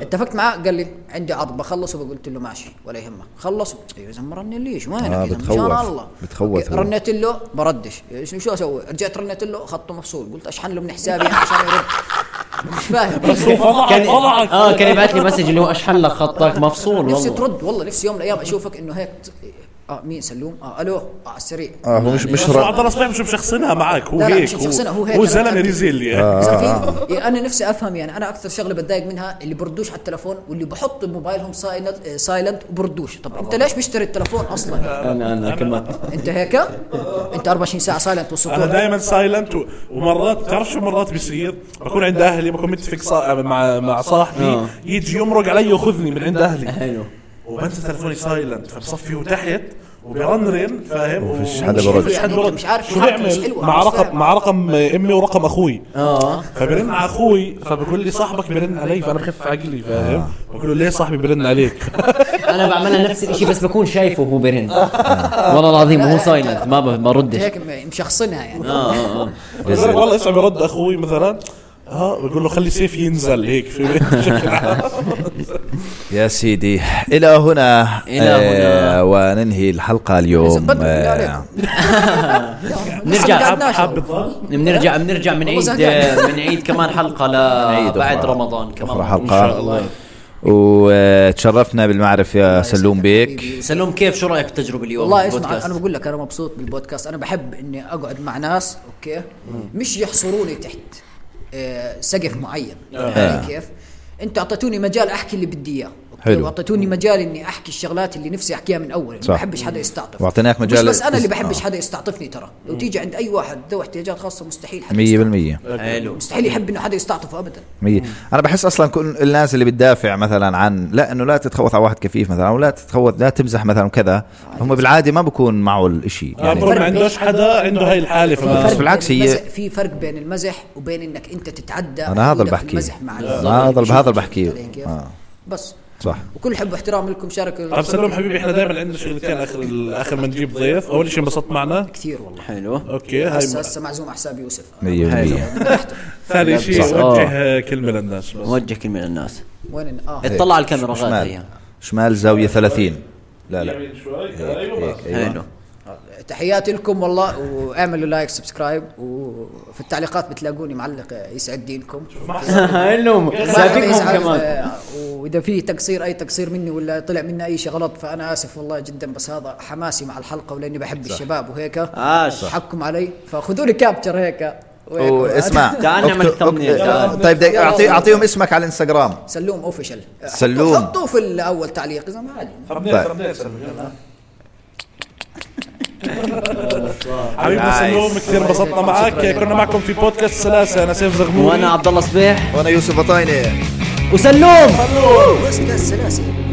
[SPEAKER 3] اتفقت معاه قال لي عندي عرض بخلصه وقلت له ماشي ولا أيوة، يهمك خلص يا زلمه رن ليش وينك
[SPEAKER 1] آه،
[SPEAKER 3] يا زلمه
[SPEAKER 1] بتخوف.
[SPEAKER 3] مشان الله
[SPEAKER 1] بتخوف
[SPEAKER 3] أوكي،
[SPEAKER 1] هو.
[SPEAKER 3] رنيت له بردش يعني شو شو اسوي؟ رجعت رنيت له خطه مفصول قلت اشحن له من حسابي يعني عشان يرد مش فاهم
[SPEAKER 2] بس هو فضحك
[SPEAKER 4] كان
[SPEAKER 2] فضحك
[SPEAKER 4] اه كان يبعث لي مسج اللي هو اشحن لك خطك مفصول
[SPEAKER 3] نفسي
[SPEAKER 4] والله
[SPEAKER 3] ترد والله نفسي يوم من الايام اشوفك انه هيك اه مين سلوم؟ اه الو اه على السريع
[SPEAKER 1] اه هو مش مش
[SPEAKER 2] بس عبد
[SPEAKER 1] رأ...
[SPEAKER 2] الله صبيح مش مشخصنها معك هو
[SPEAKER 3] لا، لا،
[SPEAKER 2] هيك
[SPEAKER 3] مش مشخصنها، هو هيك.
[SPEAKER 2] هو
[SPEAKER 3] أنا
[SPEAKER 2] زلمه
[SPEAKER 3] متأكد.
[SPEAKER 2] ريزيل يعني
[SPEAKER 3] إذا في- يعني انا نفسي افهم يعني انا اكثر شغله بتضايق منها اللي بردوش على التلفون واللي بحطوا موبايلهم سايلنت سايلنت وبردوش طب انت ليش بشتري التلفون اصلا
[SPEAKER 4] انا انا كمان
[SPEAKER 3] انت هيك انت 24 ساعه سايلنت
[SPEAKER 2] انا
[SPEAKER 3] وسكوت
[SPEAKER 2] دائما سايلنت و- ومرات بتعرف شو مرات بيصير بكون عند اهلي بكون متفق صا... مع مع صاحبي
[SPEAKER 4] آه.
[SPEAKER 2] يجي يمرق علي وياخذني من عند اهلي
[SPEAKER 4] حلو
[SPEAKER 2] وبنسى تلفوني سايلنت فبصفي وتحت وبرنرن فاهم
[SPEAKER 1] وفيش
[SPEAKER 2] و-
[SPEAKER 1] حدا
[SPEAKER 2] ومش-
[SPEAKER 1] برد.
[SPEAKER 2] فيش حدا برد.
[SPEAKER 3] يعني، مش عارف
[SPEAKER 2] شو
[SPEAKER 3] حالته مش
[SPEAKER 2] بعمل
[SPEAKER 3] حلوة،
[SPEAKER 2] مع
[SPEAKER 3] مش
[SPEAKER 2] رقم
[SPEAKER 3] فاهم.
[SPEAKER 2] مع رقم امي ورقم اخوي
[SPEAKER 4] اه
[SPEAKER 2] فبرن على اخوي فبقول لي صاحبك برن علي فانا بخف عقلي فاهم بقول له ليه صاحبي برن عليك
[SPEAKER 4] انا بعملها نفس الشيء بس بكون شايفه وهو برن والله العظيم هو سايلنت ما ب- بردش
[SPEAKER 3] هيك م- مشخصنها يعني
[SPEAKER 2] بقول لك والله اسمع برد اخوي مثلا اه بقول له خلي سيف ينزل هيك في بشكل عام
[SPEAKER 1] يا سيدي الى هنا
[SPEAKER 4] إلى
[SPEAKER 1] آه، وننهي الحلقه اليوم
[SPEAKER 3] بدك بالله
[SPEAKER 1] آه،
[SPEAKER 3] عليك.
[SPEAKER 4] نرجع
[SPEAKER 3] قعدناش
[SPEAKER 2] حاب-
[SPEAKER 3] والله.
[SPEAKER 2] حاب تضل
[SPEAKER 4] بنرجع بنرجع من عيد
[SPEAKER 3] زهقان.
[SPEAKER 4] من عيد كمان حلقه
[SPEAKER 1] عيد
[SPEAKER 4] ل
[SPEAKER 1] أخرى.
[SPEAKER 4] آه، بعد رمضان كمان
[SPEAKER 1] اخر
[SPEAKER 4] ان
[SPEAKER 1] حلقه
[SPEAKER 4] شاء الله
[SPEAKER 1] وتشرفنا بالمعرفه يا سلوم بيك
[SPEAKER 3] حبيبي.
[SPEAKER 4] سلوم كيف شو رايك بالتجربه اليوم
[SPEAKER 3] والله اسمع
[SPEAKER 4] بالبودكاست؟
[SPEAKER 3] انا بقول لك انا مبسوط بالبودكاست انا بحب اني اقعد مع ناس اوكي مش يحصروني تحت آه، سقف معين يعني كيف انتوا اعطيتوني مجال احكي اللي بدي اياه
[SPEAKER 1] آه. حلو.
[SPEAKER 3] لو اعطيتوني مجال اني احكي الشغلات اللي نفسي احكيها من اول ما
[SPEAKER 1] صح.
[SPEAKER 3] بحبش حدا يستعطف
[SPEAKER 1] واعطيناك مجال
[SPEAKER 3] مش بس انا اللي
[SPEAKER 1] است-
[SPEAKER 3] بحبش
[SPEAKER 1] آه.
[SPEAKER 3] حدا يستعطفني ترى لو تيجي عند اي واحد ذو احتياجات خاصه مستحيل حدا
[SPEAKER 1] 100%
[SPEAKER 4] حلو
[SPEAKER 3] مستحيل يحب انه حدا يستعطفه ابدا
[SPEAKER 1] مية. انا بحس اصلا كل الناس اللي بتدافع مثلا عن لا انه لا تتخوث على واحد كيف مثلا او لا تتخوث لا تمزح مثلا كذا هم بالعاده ما بكون معه الاشي
[SPEAKER 2] يعني
[SPEAKER 1] يعني
[SPEAKER 2] ما عندوش حدا عنده هاي الحاله
[SPEAKER 3] في فرق
[SPEAKER 2] فما
[SPEAKER 1] بالعكس
[SPEAKER 3] بين
[SPEAKER 1] هي-
[SPEAKER 3] المزح- في فرق بين المزح وبين انك انت تتعدى
[SPEAKER 1] أنا هذا
[SPEAKER 3] حدودك
[SPEAKER 1] اللي
[SPEAKER 3] في
[SPEAKER 1] بحكيه.
[SPEAKER 3] المزح مع الزمن.
[SPEAKER 1] هذا
[SPEAKER 3] شوف
[SPEAKER 1] هذا اللي
[SPEAKER 3] شوف
[SPEAKER 1] بحكيه.
[SPEAKER 3] طريقة كيف.
[SPEAKER 1] آه.
[SPEAKER 3] بس
[SPEAKER 1] صح
[SPEAKER 3] وكل حب واحترام لكم شاركوا
[SPEAKER 2] طب سلام حبيبي احنا دائما عندنا شغلتين اخر اخر ما نجيب ضيف اول شيء انبسطت معنا
[SPEAKER 3] كثير والله
[SPEAKER 4] حلو
[SPEAKER 2] اوكي هاي
[SPEAKER 3] هسه هسه معزوم على حساب يوسف
[SPEAKER 1] 100%
[SPEAKER 2] ثاني
[SPEAKER 4] صح.
[SPEAKER 2] شيء وجه كلمه للناس بس
[SPEAKER 4] وجه كلمه للناس
[SPEAKER 3] وين إن- اه
[SPEAKER 1] إيه.
[SPEAKER 4] اطلع على الكاميرا
[SPEAKER 1] شمال
[SPEAKER 4] غاد
[SPEAKER 1] شمال زاويه 30 لا لا
[SPEAKER 2] يمين شوي ايوه
[SPEAKER 1] هيك، أيوة.
[SPEAKER 4] حلو
[SPEAKER 3] تحياتي لكم والله واعملوا لايك سبسكرايب وفي التعليقات بتلاقوني معلق يسعد دينكم
[SPEAKER 5] لهم سابقهم
[SPEAKER 3] يسعد-
[SPEAKER 5] كمان
[SPEAKER 3] آه، واذا في تقصير اي تقصير مني ولا طلع منا اي شيء غلط فانا اسف والله جدا بس هذا حماسي مع الحلقه ولاني بحب الشباب وهيك
[SPEAKER 4] آه، صح.
[SPEAKER 3] حكم علي فخذوا لي كابتشر هيك وهيك.
[SPEAKER 1] واسمع
[SPEAKER 4] تعال نعمل
[SPEAKER 1] أكتب-
[SPEAKER 4] thumbnail.
[SPEAKER 1] أكتب- طيب دقيقة، اعطي اعطيهم اسمك على الانستغرام
[SPEAKER 3] سلوم اوفيشال
[SPEAKER 1] سلوم.
[SPEAKER 3] حطوه في الاول تعليق اذا ما عادي
[SPEAKER 2] حبيبنا سلوم كثير انبسطنا معك كنا معكم في بودكاست سلاسه انا سيف زغمون
[SPEAKER 4] وانا عبد الله صبيح
[SPEAKER 1] وانا يوسف بطاينه
[SPEAKER 4] وسلوم
[SPEAKER 3] بس كده السلاسل